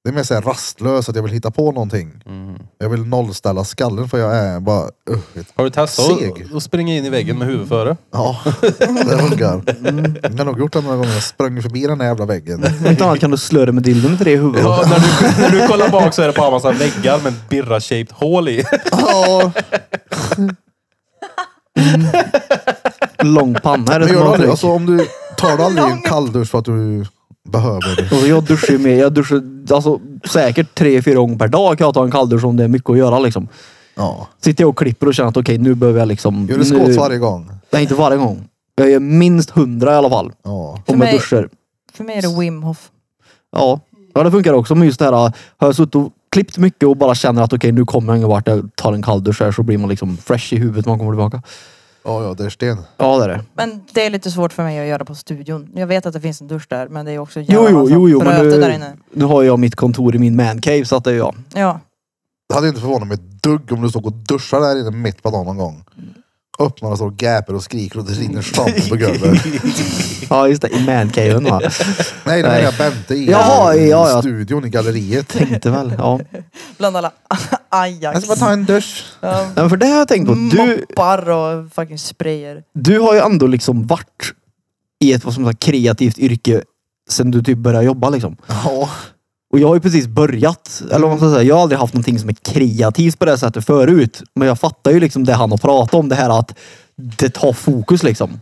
S1: Det är mer såhär rastlös, att jag vill hitta på någonting.
S3: Mm.
S1: Jag vill nollställa skallen för jag är bara... Uh, ett-
S3: Har du testat
S1: Seg.
S3: att- att springa in i väggen med huvudet före?
S1: ja, det funkar. Mm, jag har nog gjort det några gånger. Jag sprang förbi den här jävla väggen.
S2: Om inte annat kan du slå dig med dildon till det i huvudet.
S3: Ja, när, du, när du kollar bak så är det bara en massa väggar med ett birra-shaped hål i.
S1: Ja,
S2: Lång panna är det
S1: men
S2: som
S1: gör du
S2: har
S1: aldrig,
S2: tryck.
S1: alltså, om du tar du aldrig en
S4: Lång.
S1: kalldusch för att du behöver.
S2: Alltså, jag duschar ju med, jag duschar alltså, säkert tre, fyra gånger per dag kan jag ta en kalldusch om det är mycket att göra liksom.
S1: Ja.
S2: Sitter jag och klipper och känner att okej nu behöver jag liksom...
S1: Gör du
S2: nu-
S1: skott varje gång?
S2: Nej inte varje gång. Jag gör minst hundra i alla fall.
S1: Ja.
S4: För
S2: Om jag
S4: mig-
S2: duschar.
S4: För mig är det Wim Hof.
S2: Ja. ja det funkar också. Men just det här, har jag suttit och klippt mycket och bara känner att okej nu kommer jag ingen vart. Jag tar en kalldusch här så blir man liksom fresh i huvudet när man kommer tillbaka.
S1: Ja, ja, det är sten.
S2: Ja det är det.
S4: Men det är lite svårt för mig att göra på studion. Jag vet att det finns en dusch där men det är också
S2: Jo
S4: jävla
S2: jo
S4: massa
S2: jo, jo men
S4: bröte där
S2: nu,
S4: inne.
S2: nu har jag mitt kontor i min mancave så att det är jag.
S4: Ja.
S1: Det hade inte förvånat mig ett dugg om du stod och duschade där inne mitt på dagen någon gång. Öppnar och står och gapar och skriker och det rinner schampo på golvet.
S2: Ja just det, i mancaven va.
S1: Nej, det
S2: Nej.
S1: menar jag Bente i
S2: Jaha,
S1: i
S2: ja, ja.
S1: studion i galleriet.
S2: Tänkte väl. Ja.
S4: Bland alla
S1: Jag
S4: Ajax.
S2: Alltså,
S1: ska bara ta en dusch.
S4: Ja,
S2: Nej, men för det har jag tänkt på.
S4: Mm.
S2: Du,
S4: Moppar och fucking sprayer.
S2: du har ju ändå liksom varit i ett vad som sagt, kreativt yrke sen du typ började jobba liksom.
S1: Ja,
S2: Och jag har ju precis börjat. Eller vad man ska säga. Jag har aldrig haft någonting som är kreativt på det här sättet förut. Men jag fattar ju liksom det han har pratat om. Det här att det tar fokus liksom.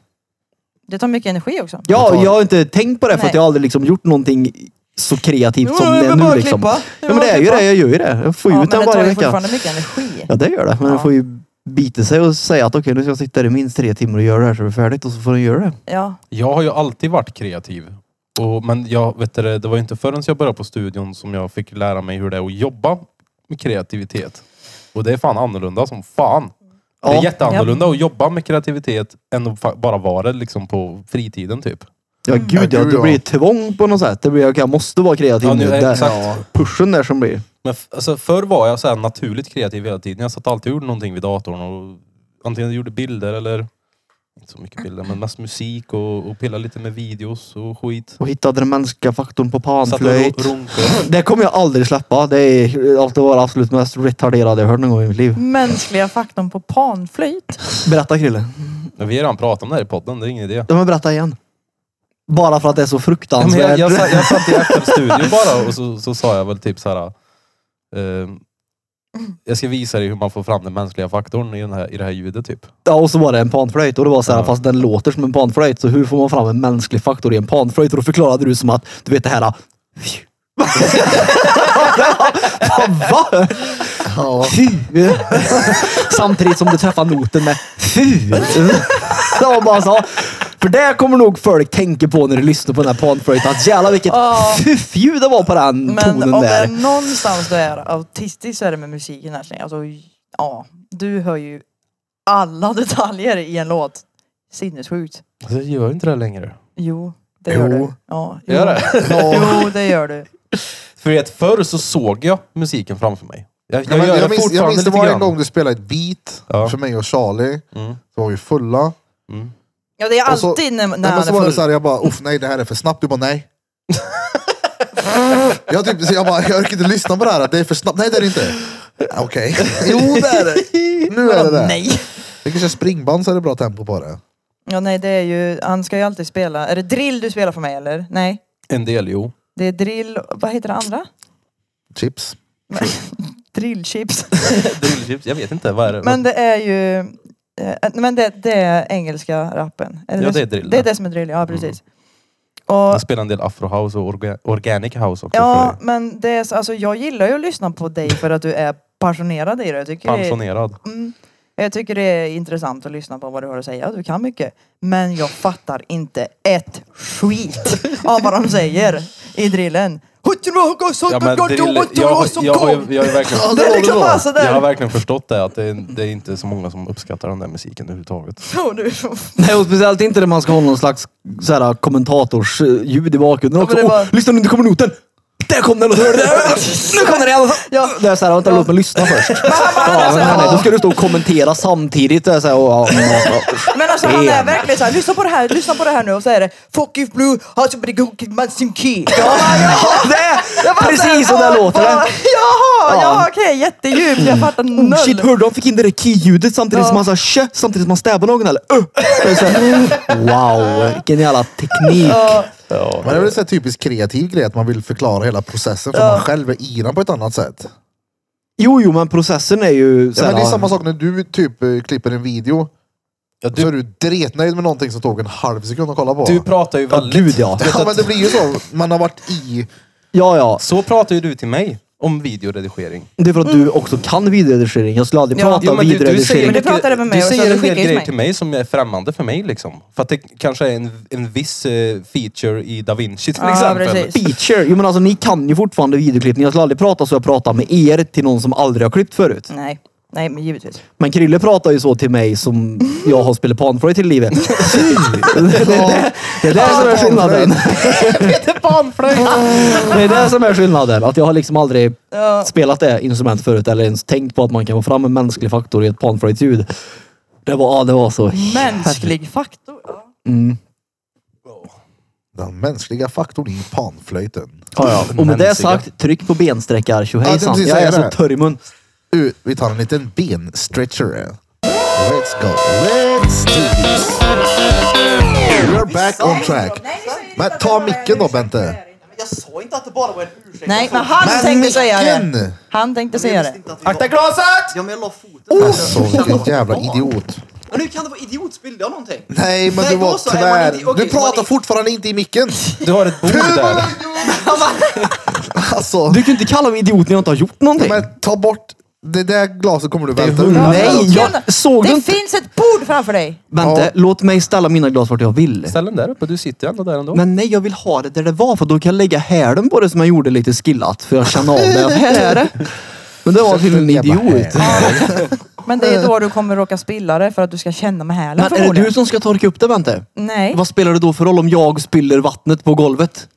S4: Det tar mycket energi också.
S2: Ja,
S1: tar-
S2: jag har inte tänkt på det för att
S4: Nej.
S2: jag har aldrig liksom gjort någonting så kreativt som
S4: Jo,
S2: det
S4: det
S2: är
S4: är
S2: nu
S4: bara att
S2: liksom.
S4: klippa. Det
S2: Ja,
S4: är
S2: men
S4: bara
S2: det är
S4: att
S2: ju
S4: klippa.
S2: det. Jag gör ju det. Jag får
S4: Ja,
S2: ut
S4: men
S2: den
S4: det tar
S2: varje
S4: ju
S2: vecka.
S4: fortfarande mycket energi.
S2: Ja, det gör det. Men
S4: Ja.
S2: den får ju bita sig och säga att okej, nu ska jag sitta där i minst tre timmar och göra det här så det är färdigt. Och så får den göra det.
S4: Ja.
S3: Jag har ju alltid varit kreativ. Och, men jag, vet du, det det var ju inte förrän jag började på studion som jag fick lära mig hur det är att jobba med kreativitet. Och det är fan annorlunda som fan. Det
S2: Ja.
S3: är jätteannorlunda att jobba med kreativitet än att fa- bara vara det liksom på fritiden typ.
S2: Ja gud ja,
S1: gud,
S2: det
S1: ja.
S2: blir ett tvång på något sätt. Det blir, okej, jag måste vara kreativ
S3: Ja,
S2: nu.
S3: nu-
S2: Där-
S3: exakt.
S2: ja, Pushen där som blir.
S3: Men f- alltså, förr var jag så här naturligt kreativ hela tiden. Jag satt alltid och gjorde någonting vid datorn. Och antingen gjorde bilder eller, inte så mycket bilder, men mest musik och, och pillade lite med videos och skit.
S2: Och hittade den mänskliga faktorn på
S3: Satt och ro-
S2: panflöjt.
S3: ronkade.
S2: Det kommer jag aldrig släppa. Det är alltid vara absolut mest retarderade jag hört någon gång i mitt
S3: Mm.
S2: liv.
S4: Mänskliga faktorn på panflöjt.
S2: Berätta Krille.
S3: Men Vi har redan pratat om det här i podden, det är ingen idé.
S2: Ja men berätta igen. Bara för att det är så
S3: Ja, men
S2: fruktansvärt.
S3: jag, jag, satt, jag satt i efterstudio bara och så, så sa jag väl typ så här. eh, jag ska visa dig hur man får fram den mänskliga faktorn i, den här, i det här ljudet typ.
S2: Ja och så var det en panflöjt och det var så här,
S3: Ja.
S2: fast den låter som en panflöjt. Så hur får man fram en mänsklig faktor i en panflöjt? Och då förklarade du som att, du vet det här... Fy. Va?
S1: ja.
S2: Fy! Samtidigt som du träffar noten med fy. Det var bara så. För det kommer nog folk tänka på när du lyssnar på den här panflöjten. Att jävlar vilket
S4: Ja.
S2: fuff-ljud det var på den
S4: Men
S2: tonen
S4: om det är
S2: där.
S4: någonstans du är autistisk så är det med musiken här känner jag. Alltså, ja. Du hör ju alla detaljer i en låt. Sinnessjukt.
S3: Alltså, jag gör inte det längre.
S4: Jo, det gör
S1: Jo.
S4: du. Ja,
S3: Gör det?
S4: Jo, det gör du.
S3: För vet, förr så såg jag musiken framför mig. Jag, jag
S1: Jag,
S3: gör
S1: jag,
S3: det
S1: minns,
S3: fortfarande
S1: jag minns det
S3: lite
S1: var
S3: grann.
S1: en gång du spelade ett beat
S3: Ja.
S1: för mig och Charlie.
S3: Mm.
S1: Så var vi fulla.
S4: Ja, det är
S1: Och så-
S4: alltid när, när
S1: Nej, Alltså, men
S4: han
S1: så var
S4: är
S1: det
S4: full.
S1: såhär, jag bara, uff nej det här är för snabbt. Du bara, nej. jag, typ, så jag bara, jag orkar inte lyssna på det här. Det är för snabbt. Nej det är det inte. Ah, Okej. Jo det är det. Nu är det det.
S4: Nej.
S1: Vi kan köra springband så är det bra tempo på det.
S4: Ja, nej, det är ju, han ska ju alltid spela. Är det drill du spelar för mig eller? Nej.
S3: En del, jo.
S4: Det är drill, vad heter det andra?
S1: Chips.
S4: Drillchips.
S3: Drillchips, typ- jag vet inte. Vad är det?
S4: Men det är ju, eh, men det, det är engelska rappen.
S3: Ja,
S4: Är
S3: Mm. det är
S4: som-
S3: drill,
S4: Det är
S3: det.
S4: det som är drill, ja precis.
S3: Jag
S4: Och,
S3: spelar en del afrohouse och orga, organic house också.
S4: ja,
S3: för
S4: men det är, så- alltså, jag gillar ju att lyssna på dig för att du är passionerad i det. Jag tycker, det,
S3: Pensionerad.
S4: mm, jag tycker det är intressant att lyssna på vad du har att säga. Du kan mycket. Men jag fattar inte ett skit av vad de säger i drillen.
S3: Ja, men drill, jag, har- jag, har ju- jag, har ju verkligen,
S1: Ja,
S4: Det är liksom bara
S3: jag har
S4: sådär.
S3: verkligen förstått det, att det är, det är inte så många som uppskattar den där musiken överhuvudtaget.
S4: Ja, du-
S2: Nej, och speciellt inte när man ska ha någon slags så här, kommentatorsljud i bakgrunden
S4: Ja,
S2: också.
S4: men det
S2: Åh,
S4: var-
S2: lyssna nu, nu kommer noten! Där kom den! Och så hörde jag, Nu kommer den igen! Ja. Det är såhär, vänta låt mig lyssna först. Ja, men han är- då ska du stå och kommentera samtidigt. Det är så här, och, ja, men, ja,
S4: Men alltså han är
S2: Damn.
S4: verkligen såhär, lyssna på det här, lyssna på det här nu och så är det Fuck you blue, har så blir det mansim key.
S2: ja. Det är precis så där låter det.
S4: Jaha, jaha,
S2: Ja.
S4: okej, jättedjupt. Jag fattar
S2: Oh,
S4: noll.
S2: shit, hörde de fick in det där ki-ljudet samtidigt
S4: Ja.
S2: som han sa tjö, samtidigt som han stävade någon eller? Uh. Det är så här, Wow, vilken jävla teknik.
S1: Men det är väl en sån här typiskt kreativ grej att man vill förklara hela processen för man själv är i den på ett annat sätt.
S2: Jo, jo, men processen är ju
S1: Ja,
S2: så
S1: men det är
S2: här,
S1: samma sak när du typ eh, klipper en video.
S3: Ja,
S1: Så är
S3: du,
S1: du dretnöjd med någonting som tog en halv sekund att kolla på.
S3: du pratar ju
S2: Ja,
S3: väldigt...
S2: gud ja.
S1: ja men det blir ju så. Man har varit i...
S2: Ja, ja.
S3: Så pratar ju du till mig om videoredigering.
S2: Det är för att du också kan videoredigering. Jag skulle aldrig
S4: Mm. Ja.
S2: prata
S4: Jo,
S2: om
S3: men du, du
S2: videoredigering.
S3: säger,
S4: Men det
S3: mycket-
S4: pratar även med
S3: du
S4: mig och sen
S3: säger en
S4: skickar
S3: del
S4: ju till
S3: grejer
S4: mig.
S3: till mig som är främmande för mig liksom. För att det kanske är en, en viss eh, feature i Da Vinci till
S4: Ja,
S2: liksom.
S3: exempel.
S4: precis.
S2: Feature. Jo men alltså ni kan ju fortfarande videoklippning. Jag skulle aldrig prata så jag pratar med er till någon som aldrig har klippt förut.
S4: Nej, nej men givetvis.
S2: Men Krille pratar ju så till mig som jag har spelat panflöjt till livet. det, det, det, det är det som är skillnaden.
S4: Peter Panflöjt!
S2: Det är det som är skillnaden. Att jag har liksom aldrig spelat det instrumentet förut eller ens tänkt på att man kan få fram en mänsklig faktor i ett panflöjtljud. Det var, ah, det var så
S4: Mänsklig faktor. Ja.
S1: Den mänskliga faktorn i panflöjten.
S2: Ja, ja. Och med det
S3: Mänskliga.
S2: sagt, tryck på bensträckar.
S1: Ja, det är
S2: Tjohejsan.
S1: precis
S2: jag är
S1: det.
S2: så törr i mun.
S1: U, vi tar en liten benstretcher. Let's go. Let's do this. We're back on track. Men ta micken då Bente.
S2: Jag sa inte att det bara var en ursäkt.
S4: Nej, men han tänkte säga det.
S1: micken!
S4: Han tänkte säga det. Oh!
S2: Akta glaset! Ja, men jag la foten.
S1: Alltså vilken jävla idiot.
S2: Men hur kan det vara idiot? Spillde jag någonting?
S1: Nej men
S2: Nej,
S1: du var
S2: då så, är man
S1: tvär.
S2: inte- okej,
S1: du
S2: man
S1: pratar
S2: är-
S1: fortfarande inte i micken.
S3: Du har ett bord där.
S1: Alltså.
S2: Du kan ju inte kalla mig idiot när jag inte har gjort någonting.
S1: Men ta bort. Det där glaset kommer du välta
S3: hundra-
S1: ur.
S2: Nej,
S4: Ken,
S2: jag såg du
S4: det
S2: inte?
S4: finns ett bord framför dig!
S2: Vänta,
S1: Ja.
S2: låt mig ställa mina glas vart jag vill.
S3: Ställ den där uppe, du sitter ju ändå där ändå.
S2: Men nej, jag vill ha det där det var för då kan jag lägga hälen på det som jag gjorde lite skillat. För jag känner av det. Att Här är det. Men det var till en
S1: Jävla
S2: idiot.
S4: Men det är då du kommer råka spilla det för att du ska känna med hälen
S2: Men är det du
S4: förmodligen.
S2: som ska torka upp det Bente?
S4: Nej,
S2: Vad spelar det då för roll om jag spiller vattnet på golvet?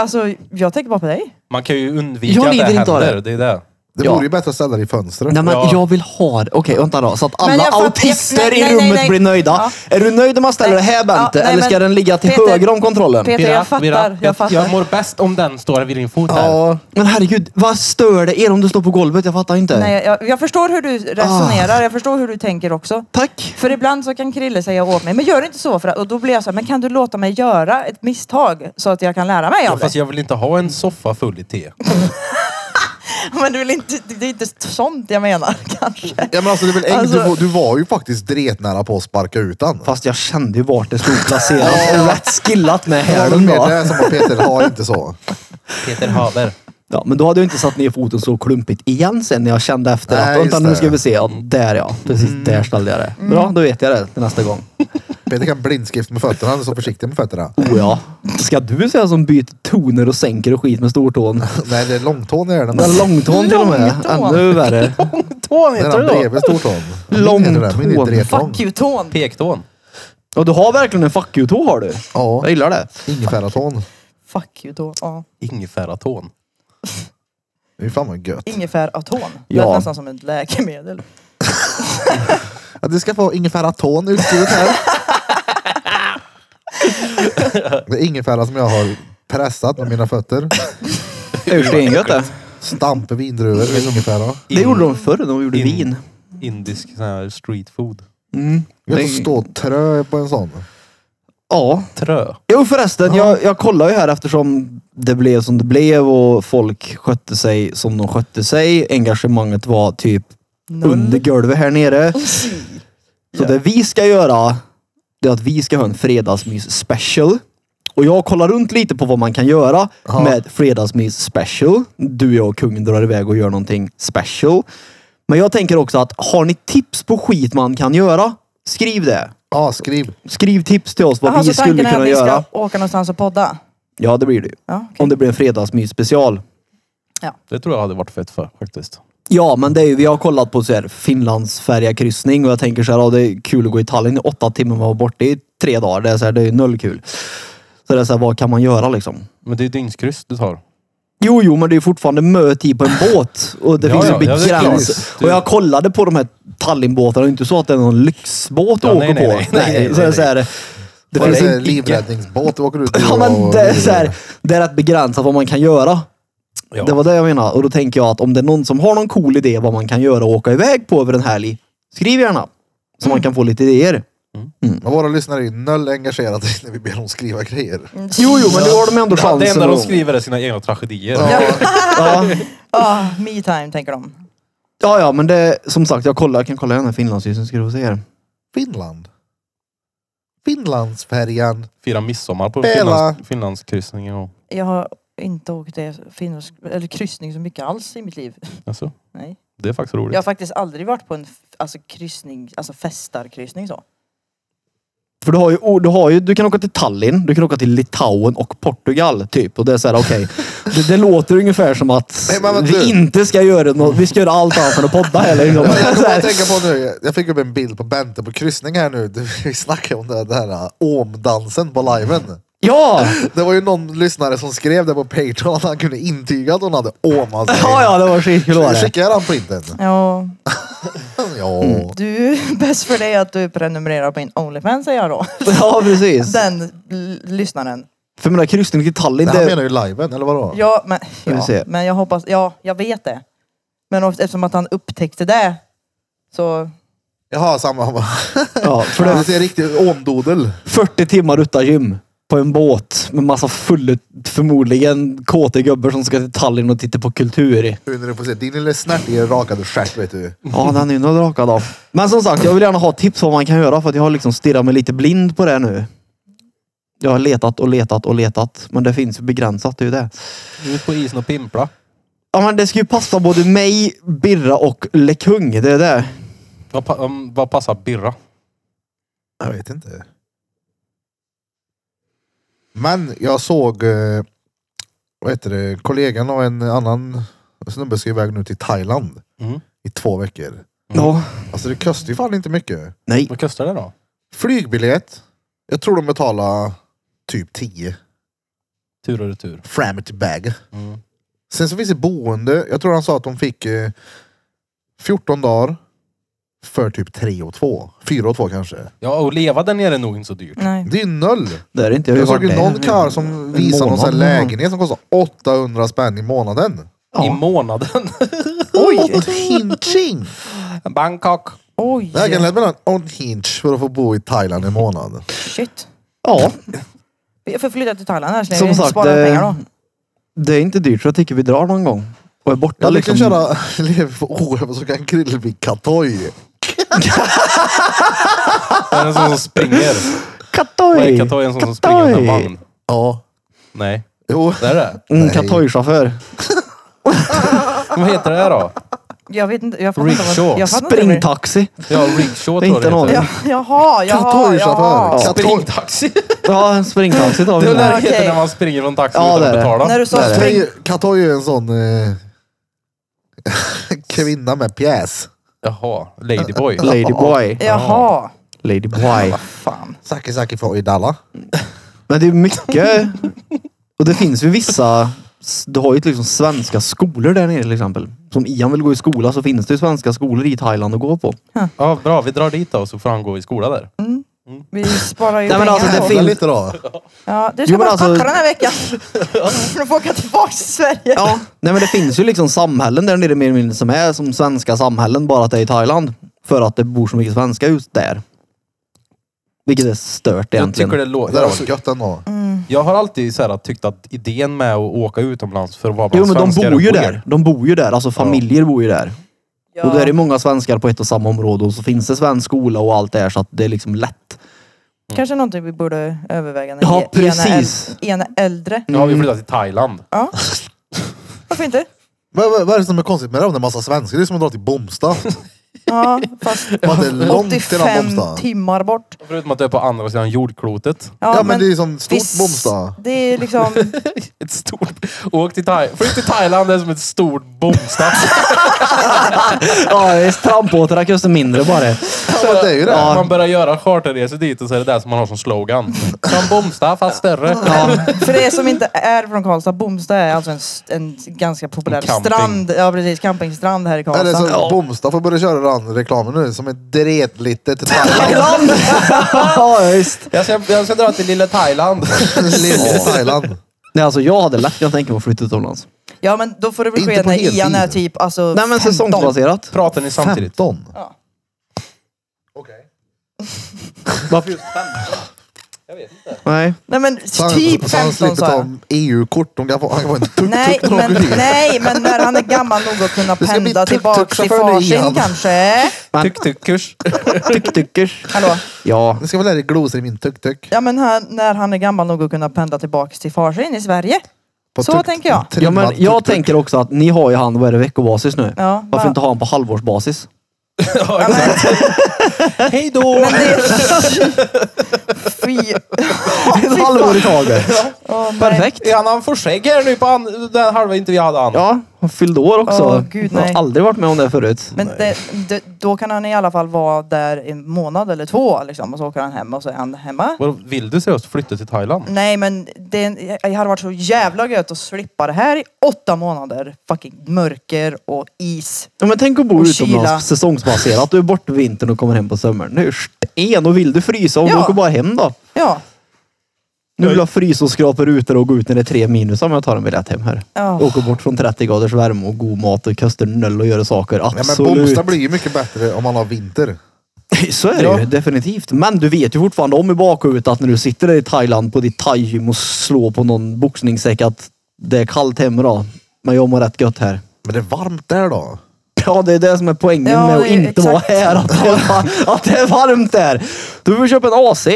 S4: alltså jag tänker bara på dig.
S3: Man kan ju undvika
S2: Jag
S3: att det
S2: lider inte av
S3: händer.
S2: det.
S3: Det är det.
S1: Det
S2: Ja.
S1: vore ju bättre att ställa det i fönstret.
S2: Nej men
S3: Ja.
S2: jag vill ha det. Okej vänta då. Så att
S4: Men
S2: alla
S4: jag fatt-
S2: autister
S4: jag- nej, nej,
S2: i rummet
S4: nej.
S2: blir nöjda.
S4: Ja.
S2: Är du nöjd om man ställer det här
S4: Ja,
S2: Bente?
S4: nej,
S2: Eller ska
S4: men
S2: den ligga till
S4: Peter-
S2: höger om kontrollen?
S4: Peter, jag fattar. Jag
S3: jag
S4: fattar.
S3: mår bäst om den står vid din fot här.
S1: Ja,
S2: Men herregud, vad stör det er om du står på golvet? Jag fattar inte.
S4: Nej, jag, jag förstår hur du resonerar, jag förstår hur du tänker också.
S2: Tack.
S4: För ibland så kan Krille säga åt mig, men gör inte så. För att, och då blir jag så här, men kan du låta mig göra ett misstag så att jag kan lära mig
S3: Ja,
S4: av det?
S3: fast jag vill inte ha en soffa full i te.
S4: Men det är, väl inte, det är inte sånt jag menar kanske.
S1: ja men alltså, det är väl äng-
S4: Alltså-
S1: du, var- du var ju faktiskt dretnära på att sparka ut den.
S2: Fast jag kände ju vart det stod placerat. Rätt skillat med
S1: Det var väl
S2: hälen
S1: mer
S2: då.
S1: det som var Peter har inte så.
S3: Peter Haber.
S2: Ja, men då hade jag inte satt ner foten så klumpigt igen sen när jag kände efter
S1: Nej,
S2: att
S1: just
S2: vänta
S1: det.
S2: nu ska vi se. Ja, där ja. Precis där ställde jag det. Bra, då vet jag det till nästa gång.
S1: Peter kan blindskrift med fötterna, han är så försiktig med fötterna.
S2: Oh ja. Ska du säga som byter toner och sänker och skit med stortån?
S1: Nej det är långtån är det.
S2: Den
S1: Men
S2: långtån till och med.
S4: Långtån.
S2: Ännu värre.
S3: Tån
S1: den är bredvid stortån. Min heter det, Min är
S2: Långtån.
S1: dretlång.
S4: Fuck you tån.
S3: Pektån.
S2: Och du har verkligen en fuck you-tå har du.
S1: Ja,
S2: Jag gillar det.
S1: ingefäratån.
S4: Fuck you tån. Ja.
S3: Ingefäratån.
S1: Det är fan vad gött.
S4: Ingefär aton.
S2: Ja.
S4: Lät nästan som ett läkemedel.
S1: Ja, du ska få ingefäratån utskrivet här. Det är ingefära som jag har pressat med mina fötter.
S2: Det är ju stengött det.
S1: Stamp vindruvor med ingefära.
S2: Det gjorde de förr. De gjorde
S3: In-
S2: vin.
S3: Indisk sån här street food.
S1: Jag
S2: Det-
S1: får stå och trö på en sån.
S2: Ja.
S3: Trö.
S2: Jo förresten, jag, jag kollar ju här eftersom det blev som det blev och folk skötte sig som de skötte sig. Engagemanget var typ under golvet här nere. Så det vi ska göra, det är att vi ska ha en fredagsmys special. Och jag kollar runt lite på vad man kan göra
S1: Ja.
S2: med fredagsmys special. Du, jag och kungen drar iväg och gör någonting special. Men jag tänker också att har ni tips på skit man kan göra? Skriv det.
S1: Ja, skriv.
S2: Skriv tips till oss vad
S4: Jaha,
S2: vi
S4: så tanken
S2: skulle
S4: är att
S2: kunna
S4: vi
S2: göra.
S4: ska åka någonstans och podda?
S2: Ja, det blir det ju.
S4: Ja, okej.
S2: Om det blir en fredagsmys-special.
S3: Det tror jag hade varit fett för faktiskt.
S2: Ja, men det är ju, vi har kollat på så här, Finlands kryssning och jag tänker så här, ja, det är kul att gå i Tallinn i åtta timmar och vara borta i tre dagar. Det är, så här, det är ju noll kul. Så det är så här, vad kan man göra liksom?
S3: Men det är ju dygnskryss du tar.
S2: Jo, jo, men det är fortfarande mötid på en båt och det
S3: Ja,
S2: finns
S3: ja,
S2: en
S3: ja, det är
S2: begränsning.
S3: klart.
S2: och jag kollade på de här Tallinnbåtarna, det är inte så att det är någon lyxbåt du
S3: Ja,
S2: åker
S3: nej, nej,
S2: på.
S3: nej, nej, nej,
S2: så det är
S3: nej.
S2: så här, det
S1: Det finns
S2: finns
S1: en
S2: en,
S1: livräddningsbåt du åker ut i
S2: ja, men
S1: och-
S2: det, är så här, det är rätt begränsat vad man kan göra.
S3: Ja.
S2: Det var det jag menade. Och då tänker jag att om det är någon som har någon cool idé vad man kan göra och åka iväg på över en helg, skriv gärna. Så
S3: Mm.
S2: man kan få lite idéer.
S1: Men våra lyssnare är ju noll engagerade när vi ber dem skriva grejer.
S2: Jo, jo, men nu har de ändå
S3: Ja,
S2: chansen.
S3: det enda de
S2: att-
S3: skriver är sina egna tragedier.
S2: Ja,
S4: Ah, me time tänker de.
S2: ja, ja men det, som sagt, jag, kollar, jag kan kolla igen den här finlandsisen så ska du få se här.
S1: Finland. Finlandsfärjan.
S3: Fira midsommar på
S1: Bella.
S3: Finlands, Finlandskryssningen. Och,
S4: Jag har inte åkt det finns, eller kryssning så mycket alls i mitt liv.
S3: alltså,
S4: Nej.
S3: det är faktiskt roligt.
S4: Jag har faktiskt aldrig varit på en f- alltså, kryssning, alltså festarkryssning så.
S2: För du har, ju, oh, du har ju, du kan åka till Tallinn, du kan åka till Litauen och Portugal typ. Och det är såhär, okej. Det, det låter ungefär som att
S1: Nej, men vänta
S2: vi
S1: nu.
S2: inte ska göra något, vi ska göra allt annat än att podda heller. Liksom.
S1: Jag
S2: Så
S1: kommer
S2: här,
S1: att tänka på nu, jag fick upp en bild på Bente på kryssning här nu. Vi snackade om det här, här åmdansen på liven.
S2: ja!
S1: Det var ju någon lyssnare som skrev det på Patreon att han kunde intyga att hon hade åmat sig.
S2: Ja, ja, det var skitkul var det. Mm.
S1: Skickade jag den printen?
S4: Ja,
S1: Ja.
S4: du, bäst för dig att du prenumererar på min Onlyfans säger jag då.
S2: Ja, precis.
S4: Den l- lyssnaren.
S2: För jag menar, kryssning till Tallinn,
S1: Det här menar
S2: det,
S1: ju liven, eller vadå?
S4: Ja, men,
S2: vi se.
S4: ja, men jag hoppas, ja, jag vet det. Men oft- eftersom att han upptäckte det så,
S1: Jaha, samma.
S2: ja, för
S1: Det
S2: det
S1: är en riktig åmdodel.
S2: 40 timmar utan gym. På en båt med massa fulla, förmodligen kåta gubbar som ska till Tallinn och titta på kultur.
S1: Nu när du får se din lilla snärtiga rakade stjärt vet du.
S2: Ja, den är ju något raka då. Men som sagt, jag vill gärna ha tips på vad man kan göra för att jag har liksom stirrat mig lite blind på det nu. Jag har letat och letat och letat, men det finns ju begränsat, det är ju det.
S3: Ut på isen och pimpla.
S2: Ja, men det ska ju passa både mig, Birra och Lekung, det är det.
S3: Vad, pa- um, vad passar Birra?
S1: Jag vet inte. Men jag såg, eh, vad heter det, kollegan och en annan snubbe ska iväg nu till Thailand
S3: Mm.
S1: i två veckor.
S2: Ja.
S1: Alltså det kostar ju fan inte mycket.
S2: Nej.
S3: Vad kostar det då?
S1: Flygbiljett, jag tror de betalar typ 10
S3: Tur och retur.
S1: fram till bag.
S3: Mm.
S1: Sen så finns det boende, jag tror han sa att de fick eh, 14 dagar för typ 3 och 2. 4 och 2 kanske.
S3: Ja, och leva där nere är nog inte så dyrt.
S4: nej.
S1: Det är ju noll.
S2: Det är det inte. har ju
S1: Jag såg
S2: varit
S1: ju
S2: där
S1: någon
S2: en-
S1: karl
S2: en
S1: som visade någon sån
S2: månad.
S1: här lägenhet som kostar 800 spänn i månaden.
S3: I
S2: Ja.
S3: månaden.
S4: Oj!
S1: Hinching!
S3: Bangkok.
S4: Oj!
S1: Det här kan lätt mellan on hinch för att få bo i Thailand i månaden.
S4: Shit.
S2: ja,
S4: Vi får flytta till Thailand här
S2: som
S4: så
S2: sagt.
S4: sparar vi pengar då.
S2: Det, det är inte dyrt, så jag tycker vi drar någon gång. Och är borta
S1: Jag
S2: liksom.
S1: kan köra lever för oöver så kan Krille bli katoj.
S3: Det är en sån som springer. Vad
S2: Katoj!
S3: är Katoj? En sån som springer utan
S2: Katoj.
S3: vagn?
S1: Ja.
S3: Nej,
S1: Jo.
S3: det är det.
S2: Mm,
S1: Nej.
S2: Katoj-chaufför.
S3: Vad heter det då?
S4: Jag vet inte, jag fattar inte
S3: Rickshaw.
S4: vad... Jag fattar inte vad-
S2: Springtaxi.
S3: Ja, rickshaw
S2: Det är
S3: tror jag
S2: inte
S3: det
S2: någon.
S3: heter.
S4: Ja, jaha, jaha, jaha.
S1: Katoj-chaufför. Katoj.
S3: Springtaxi.
S2: Ja, en springtaxi tar vi.
S3: Det är
S2: med.
S3: när det heter
S4: okej.
S3: när man springer från taxin
S2: Ja, det
S3: utan
S2: är
S3: att
S2: det.
S3: betala.
S4: När du sa
S2: Där är det.
S4: spring...
S1: Katoj är en sån eh, kvinna med pjäs.
S3: Jaha, ladyboy.
S2: Ladyboy.
S4: Jaha.
S2: Ladyboy.
S4: Fan.
S1: Saki Saki från Uddala.
S2: Men det är mycket. Och det finns ju vissa. Du har ju liksom svenska skolor där nere till exempel. Som Ian vill gå i skola så finns det ju svenska skolor i Thailand att gå på.
S3: Ja, bra. Vi drar dit då så får han gå i skola där.
S4: Vi sparar ju
S2: Nej, men
S4: pengar
S2: alltså, det
S4: då.
S1: Tävla
S2: finns-
S1: lite då.
S4: Ja, du
S2: Jo,
S4: ska
S2: men
S4: bara
S2: alltså-
S4: packa den här veckan. Du får åka tillbaka till Sverige.
S2: Ja. Nej men det finns ju liksom samhällen där nere mer eller mindre som är som svenska samhällen bara att det är i Thailand. För att det bor så mycket svenska ut där. Vilket är typ- stört
S3: Jag tycker
S2: egentligen.
S3: det låter...
S1: Det är också gött ändå.
S3: Jag har alltid så här, tyckt att idén med att åka utomlands för att vara
S2: Jo
S3: bland
S2: men de
S3: svenskar
S2: bor ju
S3: och queer-
S2: där. De bor ju där. Alltså familjer bor ju där. Och då är det många svenskar på ett och samma område och så finns det svensk skola och allt det här så att det är liksom lätt.
S4: Kanske någonting vi borde överväga när
S2: Ja,
S4: e- ena
S2: precis.
S4: äl- Ena äldre.
S3: Nu har
S2: Mm.
S3: vi flyttat till Thailand.
S4: Ja. Varför inte?
S1: Vad, vad, vad är det som är konstigt med det om det är massa svenskar? Det är som att dra till Bomsta.
S4: Ja, fast
S1: Var det långt till den
S4: 85
S1: bomstaden?
S4: timmar bort.
S3: Förutom att det är på andra sidan jordklotet.
S1: Ja, men det är som stort
S4: s-
S1: bomstad.
S4: Det är liksom...
S3: Ett stort... Åk till Thailand. Flytt till Thailand, det är som ett stort bomstads.
S2: Ja, det är trampbåtarna kostar mindre bara.
S1: Ja, men det är ju det.
S3: Man börjar göra charterresor dit och så är det där som man har som slogan. Som bomstad fast större.
S4: För er som inte är från Karlstad, Bomsta är alltså en, s- en ganska populär
S3: Camping.
S4: strand. Ja precis, campingstrand här i
S1: Eller
S4: Karlstad.
S1: så Bomstad får börja köra den reklamen nu som ett dretlitet Thailand.
S2: ja, visst.
S3: Jag ska, jag ska dra till lilla Thailand.
S1: Lille Thailand.
S2: Nej, alltså jag hade lätt kunnat tänka mig att flytta utomlands.
S4: Ja men då får det väl
S1: Inte
S4: ske
S1: på
S4: när
S1: heltid.
S4: Ian är typ alltså
S2: Nej, men
S4: 15.
S2: säsongsbaserat.
S3: Pratar ni samtidigt?
S1: 15.
S4: Ja.
S1: Okej.
S2: Varför just Nej.
S4: Nej men
S1: Så han-
S4: typ
S1: så han
S4: 15
S1: slipper
S4: sa
S1: ta
S4: jag.
S1: EU-kort. E De kan få- Han kan vara en tuk-tuk
S4: Nej
S1: när de
S4: men,
S1: åker dit.
S4: nej men när han är gammal nog att kunna
S1: Det ska bli
S4: pendla tillbaka till
S1: tuk-tuk-chaufför nu,
S4: farsin
S1: Ian.
S4: kanske.
S3: Tuk-tuk-kurs.
S2: Tuk-tukers.
S4: Hallå?
S2: Ja.
S1: Nu ska vi lära dig glosor i min tuk-tuk.
S4: Ja men här, när han är gammal nog att kunna pendla tillbaka till farsin i Sverige.
S1: På
S4: Så tänker jag.
S2: ja men
S1: trimmad
S2: jag
S1: tuk-tuk.
S2: tänker också att ni har ju han, vad är det, veckobasis nu?
S4: Ja,
S2: Varför
S4: va-
S2: inte ha han på halvårsbasis?
S4: Ja, men,
S3: Hej då!
S4: men det är... Fy...
S2: Ett halvår i taget.
S4: Åh, nej.
S2: Perfekt.
S3: Är han- han får skägg här nu på an- den halva inte vi hade han.
S2: Ja, han fyllde år också.
S4: Åh,
S2: jag
S4: gud, nej.
S2: har aldrig varit med om det förut.
S4: Men det, det, då kan han i alla fall vara där en månad eller två liksom, och så åker han hem och så är han hemma.
S3: Vadå, Vill du seriöst flytta till Thailand?
S4: Nej men det, det hade varit så jävla gött att slippa det här i åtta månader. Fucking mörker och is.
S2: Ja, men tänk att bo
S4: Och
S2: utomlands
S4: kyla.
S2: säsongsbaserat. Du är borta vintern och kommer hem på sommaren. Det är ju sten och vill du frysa och
S4: Ja.
S2: åker bara hem då.
S4: Ja.
S2: Nu vill jag frysa och skrapa rutor och gå ut när det är tre minus om jag tar en biljett hem här.
S4: Ja.
S2: Åker bort från 30 graders värme och god mat och kastar nöll och göra saker.
S1: Ja, men
S2: Absolut.
S1: Bomstad blir ju mycket bättre om man har vinter.
S2: Så är det ju definitivt. Men du vet ju fortfarande om i bakhuvudet att när du sitter där i Thailand på ditt thai-gym och slår på någon boxningssäck att det är kallt hemma då. Men jag mår rätt gött här.
S1: Men det är varmt där då.
S2: Ja, det är det som är poängen
S4: Ja,
S2: med att
S4: det är
S2: inte
S4: exakt.
S2: vara här. Att det, är, var- att det är varmt där. Du får köpa en AC.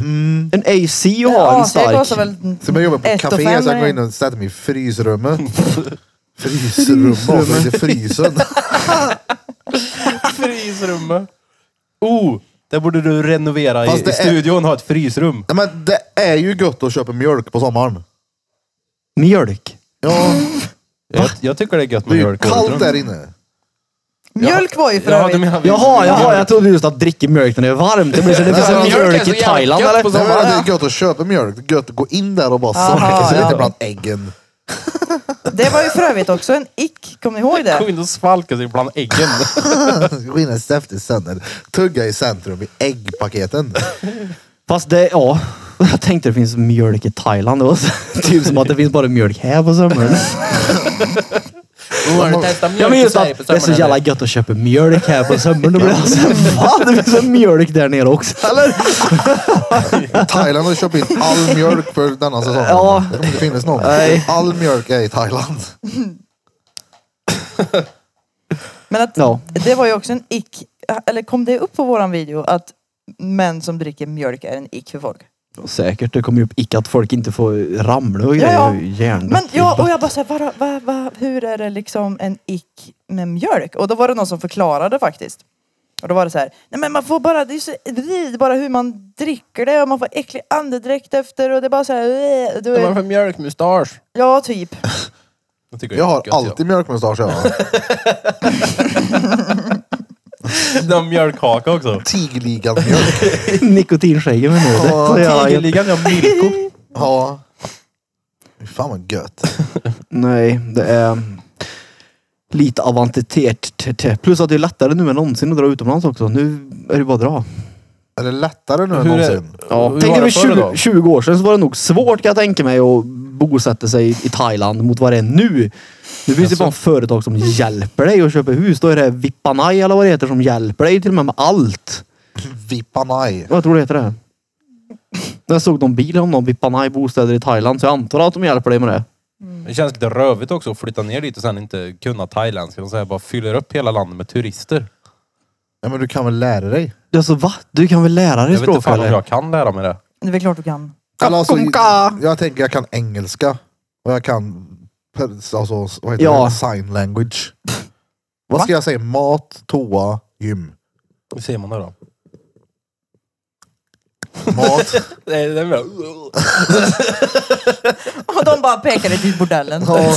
S3: Mm.
S2: En AC och ha en
S4: Ja, så det kostar
S2: stark.
S4: väl
S1: Så jag jobbar på
S4: ett och
S1: café
S4: fem,
S1: så jag går in
S4: eller?
S1: och sätter mig i frysrummet. Frysrummet. Frysrummet. Det är frysen.
S3: Frysrummet. Oh! Där borde du renovera i,
S1: Fast det
S3: i
S1: är-
S3: studion, ha ett frysrum.
S1: Nej, men det är ju gött att köpa mjölk på sommaren.
S2: Mjölk.
S1: Ja,
S3: Jag, jag tycker det är gött
S1: det är
S3: med
S1: ju
S3: mjölk. i
S1: kallt
S3: åldern.
S1: där inne.
S4: Mjölk var ju för
S3: Jaha, du
S4: övrigt.
S3: menar vi-
S2: Jaha, jaha, jag trodde just att dricka mjölk när det är varmt. Det blir så det finns en
S1: Mjölk
S3: är
S2: mjölk
S3: så
S2: i
S3: jävla
S2: Thailand
S3: gött
S2: eller?
S3: på
S1: Nej, men
S4: Ja.
S1: det är gött att köpa mjölk. Det är gött att gå in där och bara
S4: Aha,
S1: sörka sig
S4: ja.
S1: lite bland äggen.
S4: Det var ju för övrigt också en ick, kommer ni ihåg
S3: Kom
S4: det?
S3: in och svalka sig bland äggen.
S1: Skinnet säftigt sönder. Tugga i centrum i äggpaketen.
S2: Fast det, ja. Jag tänkte det finns mjölk i Thailand. Det var så- typ som att det finns bara mjölk här på sommaren. Ja men just att det är så jävla gött att köpa mjölk här på sommaren. Då blir jag så fan det finns en mjölk där nere också eller?
S1: Thailand har köpt in all mjölk för denna säsongen.
S2: Ja.
S1: Det kommer inte finnas någon.
S2: Nej.
S1: All mjölk är i Thailand.
S4: Men att,
S2: Ja.
S4: det var ju också en ick, eller kom det upp på våran video att män som dricker mjölk är en ick för folk?
S2: Säkert, det kommer ju upp icke att folk inte får ramla och
S4: Ja, ja.
S2: grejer. Hjärndött.
S4: Men ja, och jag bara såhär, va, va, va, hur är det liksom en ick med mjölk? Och då var det någon som förklarade faktiskt. Och då var det så här, nej men man får bara, det är så, det är bara hur man dricker det och man får äcklig andedräkt efter och det är bara så här, äh, du är,
S3: för mjölkmustasch.
S4: ja typ.
S3: Jag, tycker det är
S1: Jag har
S3: gött,
S1: alltid mjölkmustasch. Ja.
S3: Ja. Den har mjölkhaka också.
S1: Tigligan mjölk.
S2: Nikotinskäggen med nådet.
S1: Ja,
S2: Så jävla gött.
S3: Tigerligan, jag har Milko.
S1: Ja. Fy Fan vad gött.
S2: Nej, det är lite avantetet. Plus att det är lättare nu än någonsin att dra utomlands också. Nu är det bara att dra.
S1: Är det lättare nu än
S3: Hur är-
S1: någonsin?
S2: Ja.
S3: Hur
S2: Tänk
S3: var
S2: dig för
S3: det förr
S2: 20,
S3: då?
S2: 20 år sedan så var det nog svårt kan jag tänka mig att bosätta sig i Thailand mot vad det är nu. Nu finns det fan företag som hjälper dig att köpa hus. Då är det Vippanai eller vad det heter som hjälper dig till och med med allt.
S1: Vippanaj.
S2: Vad tror du det heter det? Jag såg någon bil om någon Vippanai bostäder i Thailand så jag antar att de hjälper dig med det.
S3: Det känns lite rövigt också att flytta ner dit och sen inte kunna thailändska. De säger bara fyller upp hela landet med turister.
S1: Ja men du kan väl lära dig?
S2: Alltså va? Du kan väl lära dig
S3: Jag vet inte
S2: språk
S3: fan om
S2: eller?
S3: jag kan lära mig det.
S4: Det är väl klart du kan.
S1: Eller alltså,
S2: Kakunka.
S1: jag tänker jag kan engelska. Och jag kan per- alltså, vad heter
S2: Ja.
S1: det? sign language. Vad ska jag säga? Mat, toa, gym.
S3: Hur säger man det då?
S1: Mat.
S3: Nej, det är bra.
S4: Och de bara pekade till bordellen.
S1: Ja.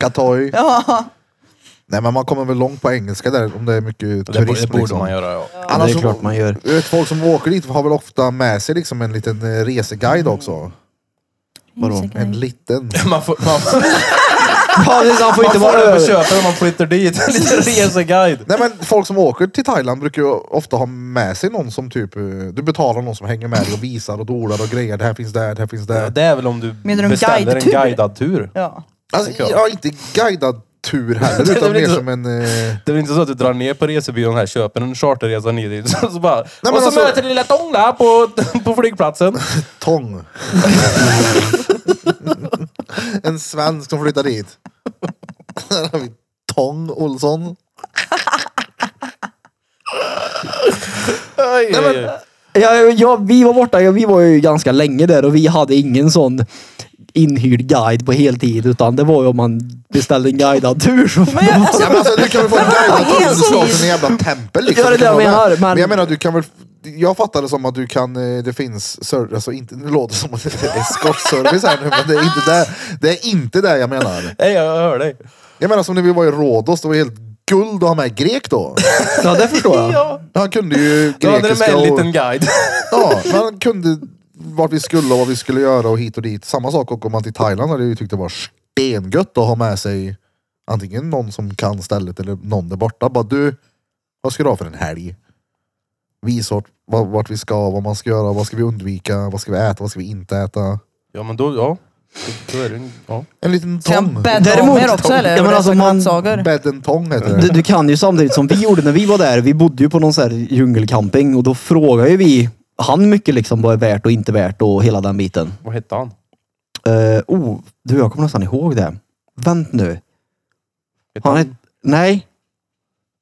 S1: Katoj.
S4: Ja.
S1: Nej men man kommer väl långt på engelska där om det är mycket
S3: Det borde, det
S1: turism.
S3: borde
S1: liksom.
S3: man göra ja.
S1: Annars
S2: det är
S1: så-
S2: klart man gör.
S1: Du vet, folk som åker dit har väl ofta med sig liksom en liten eh, reseguide också.
S4: Mm,
S2: Vadå?
S1: En liten. eh,
S3: Man får, man,
S2: Ja, det- han får
S3: man
S2: inte vara
S3: får det på
S2: över.
S3: köpet om man flyttar dit. En liten reseguide.
S1: Nej men folk som åker till Thailand brukar ju ofta ha med sig någon som typ, eh, du betalar någon som hänger med dig och visar och dolar och grejer. Det här finns där, det här finns
S3: Ja,
S1: där.
S3: Det är väl om du
S4: Menar du en
S3: beställer en
S4: guidetur?
S3: guidad tur.
S4: Ja.
S1: Alltså, ja, inte guidad tur heller
S3: Det är
S1: utan
S3: väl
S1: mer
S3: inte så-
S1: som en... Eh,
S3: Det är väl inte så att du drar ner på resebyrån här, köper en charterresa ner dit. Så, så bara,
S1: men
S3: och så
S1: alltså-
S3: möter du lilla Tång där på, på flygplatsen.
S1: Tång. en svensk som flyttar dit. Där har vi Tång Olsson.
S3: Aj, aj, aj.
S2: Ja, ja, vi var borta, ja, vi var ju ganska länge där och vi hade ingen sån inhyrd guide på heltid utan det var ju om man beställde en guidad tur. Så
S4: Men jag, alltså,
S1: Ja, men alltså, du kan väl få en guidad tur om du ska till en jävla tempel liksom.
S2: Ja, det är det jag
S1: Du kan vara
S2: menar,
S1: med.
S2: men-
S1: men jag menar du kan väl... Jag fattar det som att du kan, eh, det finns service, alltså inte, det låter som att det är eskortservice här nu men det är inte det, det är inte det jag menar.
S3: Nej, jag hör dig.
S1: Jag menar som när vi var i Rhodos, det var helt guld att ha med grek då.
S2: Ja, det förstår jag.
S3: Ja.
S1: Han kunde ju
S3: Då hade du med
S1: grekiska
S3: en
S1: och...
S3: liten guide.
S1: Ja, man kunde vart vi skulle och vad vi skulle göra och hit och dit. Samma sak åker man till Thailand hade jag ju tyckt det var stengött att ha med sig antingen någon som kan stället eller någon där borta. Bara du, vad ska du ha för en helg? Visa vart, va- vart vi ska, vad man ska göra, vad ska vi undvika, vad ska vi äta, vad ska vi inte äta.
S3: Ja, men då, ja. Då är det, en- ja.
S1: En liten
S4: ska jag
S1: tång.
S4: bädda om
S2: Däremot-
S4: er också eller?
S2: Ja, men
S4: Och
S2: alltså,
S4: äta
S2: man-
S4: grönsaker?
S1: Bed and tång heter
S2: Du,
S1: det.
S2: du kan ju samtidigt som vi gjorde när vi var där, vi bodde ju på någon sån här djungelcamping och då frågade ju vi han mycket liksom vad är värt och inte värt och hela den biten.
S3: Vad hette han?
S2: Eh, oh, du jag kommer nästan ihåg det. Vänt nu.
S3: Hette
S2: Han
S3: han?
S2: het, nej.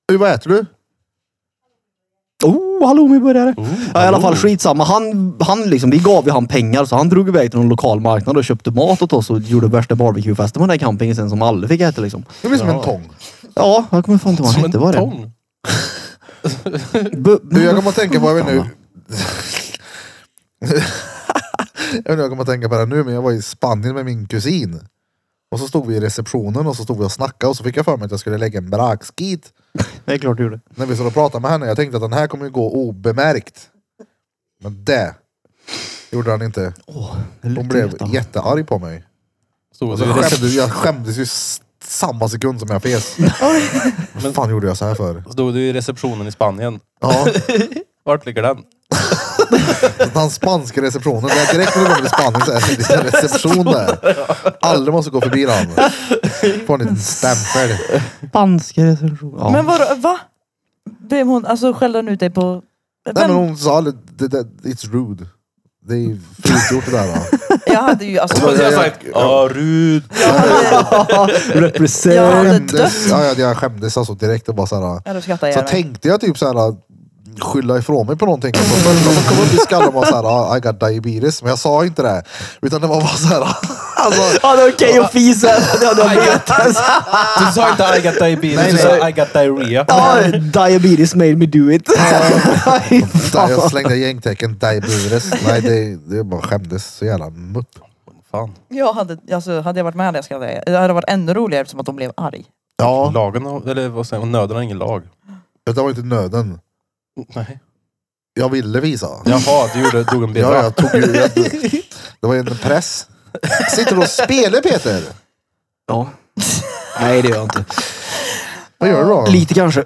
S1: Du, vad äter du?
S2: Oh, halloumiburgare.
S3: Oh,
S2: Ja, i alla fall
S3: hallå.
S2: skitsamma. Han, han liksom, vi gav ju han pengar så han drog iväg till någon lokal marknad och köpte mat åt oss och gjorde värsta barbecuefesten på den där campingen sen som alla fick äta liksom.
S1: Det blir som en
S3: Ja.
S1: tång.
S2: Ja, jag kommer fan inte ihåg vad
S3: Som
S2: han hette.
S3: en
S2: Var det?
S3: tång.
S2: Bu-
S1: Du, jag kommer att tänka på, jag vet nu. jag vet inte, jag kommer att tänka på det här nu, men jag var i Spanien med min kusin. Och så stod vi i receptionen och så stod vi och snackade och så fick jag för mig att jag skulle lägga en brakskit
S2: Det är klart du gjorde.
S1: när vi stod och pratade med henne. Jag tänkte att den här kommer ju gå obemärkt. Men det gjorde han inte. Hon blev jättearg på mig.
S3: Stod
S1: Och
S3: det
S1: så
S3: i recep-
S1: skämdes, jag skämdes ju s- samma sekund som jag fes. Vad fan gjorde jag så här för?
S3: Stod det i receptionen i Spanien.
S1: Ja,
S3: Vart ligger den?
S1: Den spanska receptionen. Det är direkt när du kommer till Spanien så är det en liten reception där. Aldrig måste gå förbi den. Får en liten stämpel.
S2: Spanska recension. Ja.
S4: Men vadå, va? Blev hon, alltså skällde hon ut dig på...
S1: Nej men
S4: Vem?
S1: hon sa aldrig, det, det, it's rude. Det är ju fult gjort det där va.
S4: Jag hade ju alltså...
S3: Så jag sagt, ja Rud.
S4: Jag hade,
S2: Represent.
S4: Jag hade-
S1: Skämdes, ja, ja, jag skämdes alltså direkt och bara så här.
S4: ja, då skrattar jag
S1: Så
S4: ihjäl mig.
S1: tänkte jag typ så här skylla ifrån mig på någonting. Och så först när man kom upp i skallen var så här, "Ah, I got diabetes. Men jag sa inte det. Utan det var bara så här. Alltså,
S2: Ja, det är okej att fisa. Det hade diabetes.
S3: Du sa inte I got diabetes,
S1: Nej,
S3: du sa
S1: nej.
S3: I got diarrhea.
S2: Ja, diabetes made me do it. Fy
S1: där jag
S2: fan.
S1: slängde gängtecken diabetes. Nej det, det bara skämdes. Så jävla mupp.
S3: Fan.
S4: Jag hade, alltså, hade jag varit med hade jag skrattat ihjäl mig. Det hade varit ännu roligare eftersom att de blev arg.
S1: Ja.
S3: Lagen, har- eller vad säger man, nöden har ingen lag.
S1: Det var inte nöden.
S3: Nej.
S1: Jag ville visa.
S3: Jaha, du gjorde, drog en
S1: Ja,
S3: bira.
S1: jag tog ju, jag, det var ju en press. Sitter du och spelar Peter?
S2: Ja. Nej, det gör jag inte.
S1: Vad gör du då?
S2: Lite kanske.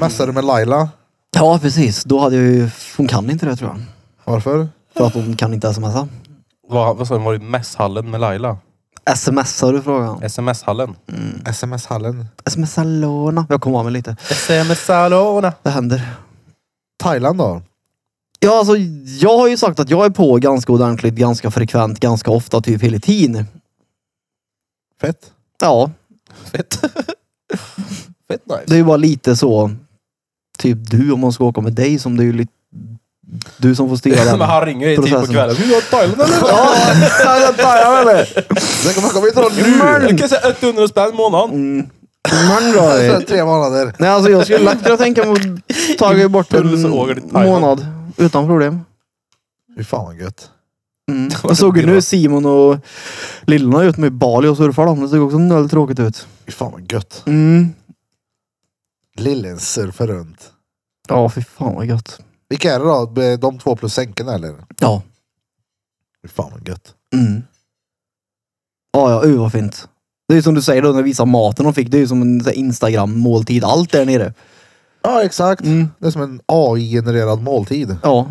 S1: Messar du med Laila?
S2: Ja, precis. Då hade jag ju... Hon kan inte det tror jag.
S1: Varför?
S2: För att hon kan inte smsa.
S3: Vad, vad sa du, var det mässhallen med Laila?
S2: Smsar du frågan?
S3: Sms-hallen?
S1: SMS-hallen.
S2: Smsar Lona. Jag kommer av mig lite.
S3: Sms-hallåna.
S2: Det händer.
S1: Thailand då?
S2: Ja, alltså, jag har ju sagt att jag är på ganska ordentligt, ganska frekvent, ganska ofta, typ hela tiden.
S1: Fett.
S2: Ja,
S3: Fett. Fett nice.
S2: det är ju bara lite så. Typ du, om man ska åka med dig, som det är ju lite... Du som får styra den.
S3: Men han ringer ju i tid på
S2: processen.
S3: kvällen. Du har Thailand eller?
S2: Ja, jag tar jag med det.
S1: Det kommer komma hit från nu!
S3: Jag kan säga 100 spänn i månaden.
S2: Mm. Man drar det.
S1: Sen tre månader.
S2: Nej, alltså jag skulle lätt kunna tänka mig att ta bort en
S3: Pulsåger till Thailand.
S2: månad utan problem.
S1: Fy fan vad gött.
S2: Mm. Jag såg ju nu Simon och Lillorna ute med Bali och surfar. De. Det såg också noll tråkigt ut.
S1: Fy fan vad gött.
S2: Mm.
S1: Lillen surfar runt.
S2: Ja, fy fan vad gött.
S1: Vilka är det då? De två plus sänkorna eller?
S2: Ja.
S1: Fy fan vad gött.
S2: Mm. Ja, ja, uh, vad fint. Det är ju som du säger då, när vi visar maten de fick. Det är ju som en sån här Instagram-måltid. Allt där nere.
S1: Ja exakt.
S2: Mm.
S1: Det är som en AI-genererad måltid.
S2: Ja.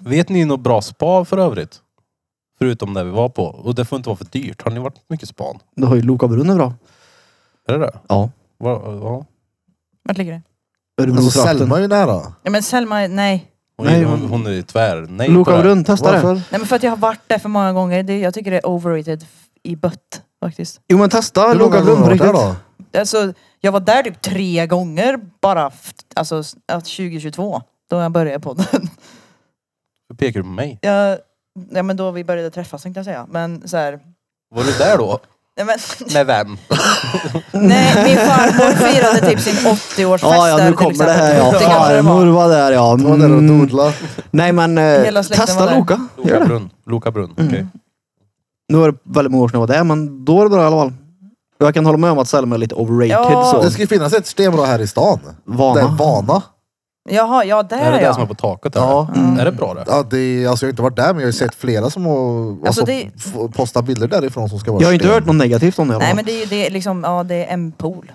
S3: Vet ni något bra spa för övrigt? Förutom det vi var på. Och det får inte vara för dyrt. Har ni varit mycket span?
S2: Du har ju Loka Brunnen bra.
S3: Är det det?
S2: Ja.
S3: Va, va?
S4: Vart ligger det?
S1: Alltså
S2: Örebrotrakten.
S1: Selma är ju nära.
S4: Ja, men Selma, nej.
S3: Hon,
S2: Nej,
S3: är- hon,
S2: men-
S3: hon är ju tvär nej på
S2: Loka
S3: det.
S2: Brunn, testa det.
S1: Varför?
S4: Nej men för att jag har varit där för många gånger. Det, jag tycker det är overrated f- i bött faktiskt.
S2: Jo men testa
S1: Hur många
S2: Loka
S1: gånger
S2: Brunn på
S1: har du
S2: riktigt.
S1: varit där då?
S4: Alltså, jag var där typ tre gånger bara f- alltså, s- att 2022. Då jag började på den.
S3: Hur pekar du på mig?
S4: Jag, ja men då vi började träffas tänkte jag säga. Men så här,
S3: Var du där då?
S4: nej, men,
S3: Med vem?
S4: nej min farmor firade typ sin 80-årsfest
S2: Ja, ja,
S4: där
S2: nu
S4: till
S2: kommer det
S4: exempel.
S2: här. Ja.
S4: Det kanske det var.
S2: Farmor var där ja.
S1: Du var där och
S2: Mm.
S1: dodla.
S2: Nej men eh,
S4: Hela släkten var
S2: testa
S4: där.
S2: Loka. Gör
S3: Loka
S2: det.
S3: Brunn. Loka Brunn.
S2: Mm.
S3: Okej.
S2: Nu var det väldigt många år sedan jag var där men då var det bra i alla fall. Jag kan hålla med om att Selma är lite overrated
S4: Ja.
S1: Det
S2: så.
S1: ska ju finnas ett stenbra här i stan.
S2: Vana.
S1: Det är Vana.
S4: Jaha, ja
S3: Är
S4: där
S3: det
S4: ja.
S3: det som Mm. är på taket? eller?
S1: Ja.
S3: Är det bra det?
S1: Ja, det, är- alltså jag har inte varit där men jag har ju sett flera som har alltså,
S4: Alltså, det-
S1: f- postat bilder därifrån som ska vara
S2: Jag har inte
S1: sten.
S2: hört något negativt om det. i alla
S4: Nej
S2: fall.
S4: men det är ju det är liksom, ja det är en pool.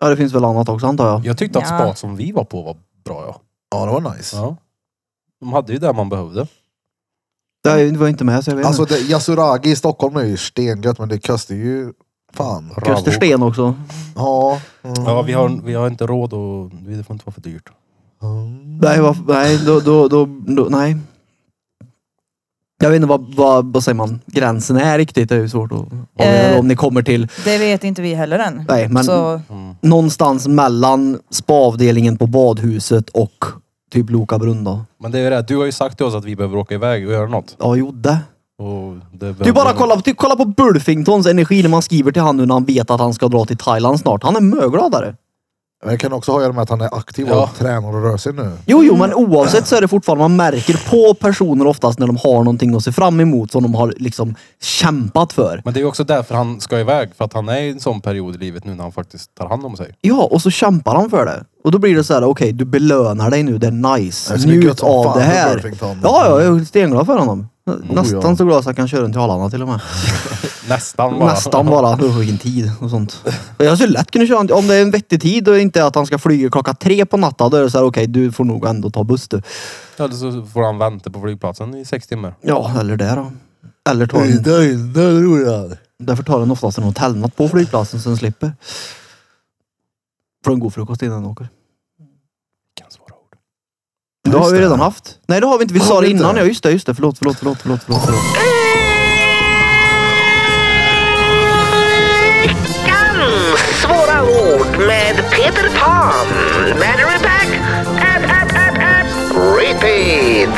S2: Ja det finns väl annat också antar jag.
S3: Jag tyckte att
S4: Ja.
S3: spat som vi var på var bra ja.
S1: Ja det var nice.
S3: ja. De hade ju det man behövde.
S2: Det här var inte med så jag vet
S1: Alltså
S2: inte.
S1: det, Yasuragi i Stockholm är ju stengött men det kostar ju fan.
S2: Östersten också.
S1: Ja. Mm.
S3: Ja, vi har, vi har inte råd och det får inte vara för dyrt.
S1: Mm.
S2: Nej, vad- nej då, då, då, då, nej. Jag vet inte vad, vad, vad säger man, gränsen är riktigt. Det är ju svårt att avgöra
S4: Eh.
S2: om ni kommer till.
S4: Det vet inte vi heller än.
S2: Nej, men-
S4: Så,
S2: någonstans mellan spaavdelningen på badhuset och typ Loka brunn då.
S3: Men det är ju det, du har ju sagt till oss att vi behöver åka iväg och göra något.
S2: Ja, jo det.
S3: Och det
S2: Du bara kolla, du, kolla på Bulfingtons energi när man skriver till han nu när han vet att han ska dra till Thailand snart. Han är mögladare.
S1: Men det kan också ha att göra med att han är aktiv
S3: Ja.
S1: och tränar och rör sig nu.
S2: Jo, jo,
S1: Mm.
S2: men oavsett så är det fortfarande, man märker på personer oftast när de har någonting att se fram emot som de har liksom kämpat för.
S3: Men det är ju också därför han ska iväg. För att han är i en sån period i livet nu när han faktiskt tar hand om sig.
S2: Ja, och så kämpar han för det. Och då blir det så här, okej, du belönar dig nu, det är nice.
S1: Det ska bli gött
S2: Njut
S1: som
S2: av
S1: fan
S2: det
S1: för
S2: här.
S1: Burfington.
S2: Ja, ja, jag är stenglad för honom. Nästan
S1: Mm. Oh, ja.
S2: så glad så jag kan köra den till Arlanda till och med.
S3: Nästan bara.
S2: Nästan bara. Usch, Vilken tid och sånt. Jag skulle lätt kunna köra, en- om det är en vettig tid och inte att han ska flyga klockan tre på natten, då är det så här, okej du får nog ändå ta buss du.
S3: Eller så får han vänta på flygplatsen i sex timmar.
S2: Ja, eller det då. Eller ta
S1: Det är
S2: en,
S1: det är roligt.
S2: därför tar den oftast en hotellnatt på flygplatsen så den slipper. Får en god frukost innan den åker.
S3: Kan svara ord.
S2: Det har
S1: just
S2: vi
S1: det.
S2: redan haft. Nej det har vi inte, vi
S1: Har
S2: sa
S1: vi
S2: det
S1: inte?
S2: innan. Ja just det, just det. Förlåt, förlåt, förlåt, förlåt, förlåt. förlåt.
S6: Veckans svåra ord med Peter Pan. Battery pack. App, app, app, app. Repeat.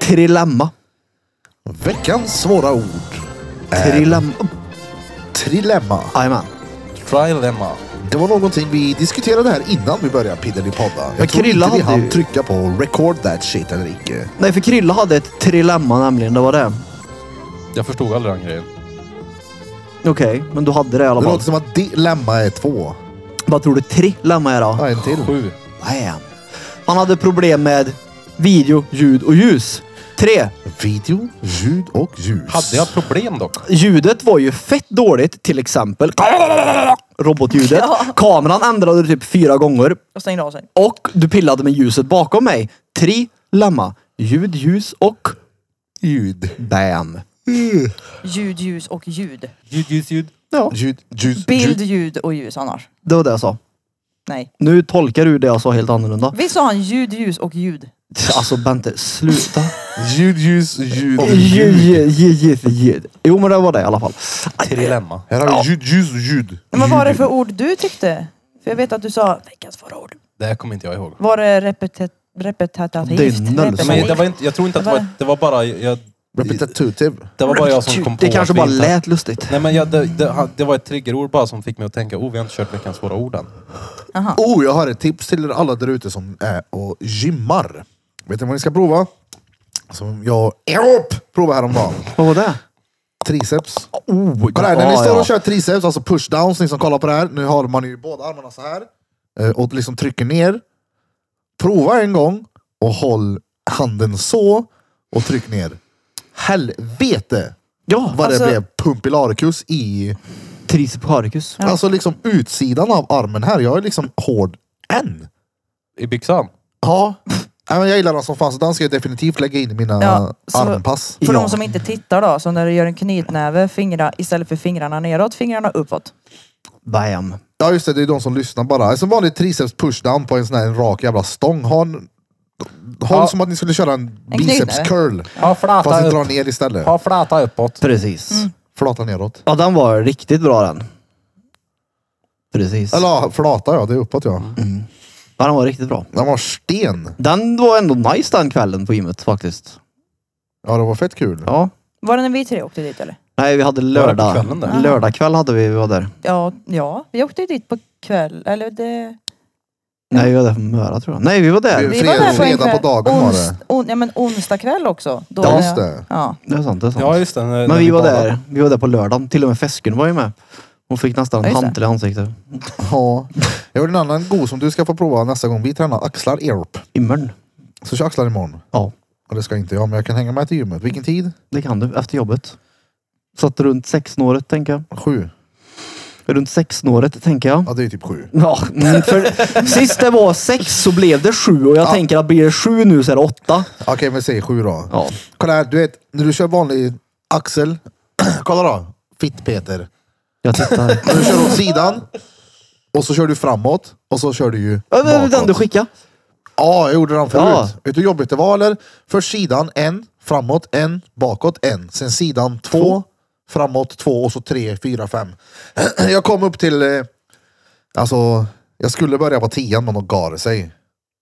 S2: Trilemma.
S1: Veckans svåra ord.
S2: Trilemma.
S1: Trilemma.
S2: Jajamän.
S3: Trilemma.
S1: Det var någonting vi diskuterade här innan vi började Piddelipodda.
S2: Men
S1: Jag tror
S2: Krilla
S1: inte vi
S2: hade
S1: hann
S2: ju-
S1: trycka på record that shit eller icke.
S2: Nej för Krilla hade ett trilemma nämligen, det var det.
S3: Jag förstod aldrig den grejen.
S2: Okej, men du hade det i alla
S1: Det
S2: fall.
S1: låter som att dilemma är två.
S2: Vad tror du trilemma är då?
S1: Ja, en till.
S3: Sju.
S2: Bam. Han hade problem med video, ljud och ljus. Tre.
S1: Video, ljud och ljus.
S3: Hade jag problem dock?
S2: Ljudet var ju fett dålligt, till exempel robotljudet. Kameran ändrade du typ fyra gånger
S4: och stängde av sig.
S2: och du pillade med ljuset bakom mig. Tre lemma. Ljud, ljus och
S1: ljud?
S2: bam.
S4: Ljud, ljus och ljud.
S3: Ljud, ljud, ljud.
S2: Ja,
S1: Ljud, ljus, ljud.
S4: Bild, ljud och ljus annars.
S2: det var det jag sa.
S4: Nej.
S2: Nu tolkar du det jag sa helt annorlunda.
S4: Visst sa han ljud, ljus och ljud?
S2: Alltså Bente, sluta.
S1: Ljud, ljus, ljud. och
S2: Ljud,
S1: ljud.
S2: ljud, ljud, ljud. Jo men det var det i alla fall.
S3: Trilemma.
S1: Här har vi ljud, ljus och ljud.
S4: Men vad var det
S1: Ljud.
S4: för ord du tyckte? För jag vet att du sa veckans förra ord.
S3: Det här kommer inte jag ihåg.
S4: Var det repetet, repetitativt?
S2: Det är noll
S4: Repetitivt?
S2: så.
S3: Men det var inte, jag tror inte att det var, det var bara, jag
S1: Repetitiv.
S3: Det var bara jag som kom på
S2: det kanske
S3: att vi
S2: bara
S3: inte-
S2: lät lustigt.
S3: Nej men jag, det, det, det var ett triggerord bara som fick mig att tänka, oh vi har inte kört veckans svåra ord än.
S1: Oh, jag har ett tips till er alla där ute som är och gymmar. Vet ni vad ni ska prova? Som jag Japp! provade häromdagen.
S2: Vad var det?
S1: Triceps.
S2: Oh,
S1: Kolla här, när ni
S2: ja,
S1: står
S2: ja.
S1: och kör triceps, alltså pushdowns, ni som kollar på det här. Nu har man ju båda armarna så här eh, och liksom trycker ner. Prova en gång och håll handen så och tryck ner. Helvete
S2: Ja,
S1: vad
S4: Alltså-
S1: det blev pumpilaricus i,
S2: triceparicus.
S1: alltså liksom utsidan av armen här. Jag är liksom hård än.
S3: I byxan.
S1: Ja. Nej, men jag gillar den som fanns. Den ska jag definitivt lägga in i mina
S4: Ja, så-
S1: armpass.
S4: För
S2: Ja.
S4: de som inte tittar då, så när du gör en knytnäve, fingrar, istället för fingrarna neråt, fingrarna uppåt.
S2: Bam.
S1: Ja just det, det är de som lyssnar bara. Som vanligt triceps pushdown på en sån här en rak jävla stång. Ha en, håll
S3: Ja.
S1: som att ni skulle köra en,
S4: En
S1: biceps
S4: knytnäve.
S1: curl.
S3: Ja, flata
S1: Fast ni
S3: upp.
S1: drar ner istället.
S3: Ja, flata uppåt.
S2: Precis.
S1: Flata neråt.
S2: Ja, den var riktigt bra den. Precis.
S1: Eller ja, flata ja, det är uppåt ja.
S2: Ja, den var riktigt bra.
S1: Den var sten.
S2: Den var ändå nice den kvällen på gymmet faktiskt.
S1: Ja det var fett kul.
S2: Ja.
S4: Var det när vi tre åkte dit eller?
S2: Nej, vi hade
S3: på
S2: lördag.
S3: kvällen där?
S2: Lördag kväll hade vi, vi var där.
S4: Ja, ja, vi åkte ju dit på kväll, eller det...
S2: Nej, vi var där på Möra tror jag. Nej, vi var där.
S1: Vi-
S4: Vi var
S1: Fredag-
S4: där på en
S1: fredag
S4: kväll.
S1: på dagen var det.
S4: on, ja men onsdag kväll också. Då
S1: Ja, just det.
S4: Ja.
S2: Det är sant, det är sant.
S3: Ja, just det. när- när
S2: Men vi var
S3: badade.
S2: där. Vi var där på lördagen. Till och med Fesken var ju med. Hon fick nästan
S4: Ja, just det.
S2: hantel i ansiktet.
S1: Ja. Jag gjorde en annan god som du ska få prova nästa gång. Vi tränar axlar erop.
S2: Immern.
S1: Så kör axlar imorgon.
S2: Ja,
S1: Och det ska inte jag, men jag kan hänga med till gymmet. Vilken tid?
S2: det kan du. Efter jobbet. Satt runt sexsnåret tänker jag.
S1: Sju.
S2: Runt sexsnåret tänker jag.
S1: Ja det är typ sju.
S2: Ja, mm, för sist det var sex så blev det sju och jag tänker att blir det sju nu så är det åtta.
S1: Okej men säg sju då.
S2: Ja.
S1: Kolla här, du vet när du kör vanlig axel. Kolla då. Fitt Peter.
S2: Jag tittar.
S1: Men Du kör åt sidan. Och så kör du framåt. Och så kör du ju
S2: Ja, det är Den du
S1: bakåt.
S2: skickade.
S1: Ja, jag gjorde den förut.
S2: Ja.
S1: Vet du hur jobbigt det var eller? Först sidan, en. Framåt, en. Bakåt, en. Sen sidan, två. Framåt, två. Och så tre, fyra, fem. jag kom upp till... Eh, alltså, jag skulle börja på tian men de gav sig.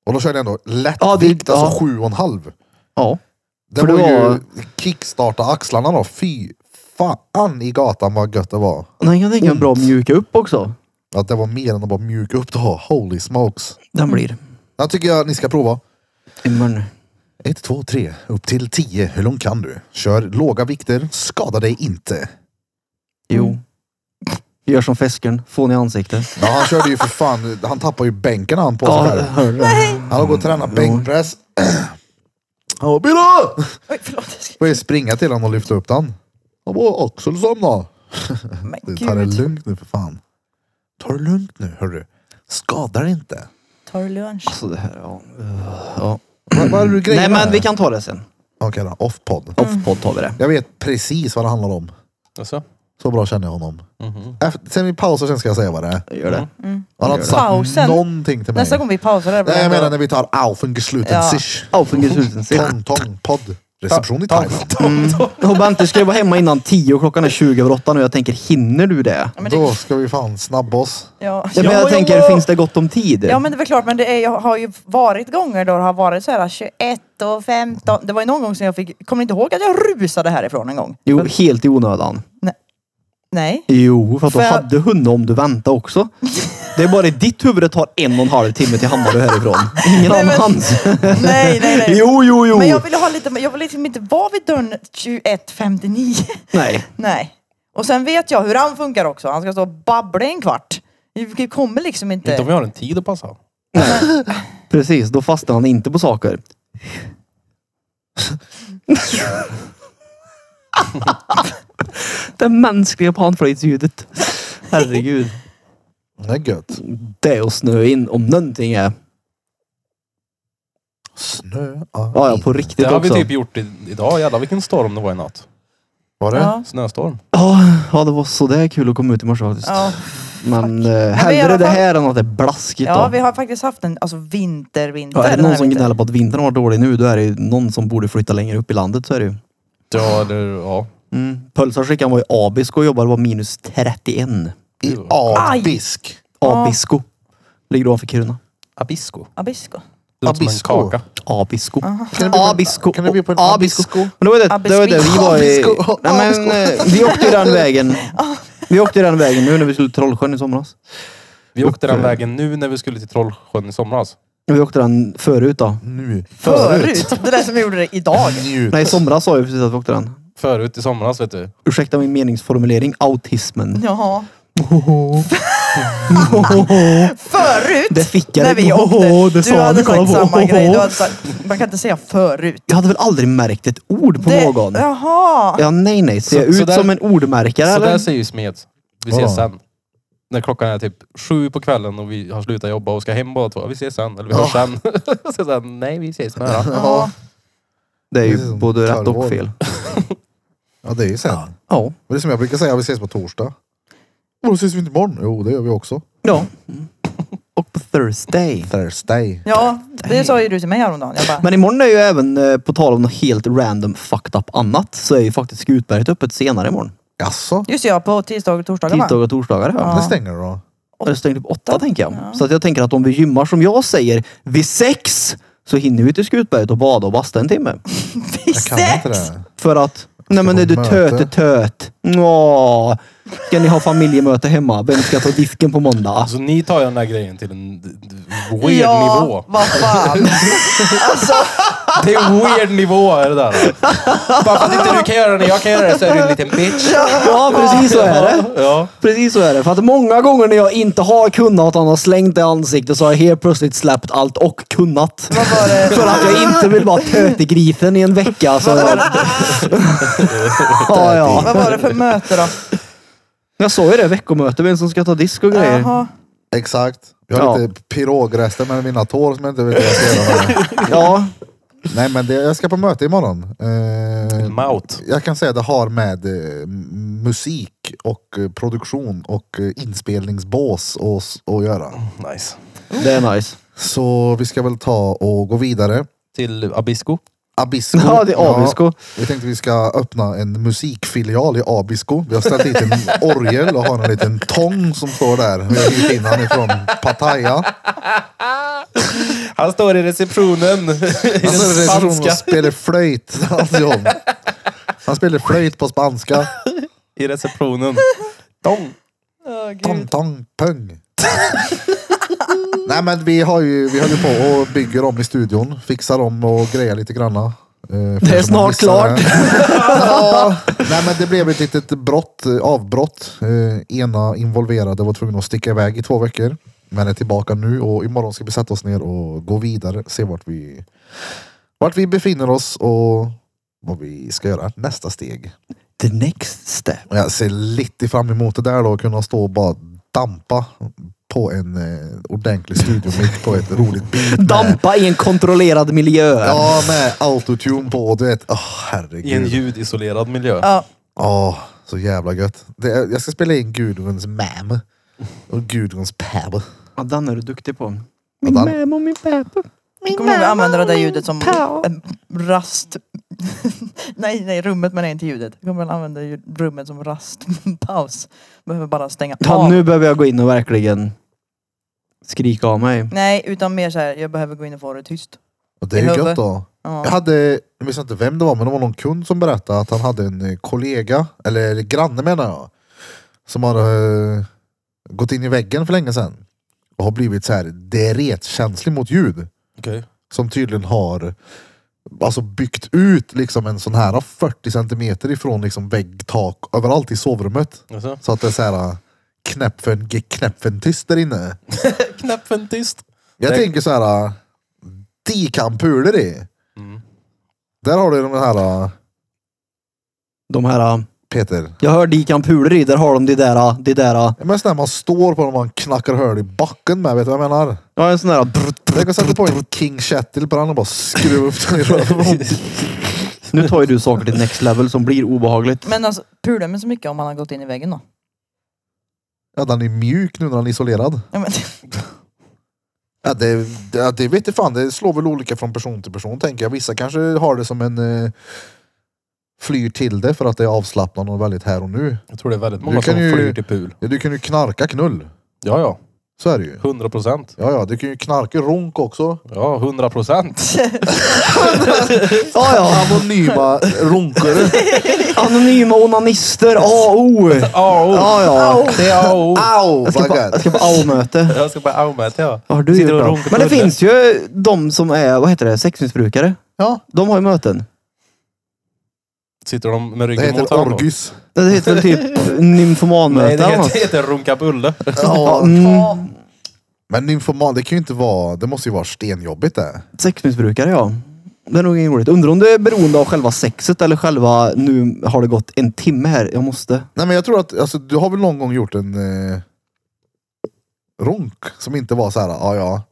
S1: Och då körde jag ändå
S2: Ja, det-
S1: lättvikt, alltså
S2: ja.
S1: sju och en halv.
S2: Ja.
S1: Det
S2: För det
S1: var ju
S2: var-
S1: kickstarta axlarna då. Fy fan i gatan vad gött det var.
S2: Den kan tänka mig bra att mjuka upp också.
S1: Att det var mer än att bara mjuka upp då. Holy smokes.
S2: Den blir.
S1: Den tycker jag ni ska prova.
S2: Imorgon.
S1: 1, 2, 3, upp till 10. Hur långt kan du? Kör låga vikter, skada dig inte.
S2: Jo. Mm. Gör som Fesken. Fån i ansiktet.
S1: Ja, han körde ju för fan, han tappar ju bänken han på
S2: Ja,
S1: sig där.
S2: hör du det?
S1: Han har gått och tränat bänkpress. Han bara “Bira!”
S4: Oj, förlåt.
S1: Började springa till honom och lyfta upp den. Han bara “Axel somna.
S4: Men
S1: Du, Ta det
S4: gud.
S1: lugnt nu för fan. Ta det lugnt nu hörru. Skada dig inte.
S4: Tar du lunch?
S1: Alltså,
S2: Så det här, ja. Uh, ja.
S1: Vad, vad är det du grejer
S2: Nej men vi kan ta det sen.
S1: Okej då, off-podd.
S2: Mm. Off-podd tar vi det.
S1: Jag vet precis vad det handlar om.
S3: Jaså?
S1: Så bra känner jag honom.
S2: Mhm.
S1: Efter, sen vi pausar sen ska jag säga vad det är.
S2: Gör det.
S1: Han har inte sagt
S4: Pausen.
S1: någonting till mig.
S4: Nästa gång vi pausar där. blir
S1: Nej, jag
S4: det ändå-
S1: menar när vi tar Aufengesluten
S4: Ja.
S1: sich.
S2: Ja, fungerar sluten sen.
S1: Tong Tong podd. Reception i
S3: Ta-
S1: Thailand.
S2: Och Bente ska ju vara hemma innan tio och klockan är 20 över åtta nu. Jag tänker, hinner du det?
S4: Ja, men
S1: Då
S4: det,
S1: ska vi fan snabba oss.
S4: ja.
S2: Ja, men jag tänker, finns det gott om tid?
S4: ja men det är väl klart, men det är, jag har ju varit gånger då det har varit så här 21 och 15. Det var ju någon gång som jag fick, kommer ni inte ihåg att jag rusade härifrån en gång?
S2: Jo, helt i onödan.
S4: Nej.
S2: Jo, för att
S4: För
S2: du
S4: jag-
S2: hade hunnit om du väntade också. Det är bara i ditt huvud det tar en och en halv timme till Hammarö härifrån. Ingen
S4: Nej, men-
S2: annans.
S4: Nej, nej, nej.
S2: Jo, jo, jo.
S4: Men jag ville ha lite, jag ville liksom inte vara vid dörren 21.59.
S2: Nej.
S4: Nej. Och sen vet jag hur han funkar också. Han ska stå och babbla en kvart. Vi kommer liksom inte...
S3: Inte om vi har en tid att passa.
S2: Precis, då fastnar han inte på saker. det mänskliga panflöjtsljudet. Herregud.
S1: Det är gött.
S2: Det är att snö in om någonting är.
S1: Snö.
S2: Ja, ja på riktigt
S3: Det har vi
S2: också.
S3: typ gjort i, idag. Jävlar vilken storm det var i natt.
S1: Var det?
S4: Ja.
S3: Snöstorm.
S2: Ja, ja, det var sådär kul att komma ut i morse faktiskt.
S4: Ja.
S2: Men eh,
S4: Men vi i
S2: hellre
S4: alla
S2: det
S4: fall-
S2: här än att det är blaskigt
S4: ja,
S2: då.
S4: vi har faktiskt haft en alltså, vinter, vinter.
S2: Ja, är det
S4: den här
S2: någon som
S4: vintern.
S2: gnäller på att vintern har varit dålig nu, då är det ju någon som borde flytta längre upp i landet. Så är det ju.
S3: Ja, eller ja.
S2: Mm. Pölsarskickan var i Abisko och jobbade var minus 31.
S1: I Adbisk.
S2: Abisko. Ligger ovanför Kiruna.
S3: Abisko.
S4: Abisko.
S3: Det låter som
S1: Abisko.
S3: en kaka.
S2: Abisko.
S1: Kan det bli på en-
S2: Abisko.
S1: kan det bli på en
S2: Och
S1: abisko?
S2: Men då var det, det, var det vi var i...
S1: Abisko.
S2: Nej, men, eh, vi åkte ju den vägen. Vi åkte ju den vägen nu när vi skulle till Trollsjön i somras.
S3: Vi åkte den vägen nu när vi skulle till Trollsjön i somras.
S2: Vi åkte den förut då.
S1: Nu.
S4: Förut. Det där som vi gjorde det idag.
S1: Njut.
S2: Nej, i somras sa jag precis att vi åkte den.
S3: Förut i somras vet du.
S2: Ursäkta min meningsformulering. Autismen.
S4: Jaha. förut.
S2: Det fick jag.
S4: När vi åkte.
S2: Åh, det sa
S4: du
S2: han,
S4: hade
S2: det
S4: sagt
S2: kom.
S4: samma grej. Du hade sagt, man kan inte säga förut.
S2: Jag hade väl aldrig märkt ett ord på
S4: Det-
S2: någon.
S4: Jaha.
S2: Ja, nej, nej. Ser
S3: Så-
S2: jag ut
S3: så där-
S2: som en ordmärkare
S3: Så där
S2: eller?
S3: säger ju Smed. Vi
S1: Ja.
S3: ses sen. När klockan är typ sju på kvällen och vi har slutat jobba och ska hem båda två. Vi ses sen. Eller vi hörs sen. så jag nej vi ses med det här.
S1: Ja.
S2: Det är
S1: Det är
S2: ju
S3: Mm,
S1: som
S2: både rätt och
S1: tolvår.
S2: fel.
S1: ja, det är ju sen.
S2: Ja.
S1: Men det är som jag brukar säga, vi ses på torsdag. Och då ses vi inte imorgon. Jo, det gör vi också.
S2: Ja. Och på Thursday.
S1: Thursday.
S4: Ja, det sa ju du till mig häromdagen. Jag bara,
S2: Men imorgon är ju även, eh, på tal om något helt random fucked up annat, så är ju faktiskt Skutberget öppet senare imorgon.
S1: Jaså?
S4: just det, ja, på tisdagar och torsdagar va?
S2: Tisdagar och torsdagar. Ja.
S1: Det stänger då.
S2: Och Det stänger upp åtta tänker jag. Så att jag tänker att om vi gymmar som jag säger, vid sex, så hinner vi till Skutberget och bada och basta en timme.
S4: I
S1: Jag kan inte
S4: sex!
S1: det.
S2: För att, nej men
S1: på
S2: är du
S1: möte.
S2: töte töt. Nå, ska ni ha familjemöte hemma? Vem ska ta disken på måndag?
S3: Så ni tar ju den där grejen till en d- d- weird nivå.
S4: Ja, vad fan.
S3: Det är en weird nivå är det där. Bara för att inte du kan göra det, jag kan göra det så är du en liten bitch.
S2: Ja, precis så är det.
S3: Ja.
S2: Precis så är det. För att många gånger när jag inte har kunnat han har slängt det i ansiktet så har jag helt plötsligt släppt allt och kunnat.
S4: Vad var det?
S2: För att jag inte vill vara tötegrisen i en vecka. Så jag... ja, ja.
S4: Vad var det för möte då?
S2: jag sa ju det, veckomöte, vem som ska ta disk och grejer.
S4: Jaha.
S1: Exakt. Jag har
S2: Ja.
S1: lite pirogrester mellan mina tår som jag inte vet hur jag ska göra med.
S2: Ja,
S1: Nej, men det, jag ska på möte imorgon.
S2: Mm.
S1: Eh,
S3: Mout.
S1: jag kan säga att det har med eh, m- musik och eh, produktion och eh, inspelningsbås och s- att göra.
S2: Mm.
S3: Nice.
S2: det är nice.
S1: Så vi ska väl ta och gå vidare.
S3: Till Abisko.
S1: Abisko.
S2: Ja, det är Abisko.
S1: vi tänkte vi ska öppna en musikfilial i Abisko. Vi har ställt dit en orgel och har en liten tång som står där. Vi har hyrt in han ifrån Pattaya.
S3: Han står i receptionen. I den
S1: Han står i receptionen
S3: Alltså, spanska.
S1: och spelar flöjt. Hans jobb. Han spelar flöjt på spanska.
S3: I receptionen. Dong.
S1: Tong, tong, pung. Nej men vi har ju, vi håller på och bygger om i studion. Fixar om och grejer lite granna. Eh, för er som har
S2: snart
S1: missat
S2: klart.
S1: det. ja, nej men det blev ett litet brott, eh, avbrott. Eh, ena involverade var tvungen att sticka iväg i två veckor. Men är tillbaka nu och imorgon ska vi sätta oss ner och gå vidare. Se vart vi, vart vi befinner oss och vad vi ska göra nästa steg.
S2: The next step.
S1: Och Jag ser lite fram emot det där då, att kunna stå och bara dampa på en eh, ordentlig studiomick på ett roligt beat. med-
S2: Dampa i en kontrollerad miljö.
S1: Ja, med autotune på. Du vet, åh
S3: I en
S1: herregud.
S3: ljudisolerad miljö.
S4: Ja,
S1: Åh, så jävla gött. Det är, jag ska spela in Gudruns mam och Gudruns pab.
S2: Ja, den är du duktig på.
S1: Min Ja, den-
S2: och min pappa.
S4: kommer ihåg att använda det där ljudet som en rast... nej, nej, rummet menar jag inte ljudet. Jag kommer att använda ljud- rummet som rastpaus. Behöver bara stänga
S2: Ja,
S4: av.
S2: nu behöver jag gå in och verkligen skrika av mig.
S4: Nej, utan mer så här, jag behöver gå in och få det tyst.
S1: Och det är
S4: I
S1: ju gött
S4: huvudet.
S1: då.
S4: Ja.
S1: Jag hade, jag minns inte vem det var, men det var någon kund som berättade att han hade en eh, kollega, eller granne menar jag, som har eh, gått in i väggen för länge sedan. Och har blivit så här deretkänslig mot ljud.
S3: Okej.
S1: Som tydligen har alltså byggt ut liksom en sån här 40 centimeter ifrån liksom vägg, tak, överallt i sovrummet.
S3: Alltså,
S1: Så att det är så här eh, knäpp för en, ge- knäpp för en tyst där inne.
S3: Knäppen tyst.
S1: Jag
S3: Det-
S1: tänker så här. äh, Dikampuler i.
S3: Mm.
S1: Där har du de här äh,
S2: De här, äh,
S1: Peter.
S2: jag hör Dikan Puler i, där har de de där, äh, de där. äh,
S1: Ja, Men sådär man står på dem man knackar hål i backen med. Vet du vad jag menar?
S2: Ja, en sån där. äh, brr, brr.
S1: Jag kan sätta på en King Kettle på den och bara skruva upp den i röven.
S2: Nu tar ju du saker till next level som blir obehagligt.
S4: Men alltså, pular med så mycket om man har gått in i väggen då?
S1: Ja, den är mjuk nu när den är isolerad.
S4: Ja, men,
S1: Ja, det, det, det vet jag fan, det slår väl olika från person till person tänker jag. Vissa kanske har det som en eh, flyr till det för att det är avslappnande och väldigt här och nu.
S3: Jag tror det är väldigt
S1: Du
S3: många
S1: kan
S3: som
S1: ju-
S3: flyr till pul.
S1: Ja, Du kan ju knarka knull.
S3: Ja, ja.
S1: Så är det ju.
S3: 100 procent.
S1: Ja, ja, du kan ju knarka runk också.
S3: Ja, 100 procent.
S2: Ja, ja.
S1: Anonyma runkare.
S2: Anonyma onanister, AO.
S3: Au!
S2: Ja, ja.
S3: Det är au!
S1: Au!
S2: Jag ska på, jag
S1: Vad
S2: ska på AO-möte.
S3: Jag ska bara au med till jag.
S2: Vad har du
S3: Sitter
S2: gjort
S3: och
S2: då?
S3: runkar
S2: Men det
S3: på huvudet.
S2: finns ju de som är, vad heter det, sexmissbrukare.
S1: Ja,
S2: De har ju möten.
S3: Sitter de med
S1: det
S3: ryggen mot
S1: heter
S3: varandra?
S1: orgis.
S2: Det heter väl typ
S3: Nej,
S2: nymfomanmöte
S3: det
S2: eller något.
S3: heter, det heter runka bulle.
S2: Ja,
S1: Ja.
S2: mm,
S1: Men nymfoman, det kan ju inte vara... Det måste ju vara stenjobbigt det.
S2: sexmissbrukare ja. Det är nog inget roligt. Undrar om det är beroende av själva sexet eller själva, nu har det gått en timme här, jag måste.
S1: Nej men jag tror att, alltså du har väl någon gång gjort en eh, runk som inte var så här, ja ja,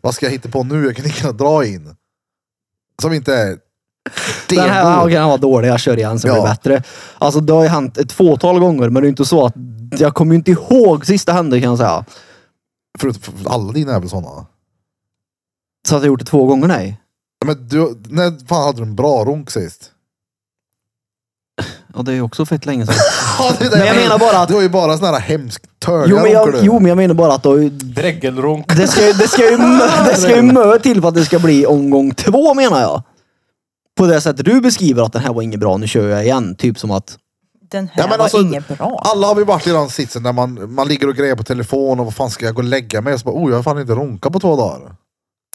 S1: vad ska jag hitta på nu? Jag kan inte dra in. Som inte är...
S2: Den här
S1: Demo.
S2: ja, okej, den var dålig, jag kör igen så blir det
S1: Ja.
S2: bättre. Alltså det har ju hänt ett fåtal gånger men det är ju inte så att jag kommer ju inte ihåg sist det hände kan jag säga.
S1: Förutom för alla dina är väl sådana?
S2: Så att jag gjort det två gånger nej.
S1: Men du, när fan hade du en bra runk sist?
S2: Ja det är ju också fett länge sedan.
S1: Ja, det är det
S2: Men jag menar bara att-
S1: Du har ju bara sådana här hemskt
S2: Jo
S1: törliga
S2: men jag,
S1: runkar du.
S2: jo, men jag menar bara att det har ju
S3: Dregelrunk.
S2: Det ska, ju- det, ska ju mö, det ska ju mö till för att det ska bli omgång två menar jag. På det sättet du beskriver att den här var inget bra, nu kör jag igen. Typ som att,
S4: Den här
S1: Ja, men
S4: var
S1: alltså,
S4: inget bra.
S1: Alla har vi varit i den sitsen där man, man ligger och grejer på telefon och vad fan ska jag gå och lägga mig? Och så bara, oh jag har fan inte runkat på två dagar.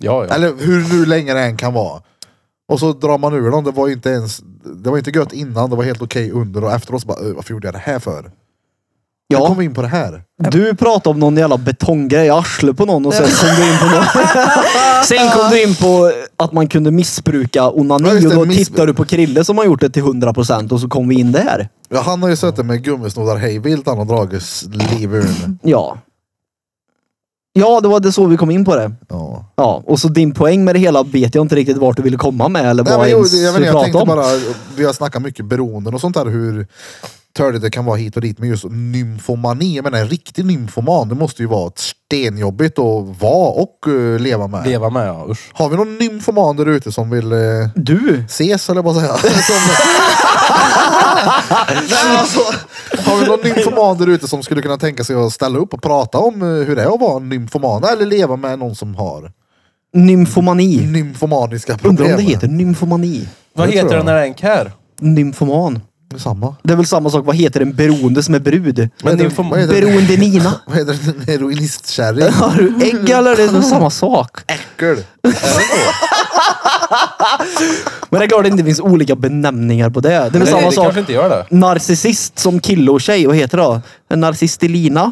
S3: Ja, ja.
S1: Eller hur nu länge det än kan vara. Och så drar man ur dem. Det var ju inte ens, det var inte gött innan, det var helt okej under och efteråt så bara, "Ö, varför gjorde jag det här för? Ja. Jag
S2: ja,
S1: kom in på det här.
S2: du pratade om någon jävla betonggrej i arslet på någon och sen kom du in på någon. Sen kom du in på att man kunde missbruka
S1: Ja,
S2: onani
S1: just
S2: och
S1: det,
S2: då
S1: miss-
S2: tittar du på Krille som har gjort det till 100% och så kom vi in där.
S1: Ja, han har ju suttit med gummisnoddar hej vilt han har dragit s- liv ur den.
S2: Ja. Ja, det var det så vi kom in på det.
S1: ja.
S2: Ja, och så din poäng med det hela vet jag inte riktigt vart du ville komma med eller
S1: Nej,
S2: vad
S1: men jo,
S2: ens
S1: det- jag, vet,
S2: vi
S1: inte, jag
S2: pratade
S1: tänkte
S2: om.
S1: bara, vi har snackat mycket beroenden och sånt där hur törligt det kan vara hit och dit. Men just nymfomani, jag menar en riktig nymfoman, det måste ju vara stenjobbigt att vara och eh, leva med.
S3: Leva med ja, usch.
S1: Har vi någon nymfoman där ute som vill eh,
S2: Du!
S1: ses eller vad säger jag? Som... Nej, men alltså, har vi någon nymfoman där ute som skulle kunna tänka sig att ställa upp och prata om eh, hur det är att vara en nymfoman eller leva med någon som har
S2: Nymfomani.
S1: nymfomaniska Mm, problem?
S2: Undrar om det heter nymfomani?
S3: Vad
S1: Det tror
S3: heter
S1: jag.
S3: den när den kär?
S2: Nymfoman.
S1: Detsamma.
S2: Det är väl samma sak, vad heter en beroende som är brud?
S3: Men
S1: heter-
S3: nymfom-
S1: vad heter-
S2: Beroende Nina.
S1: Vad heter det? En heroinistkärring?
S2: Har
S3: Mm.
S2: du ägg eller? Det är nog samma sak.
S1: Äckel.
S2: Men det är klart det inte finns olika benämningar på det. Det är väl
S3: Nej,
S2: samma
S3: det
S2: sak.
S3: kanske inte gör det.
S2: Narcissist som kille och tjej, vad heter det då? En narcistelina?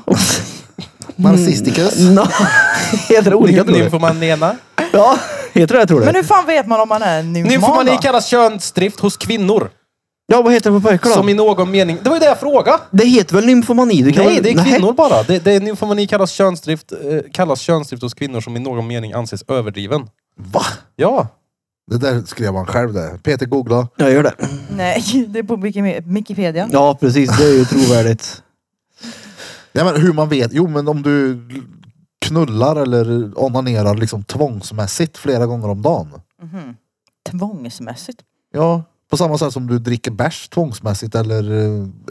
S1: Narcistikus.
S2: Nå, heter det olika tror du?
S3: Nymfomanena.
S2: Ja, heter det tror
S4: Men
S2: du?
S4: hur fan vet man om man är en nymfoman
S3: Nymfomani
S4: då?
S3: kallas könsdrift hos kvinnor.
S2: Ja, vad heter det på pojkar
S3: Som i
S2: då?
S3: någon mening... Det var ju det jag frågade!
S2: Det heter väl nymfomani? Du kan
S3: Nej,
S2: väl-
S3: det är
S2: Nej.
S3: kvinnor bara. Det, det är nymfomani kallas könsdrift, eh, kallas könsdrift hos kvinnor som i någon mening anses överdriven.
S1: Va?
S3: Ja.
S1: Det där skrev han själv det. Peter googla.
S2: Jag gör det.
S4: Nej, det är på Wiki- Wikipedia.
S2: Ja, precis. Det är ju trovärdigt.
S1: Nej men hur man vet. Jo men om du knullar eller onanerar liksom tvångsmässigt flera gånger om dagen.
S4: Tvångsmässigt.
S1: Ja, på samma sätt som du dricker bärs tvångsmässigt eller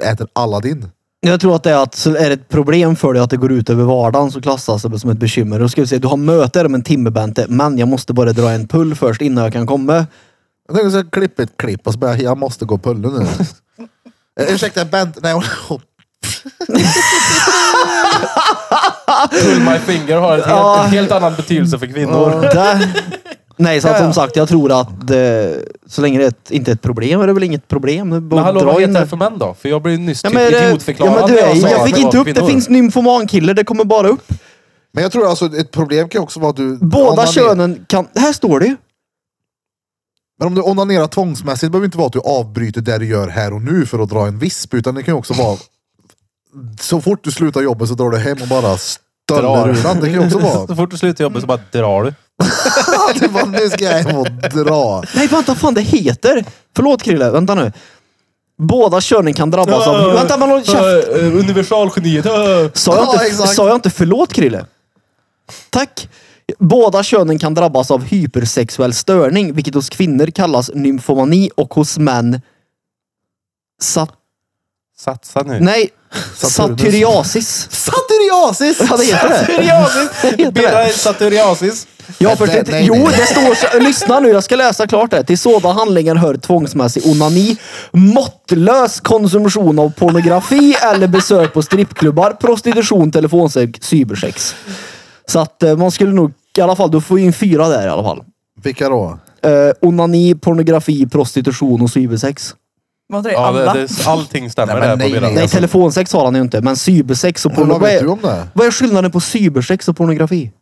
S1: eh, äter Aladdin.
S2: Jag tror att det är att så är det ett problem för dig att det går ut över vardagen så klassas det som ett bekymmer. Då ska vi se, du har möte om en timme Bente, men jag måste bara dra en pull först innan jag kan komma.
S1: Jag tänkte så klippa ett klipp och så bara, jag måste gå och pulla nu. Eh, Ursäkta Bent, nej hon-
S3: Pull my finger har ett helt, en helt annan betydelse för kvinnor.
S2: Där. Nej, så att som sagt, jag tror att eh, så länge det är ett, inte är ett problem är det väl inget problem. Det är bara
S3: Men hallå,
S2: att
S3: vad
S2: dra
S3: heter
S2: in
S3: det för män då? För jag blev nyss
S2: Ja,
S3: typ
S2: men, eh,
S3: idiotförklarad.
S2: ja, men du,
S3: när
S2: jag,
S3: sa
S2: jag
S3: att
S2: fick
S3: det
S2: inte
S3: var
S2: upp det.
S3: kvinnor.
S2: finns nymfomankiller, det kommer bara upp.
S1: Men jag tror alltså ett problem kan också vara att du...
S2: Båda
S1: onaner-
S2: könen kan... Här står det ju.
S1: Men om du onanerar tvångsmässigt behöver det inte vara att du avbryter det du gör här och nu för att dra en visp. Utan det kan ju också vara... Så fort du slutar jobbet så drar du hem och bara
S3: Drar.
S1: stöller ur den. Det kan ju också
S3: Så
S1: vara...
S3: fort du slutar jobbet så bara drar du.
S1: Du bara, nu ska jag hem och dra.
S2: Nej, vänta fan det heter. Förlåt Krille, vänta nu. Båda könen kan drabbas av... Vänta, men håll käften.
S3: eh, Universalgeniet.
S2: Sa jag,
S1: Ja,
S2: inte,
S1: exakt.
S2: sa jag inte förlåt Krille? Tack! Båda könen kan drabbas av hypersexuell störning, vilket hos kvinnor kallas nymfomani och hos män sat...
S3: Satsa nu.
S2: Nej,
S1: Saturnus.
S2: satyriasis.
S1: Satt i Psoriasis!
S2: Ja, det heter det.
S3: Saturiasis!
S2: Heter det?
S3: Bira saturiasis.
S2: Jag förstår
S1: Nej,
S2: inte.
S1: nej,
S2: Jo,
S1: nej.
S2: det står så. Lyssna nu, jag ska läsa klart det. Till sådana handlingar hör tvångsmässig onani, måttlös konsumtion av pornografi eller besök på strippklubbar, prostitution, telefonsex, cybersex. Så att eh, man skulle nog i alla fall, du får in fyra där i alla fall.
S1: Vilka då?
S2: Eh, onani, pornografi, prostitution och cybersex.
S4: Var inte det
S5: Ja,
S4: alla?
S5: det, det, allting stämmer
S1: Nej, men
S5: där på
S1: nej,
S5: Birra.
S1: nej.
S2: Nej, telefonsex har han ju inte, men cybersex och
S1: Hur
S2: pornografi.
S1: långt
S2: Vad
S1: Alltså.
S2: är,
S1: vet du om det?
S2: vad är skillnaden på cybersex och pornografi?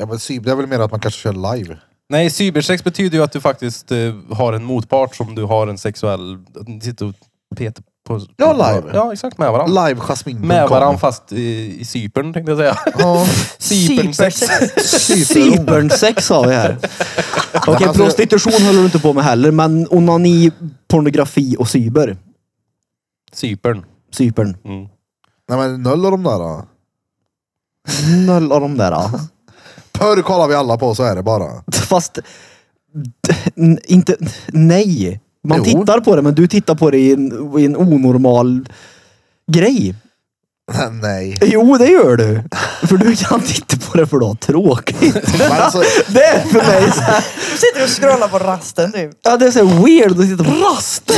S1: Ja, men cyb- det är väl mer att man kanske kör live.
S3: Nej, cybersex betyder ju att du faktiskt eh, har en motpart som du har en sexuell... att Ni sitter och petar på...
S1: Ja, live.
S3: Ja, exakt. Med varandra.
S1: Live Jasmine.
S3: Med varandra fast i, i Cypern tänkte jag säga.
S1: Ja,
S3: Cypernsex.
S1: Cypern.
S2: Cypernsex har vi här. Okej,
S1: Men alltså-
S2: prostitution håller du inte på med heller, men onani, pornografi och cyber.
S3: Cypern.
S2: Cypern.
S3: Mm.
S1: Nej men noll av de där. då.
S2: Noll av de där. ja.
S1: Porr kollar vi alla på, så är det bara.
S2: Fast n- inte... Nej. Man
S1: Jo.
S2: tittar på det, men du tittar på det i en, i en onormal grej.
S1: Nej.
S2: Jo, det gör du. För du kan titta på det för du har tråkigt.
S1: Men alltså,
S2: Det är för mig så här,
S4: Du sitter och scrollar på rasten typ. du.
S2: ja, det är så här weird att sitta på rasten.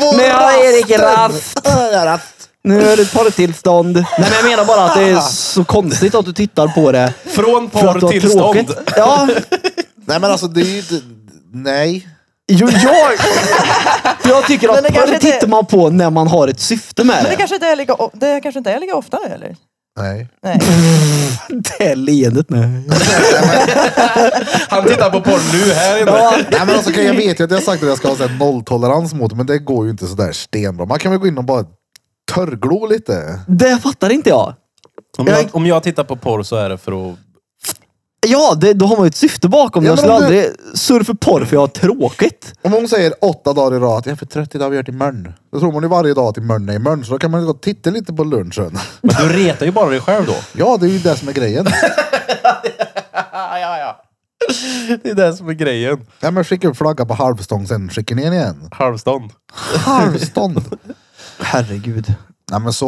S1: vår
S2: Nu har Erik rast.
S1: rast.
S2: Nu är det ett porrtillstånd. Nej men jag menar bara att det är så konstigt att du tittar på det.
S3: Från
S2: För att du
S3: porr
S2: har
S3: till stånd.
S2: tråkigt. Ja.
S1: Nej men alltså det är ju inte... Nej.
S2: Jo, jag, jag tycker
S4: Men det
S2: att
S4: kanske
S2: porr
S4: inte-
S2: tittar man på när man har ett syfte med
S4: Men det
S2: det.
S4: kanske inte är lika, o- det kanske inte är lika ofta nu eller?
S1: Nej.
S4: Nej.
S2: Det är leendet nej.
S3: Han tittar på porr nu här inne.
S1: Nej men alltså okej, jag vet ju att jag har sagt att jag ska ha så här nolltolerans mot det, men det går ju inte sådär stenbra. Man kan väl gå in och bara törrglo lite.
S2: Det fattar inte jag.
S3: Om
S2: Jag-
S3: jag, om jag tittar på porr så är det för att...
S2: Ja, det, då har man ju ett syfte bakom.
S1: Ja,
S2: jag
S1: men
S2: skulle
S1: om du-
S2: aldrig surfa porr för jag har tråkigt.
S1: Om hon säger åtta dagar i rad att jag är för trött idag, vi gör till imorgon. Då tror man ju varje dag att imorgon är imorgon, så då kan man ju gå och titta lite på lunchen.
S3: Men du retar ju bara dig själv då.
S1: Ja, det är ju det som är grejen.
S3: Det är det som är grejen.
S1: Ja, men skicka upp flagga på halvstång sen, skicka ner igen.
S3: Halvstånd.
S1: Halvstånd!
S2: Herregud.
S1: Nej men så,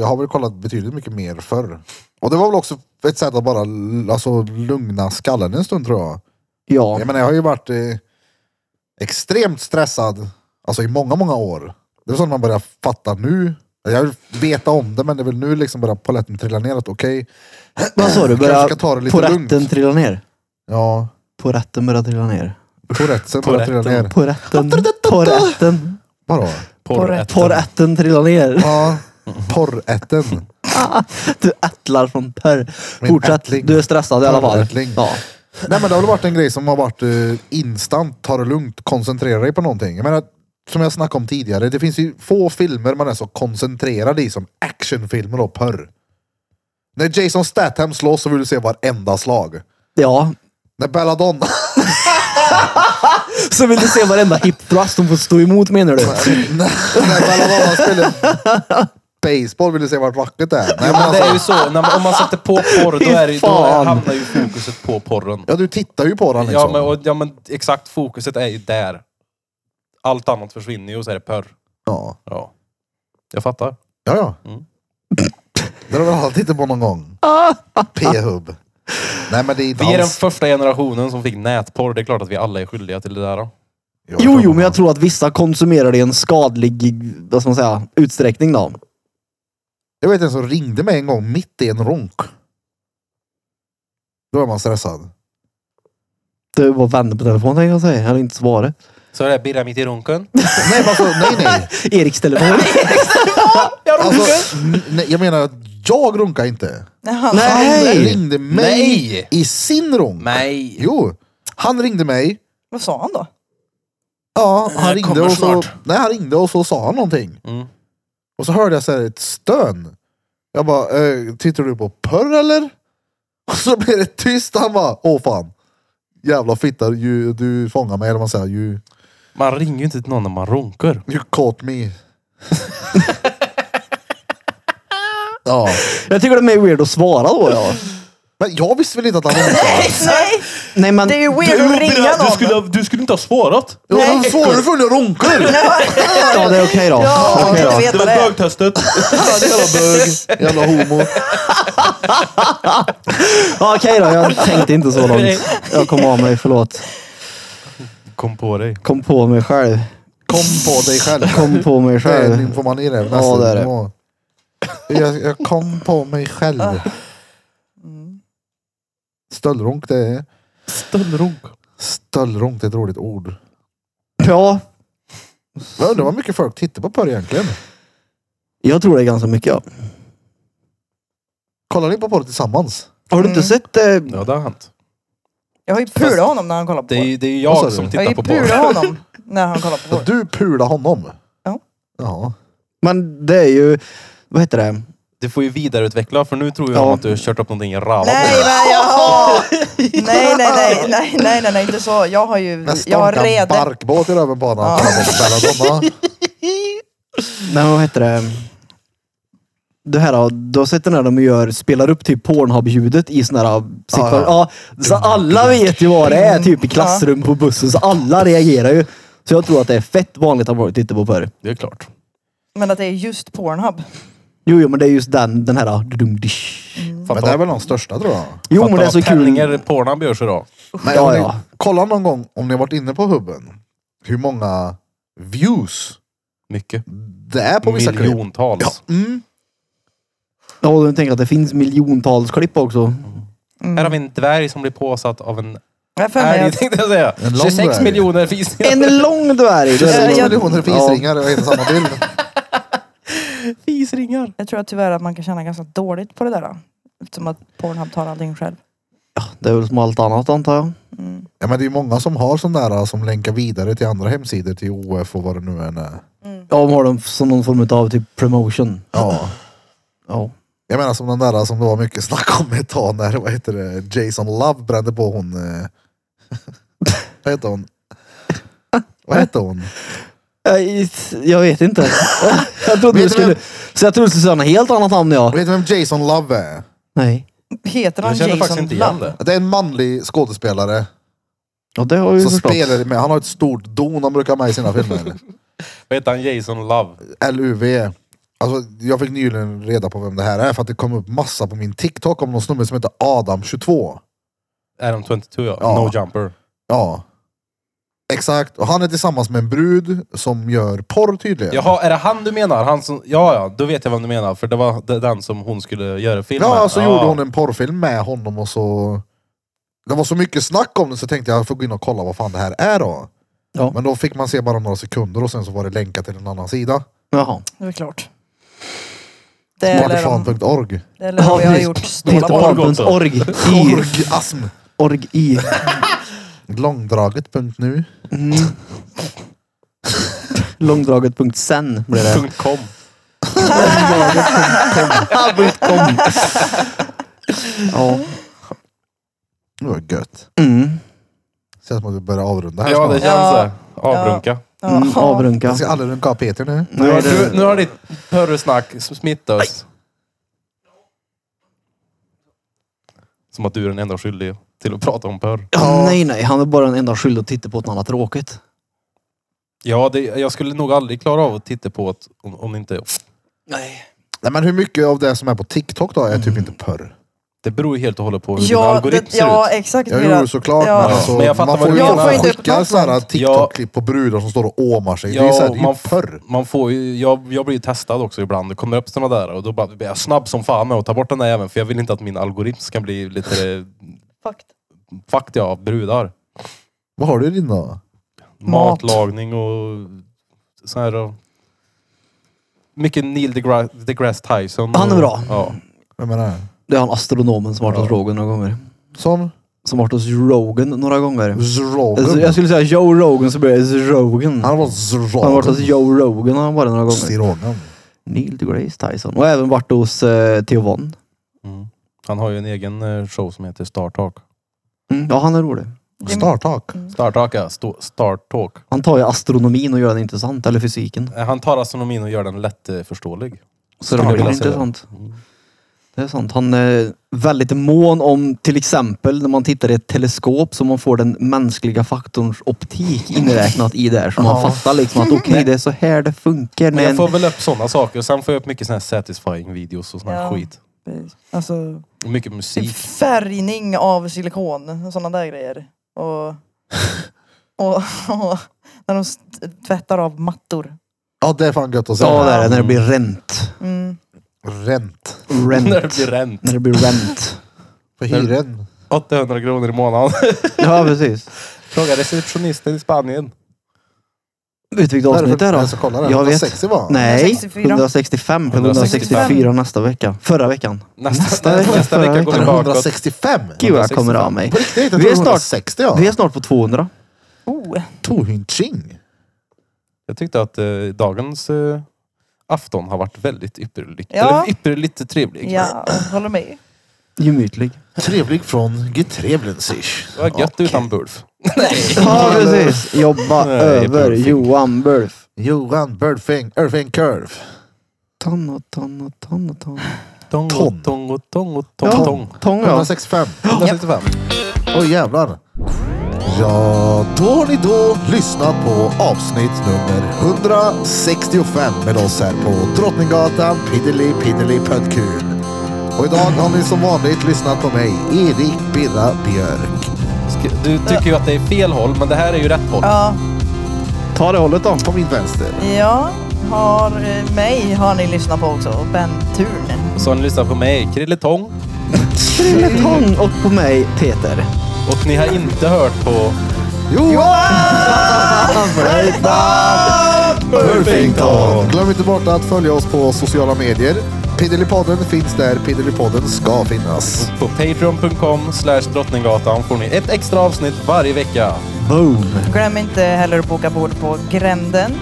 S1: jag har väl kollat betydligt mycket mer förr. Och det var väl också ett sätt att bara l- alltså, lugna skallen en stund tror jag.
S2: Ja.
S1: Jag menar jag har ju varit eh, extremt stressad, alltså i många, många år. Det är så när man börjar fatta nu. Jag vill veta om det men det är väl nu liksom börjar polletten trilla ner att okej,
S2: Vad sa du?
S1: kanske
S2: Börja
S1: ska ta det lite
S2: på
S1: lugnt.
S2: rätten trilla ner?
S1: ja,
S2: På rätten börja trilla ner.
S1: tourettesen börjar trilla
S3: Touretten.
S1: ner.
S2: På rätten. På rätten.
S1: Vadå?
S3: Porrätten.
S2: På rätten trilla ner.
S1: Ja, porrätten.
S2: Du ättlar från Per.
S1: Min
S2: Fortsätt.
S1: ättling.
S2: Du är stressad i alla fall.
S1: Perrättling.
S2: Ja.
S1: Nej men det har väl varit en grej som har varit eh, instant, ta det lugnt, koncentrera dig på någonting. Jag menar, som jag snackade om tidigare, det finns ju få filmer man är så koncentrerad i som actionfilmer och porr. När Jason Statham slåss så vill du se varenda slag.
S2: ja.
S1: När Belladonna...
S2: Så vill du se varenda hip thrust hon får stå emot menar du?
S1: när Belladonna spelar baseball vill du se vart vackert det är. Nej, men
S3: Men det är ju
S1: alltså,
S3: så, när man, om man sätter på porr då, är det, ju- då
S2: Fan.
S3: hamnar ju fokuset på porren.
S1: ja du tittar ju på den liksom.
S3: Ja men, och, ja men exakt, fokuset är ju där. Allt annat försvinner ju och så är det porr.
S1: ja.
S3: Ja. Jag fattar.
S1: ja, ja.
S3: Mm.
S1: Det har vi alla tittat på någon gång. P-hub. Nej men det är inte
S3: Vi är den
S1: alls...
S3: första generationen som fick nätporr. Det är klart att vi alla är skyldiga till det där. Då.
S1: Jag
S2: Jo,
S1: tror
S2: jo, men
S1: man-
S2: jag tror att vissa konsumerar det i en skadlig vad ska man säga, utsträckning då.
S1: Jag vet en som ringde mig en gång mitt i en ronk. Då är man stressad.
S2: Det var vänner på telefon tänkte jag säga. Jag hade inte svarat.
S3: Så är det Birra mitt i runken.
S1: Nej, men alltså, nej, nej.
S2: Eriks telefon.
S1: Alltså, n- nej. Jag menar, jag runkar inte.
S4: Nej.
S1: Han
S2: Nej!
S1: ringde mig
S3: Nej.
S1: i sin ronk.
S3: Nej.
S1: Jo, han ringde mig.
S4: Vad sa han då?
S1: Ja, han ringde,
S3: kommer
S1: och så,
S3: snart.
S1: nej, han ringde och så sa han någonting.
S3: Mm.
S1: Och så hörde jag så här ett stön. Jag bara, eh, tittar du på porr eller? Och så blev det tyst. Han bara, åh fan. Jävla fitta, you, du fångar mig. Eller vad man säger, you,
S3: Man ringer ju inte till någon när man runkar.
S1: you caught me. ja.
S2: Jag tycker det är mer weird att svara då. Ja.
S1: Men jag visste väl inte att han var nykter?
S4: Nej!
S2: Nej men...
S4: Det är ju weird
S7: Du,
S4: att ringa
S7: du,
S4: någon.
S7: skulle, ha- du skulle inte ha svarat.
S1: Jag har svårare för när jag runkar!
S2: Ja, det är okej då.
S4: Ja,
S2: Okej
S4: jag
S2: då.
S4: vet
S7: Det var
S4: vad det är.
S7: bögtestet.
S1: Jävla bög, jävla homo.
S2: Ja, Okej då, jag tänkte inte så långt. Jag kom av mig, förlåt.
S3: Kom på dig.
S2: Kom på mig själv.
S1: Kom på dig själv.
S2: Kom på mig
S1: Det är
S2: själv.
S1: nymfomani det. nästan.
S2: Ja, det är det.
S1: Jag, jag kom på mig själv. Stöldrunk det är.
S7: Stöldrunk.
S1: Stöldrunk det är ett roligt ord.
S2: Ja,
S1: Jag undrar vad mycket folk tittar på porr egentligen.
S2: jag tror det är ganska mycket. Ja.
S1: Kollar ni på porr tillsammans?
S2: Har du inte sett... Eh,
S3: Ja, det har hänt.
S4: Jag har ju pulat honom när han kollar på
S3: Det är, ju- det är ju
S1: Vad sa
S3: jag
S1: du?
S3: som
S4: Jag har
S3: tittar
S4: ju
S3: på porr.
S4: pulat honom när han kollar på porr.
S1: Du pular honom?
S4: Ja.
S1: Ja.
S2: men det är ju... Vad heter det?
S3: Du får ju vidareutveckla för nu tror jag
S2: Ja.
S3: att du har kört upp någonting i röven.
S4: Nej, men jag har... Nej, nej, nej, nej, nej, nej, nej, inte så. Jag har ju...
S1: Nästan
S4: Jag har
S1: kan
S4: redan...
S1: barkbåt i röven på honom.
S4: Ja.
S1: Ja. Bella Donna.
S2: Nej, men vad heter det? Det här, då, du har sett den här de gör, spelar upp typ Pornhub-ljudet i sån här... Ja,
S1: ja.
S2: ja. så alla vet ju vad det är typ i klassrum på bussen, så alla reagerar ju. Så jag tror att det är fett vanligt att folk tittar på porr.
S3: Det är klart.
S4: Men att det är just Pornhub.
S2: Jo, jo, men det är just den, den här... dudung, dish.
S1: Men det är väl de största tror jag.
S2: Jo, men det är så kul.
S3: Penningar Pornhub görs idag.
S1: Men
S2: Ja,
S1: om ni,
S2: ja.
S1: Kolla någon gång om ni har varit inne på hubben. Hur många views
S3: Mycket.
S1: det är på vissa klipp.
S3: Miljontals.
S1: Ja, mm.
S2: Ja, och jag tänker att det finns miljontals klipp också.
S4: Mm.
S3: Här har vi en dvärg som blir påsatt av en
S4: Jag har för mig
S3: älg
S4: att...
S3: tänkte jag säga.
S1: En lång
S3: 26
S1: dvärg.
S3: miljoner fisringar.
S2: En lång dvärg! då är det-
S1: 26
S4: jag-
S1: miljoner fisringar och en och samma bild.
S3: Fisringar.
S4: Jag tror att tyvärr att man kan känna ganska dåligt på det där. då. Eftersom att Pornhub tar allting själv.
S2: Det är väl som allt annat antar jag.
S1: Ja, men det är många som har sån där äh, som länkar vidare till andra hemsidor, till OF och vad det nu än är.
S2: Ja, om har de som någon form av typ promotion.
S1: Ja.
S2: Ja.
S1: Jag menar som den där äh, som det var mycket snack om ett tag när, vad heter det, Jason Love brände på hon... eh, vad heter hon? Vad heter hon?
S2: Nej, Eh, Jag vet inte. Jag trodde du
S1: Vet du
S2: skulle...
S1: vem-
S2: Så jag trodde du skulle säga något helt annat namn än jag.
S1: Vet du vem Jason Love är?
S2: Nej.
S4: Heter han
S3: Jag känner
S4: Jason
S3: faktiskt inte igen
S4: Love?
S3: det.
S1: Det är en manlig skådespelare
S2: Ja, det har jag ju
S1: som
S2: förstått.
S1: spelar med, han har ett stort don han brukar ha med i sina filmer.
S3: Vad heter han? Jason Love.
S1: LUV. Alltså, jag fick nyligen reda på vem det här är för att det kom upp massa på min TikTok om någon snubbe som heter Adam22.
S3: Adam 22 ja.
S1: Ja.
S3: No jumper.
S1: Ja. Exakt, och han är tillsammans med en brud som gör porr tydligen.
S3: Jaha, är det han du menar? Han som, ja, ja, då vet jag vad du menar. För det var d- den som hon skulle göra film med.
S1: Ja, så gjorde hon en porrfilm med honom och så... Det var så mycket snack om det så tänkte jag jag får gå in och kolla vad fan det här är då.
S2: Ja.
S1: Men då fick man se bara några sekunder och sen så var det länkat till en annan sida.
S2: Jaha.
S4: Det är klart. Det är eller om-
S1: Smartfan.org.
S4: det är eller om
S2: Ja,
S4: jag har
S2: precis.
S4: gjort stora...
S2: Peterpan.org. I.
S1: Orgasm.
S2: Org. I.
S1: Långdraget.nu.
S2: Långdraget.sen blir det.
S3: Punkt com.
S2: Kom. Ja.
S1: Det var gött.
S2: Mm.
S1: Känns som att vi börjar avrunda här
S3: Ja, det
S1: snart.
S3: känns
S4: Ja.
S3: det. Avrunka.
S2: Mm.
S4: Ja.
S1: Jag
S2: Avrunka.
S1: ska aldrig runka av Peter nu.
S3: Nu, har,
S2: Nej, det-
S3: du, nu har ditt pörresnack sm- smittat oss. Som att du är den enda skyldig till att prata om pörr.
S2: Ja, nej, nej. Han är bara den enda skyldig att titta på ett annat tråkigt.
S3: Ja, det, jag skulle nog aldrig klara av att titta på ett, om, om det inte...
S2: Nej.
S1: Nej, men hur mycket av det som är på TikTok då är typ inte porr?
S3: Det beror ju helt och hållet på hur din
S4: Ja,
S3: algoritm
S4: det,
S3: ser
S4: ja,
S3: ut.
S4: exakt.
S1: Jag
S4: Mira.
S1: gjorde såklart
S4: Ja.
S1: men alltså,
S3: Men jag fattar
S1: man får
S3: vad
S1: ju
S3: du menar.
S1: folk
S4: Jag får inte
S1: skickar
S4: upp
S1: sådana
S4: något
S1: TikTok-klipp på brudar som står och åmar sig. det är ju, så här, det är ju
S3: man, f-
S1: porr.
S3: man får ju, jag, jag blir ju testad också ibland. Det kommer upp sådana där och då bara- blir jag snabb som fan med att ta bort den där jäveln. För jag vill inte att min algoritm ska bli lite
S4: Fuck.
S3: fakt jag av brudar.
S1: Vad har du i din då?
S4: Mat.
S3: Matlagning och så här. Och, mycket Neil deGra- deGrasse Tyson.
S2: Han är
S3: och-
S2: bra.
S3: Ja.
S1: Vem är det? här?
S2: Det är han astronomen som varit hos Rogan några gånger.
S1: Som?
S2: Som varit hos Rogan några gånger. Alltså,
S1: Zrogen.
S2: Jag skulle säga Joe Rogan så blir det Zrogan.
S1: Han
S2: Han
S1: var
S2: har varit hos
S1: Zrogen.
S2: Joe Rogan har han varit några gånger.
S1: Stirogan.
S2: Neil deGrasse Tyson. Och även varit hos eh, Theo Von.
S3: Mm. Han har ju en egen eh, show som heter Star Talk.
S2: Mm, ja, han är rolig.
S1: Startak.
S2: Mm.
S3: Star Talk ja. Sto- Star Talk.
S2: Han tar ju astronomin och gör den intressant, eller fysiken.
S3: Eh, Han tar astronomin och gör den lättförståelig.
S2: Så det blir
S3: vill jag
S2: väl
S3: säga.
S2: intressant. Det är sant. Han är väldigt mån om till exempel när man tittar i ett teleskop så man får den mänskliga faktorns optik inräknat i där. Så man fattar liksom att okej, det är så här det funkar.
S3: Men
S2: När
S3: jag
S2: en
S3: får väl upp sådana saker. Och sen får jag upp mycket såna här satisfying videos och sån här
S4: Ja.
S3: skit.
S4: Alltså,
S3: Och mycket
S4: typ
S3: musik.
S4: färgning av silikon och sådana där grejer. Och, och, och när de st- tvättar av mattor.
S1: Ja, det är fan gött att se.
S2: Ja, det är det. När det blir rent.
S4: Mm.
S1: Ränt.
S2: Rent.
S3: När det blir rent.
S2: När det blir rent.
S1: För hyren.
S3: 800 kronor i månaden.
S2: Ja, precis.
S3: Fråga receptionisten i Spanien.
S2: Vet du vilket
S1: Vad är det
S2: avsnitt det är
S1: för-
S2: då?
S1: Jag ska kolla det.
S2: Jag vet.
S1: 160 var han.
S2: Nej,
S4: 164.
S2: 165 plus
S3: 165.
S2: 164 nästa vecka. Förra veckan.
S3: Nästa,
S2: Nästa
S3: nästa,
S2: vecka,
S3: nästa,
S2: förra
S3: vecka går
S2: veckan.
S3: vi bakåt.
S1: 165?
S2: Gud vad jag kommer av mig.
S1: På riktigt? Jag
S2: Vi är
S1: tror
S2: snart-
S1: 160 ja.
S2: Vi är snart på 200.
S4: Oh.
S1: Tohinching.
S3: Jag tyckte att eh, dagens eh, afton har varit väldigt ypperligt.
S4: Ja.
S3: Eller ypperligt trevlig.
S4: Ja, jag håller med.
S2: Gemytlig.
S1: Trevlig från Getrevlensisch.
S3: Det var gött utan Bulf.
S2: Ja, precis. Jobba
S3: Nej,
S2: över
S3: Bulfing.
S2: Johan Bulf.
S1: Johan Birdfing, Irving Curve.
S2: Tonno, tonno, tonno, tonno.
S3: Tång
S1: Ton.
S3: och tång och tång och tång.
S2: Ja,
S3: tång.
S2: Tång, ja.
S1: 165.
S3: 165.
S1: Oj jävlar. Ja, då har ni då lyssnat på avsnitt nummer 165 med oss här på Drottninggatan Piddeli Piddeli Pöttkul. Och idag har ni som vanligt lyssnat på mig, Erik Birra Björk.
S3: Ska- Du tycker ju att det är fel håll, men det här är ju rätt håll.
S4: Ja,
S2: Ta det hållet då.
S1: På min vänster.
S4: ja. Har, eh, mig har ni lyssnat på också. och Ben Thurn.
S3: Så har ni lyssnat på mig, Krille Tång.
S2: Krille Tång och på mig Peter.
S3: Och ni har inte hört på
S1: Johan Burfington!
S3: Burfington.
S1: Glöm inte bort att följa oss på sociala medier. Piddelipodden finns där Piddelipodden ska finnas.
S3: På patreon.com slash drottninggatan får ni ett extra avsnitt varje vecka.
S2: Boom.
S4: Glöm inte heller att boka bord på Gränden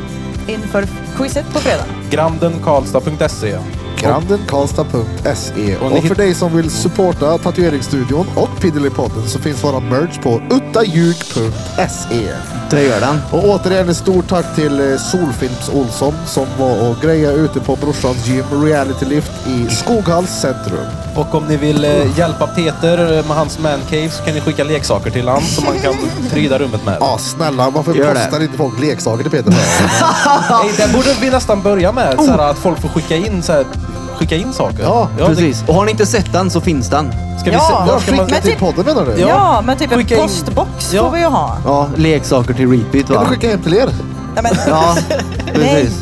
S4: inför quizet på fredag.
S3: Grandenkarlstad.se
S1: Grandenkarlstad.se
S3: Och
S1: E. och,
S3: ni
S1: för
S3: hitt-
S1: dig som vill supporta tatueringsstudion och Piddelipodden så finns våra merch på uttajuk.se.
S2: Det gör den.
S1: E. Och återigen ett stort tack till eh, Solfilms Olsson som var och grejade ute på brorsans gym Reality Lift i Skoghalls centrum.
S3: Och om ni vill eh, hjälpa Peter eh, med hans mancave så kan ni skicka leksaker till han som man kan pryda rummet med.
S1: Ja, snälla varför
S2: Gör det.
S1: postar inte folk leksaker till Peter?
S3: Nej, det borde vi nästan börja med. Så här, att folk får skicka in, så här, skicka in saker.
S1: Ja,
S3: det-
S2: Precis. Och har ni inte sett den så finns den.
S3: Ska vi
S4: Ja,
S3: se,
S1: Ja,
S3: var ska man,
S1: skicka
S4: men
S1: till
S4: typ-
S1: podden menar du?
S4: Ja,
S3: Ja.
S4: men typ en
S3: Skicka in-
S4: postbox
S3: Ja.
S4: får vi ju ha.
S2: Ja, leksaker till repeat
S1: Kan
S2: va?
S1: vi skicka hem till er?
S4: Ja, men,
S2: Ja, precis.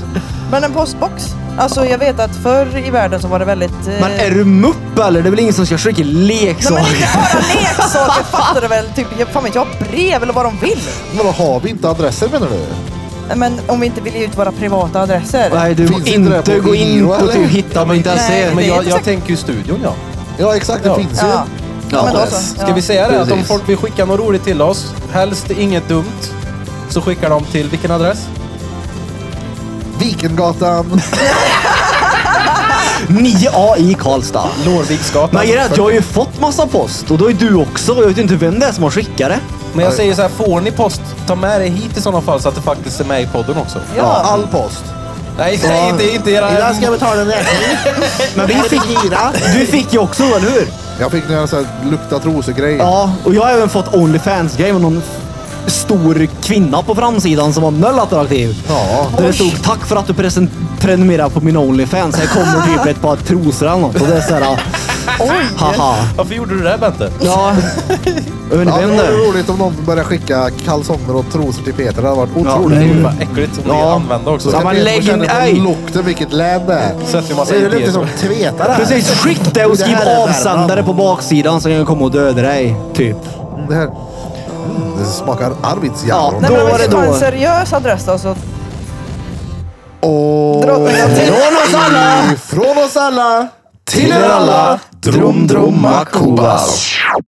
S4: men en postbox. Alltså jag vet att förr i världen så var det väldigt... eh,
S2: Men är du mupp eller? Det är väl ingen som ska skicka
S4: Nej men
S2: leksaker?
S4: inte bara leksaker fattar du väl? Typ, jag, fan vet jag, brev eller vad de vill.
S1: Vadå, har vi inte adresser menar du?
S4: Men om vi inte vill ge ut våra privata adresser.
S2: Nej, du får
S1: Finns inte det
S2: inte
S1: på
S2: gå in
S1: bio,
S2: på
S1: eller?
S2: typ hitta.se.
S4: Nej.
S3: men
S4: det är
S3: jag,
S4: inte
S3: jag
S4: så-
S3: tänker ju studion ja.
S1: Ja exakt, det
S3: Ja.
S1: finns ju.
S4: Ja. Ja, men då så.
S3: Ska
S4: Ja.
S3: vi säga det? Att om
S2: Precis.
S3: folk vill skicka något roligt till oss, helst inget dumt, så skickar de till vilken adress?
S1: Vikengatan.
S2: 9A i Karlstad.
S3: Lårviksgatan.
S2: Men grejen är att jag har ju fått massa post och då är du också. Jag vet ju inte vem det är som har skickat det.
S3: Men jag säger så här, får ni post, ta med det hit i sådana fall så att det faktiskt är med i podden också.
S4: Ja.
S1: All post.
S3: Nej, nej, inte, inte era...
S1: jag betala en räkning.
S2: Men vi fick, du fick ju också, eller hur?
S1: Jag fick några sån här lukta trosor-grej.
S2: Ja, och jag har även fått Onlyfans-grej med någon f- stor kvinna på framsidan som var noll attraktiv.
S1: Ja.
S2: Där det stod tack för att du presen- prenumererar på min Onlyfans. Här kommer typ ett par trosor eller något. Och det är såhär... Oj! Haha.
S3: Varför gjorde du det Bente?
S2: Ja. Jag vet
S1: Ja,
S2: inte
S1: det
S2: vem det
S1: vore
S2: är.
S1: roligt om någon började skicka kalsonger och trosor till Peter. Det hade varit
S2: Ja,
S1: otroligt.
S3: Det
S2: nej.
S3: är bara äckligt om ni
S2: Ja.
S3: använder också.
S1: Så
S2: Ja,
S1: kan
S2: men
S1: Peter
S2: lägg
S1: känna
S2: in-
S1: den
S2: ej.
S1: Lukten, vilket län det är.
S3: Sätter ju massa
S1: Det luktar
S3: idéer.
S1: som tvetare.
S2: Precis, skicka det och skriv
S1: Det här är
S2: avsändare
S1: Värmland.
S2: på baksidan så jag kan komma och döda dig. Typ.
S1: Det här. Mm, det smakar
S2: Ja, då
S1: Arvidsjaur.
S4: Nej, men om
S2: var
S4: vi
S2: det
S4: ska ha en
S2: då.
S4: seriös adress då så...
S1: Och
S2: Från oss alla!
S1: från oss alla
S2: Till er alla, Drom Dromma Kubas.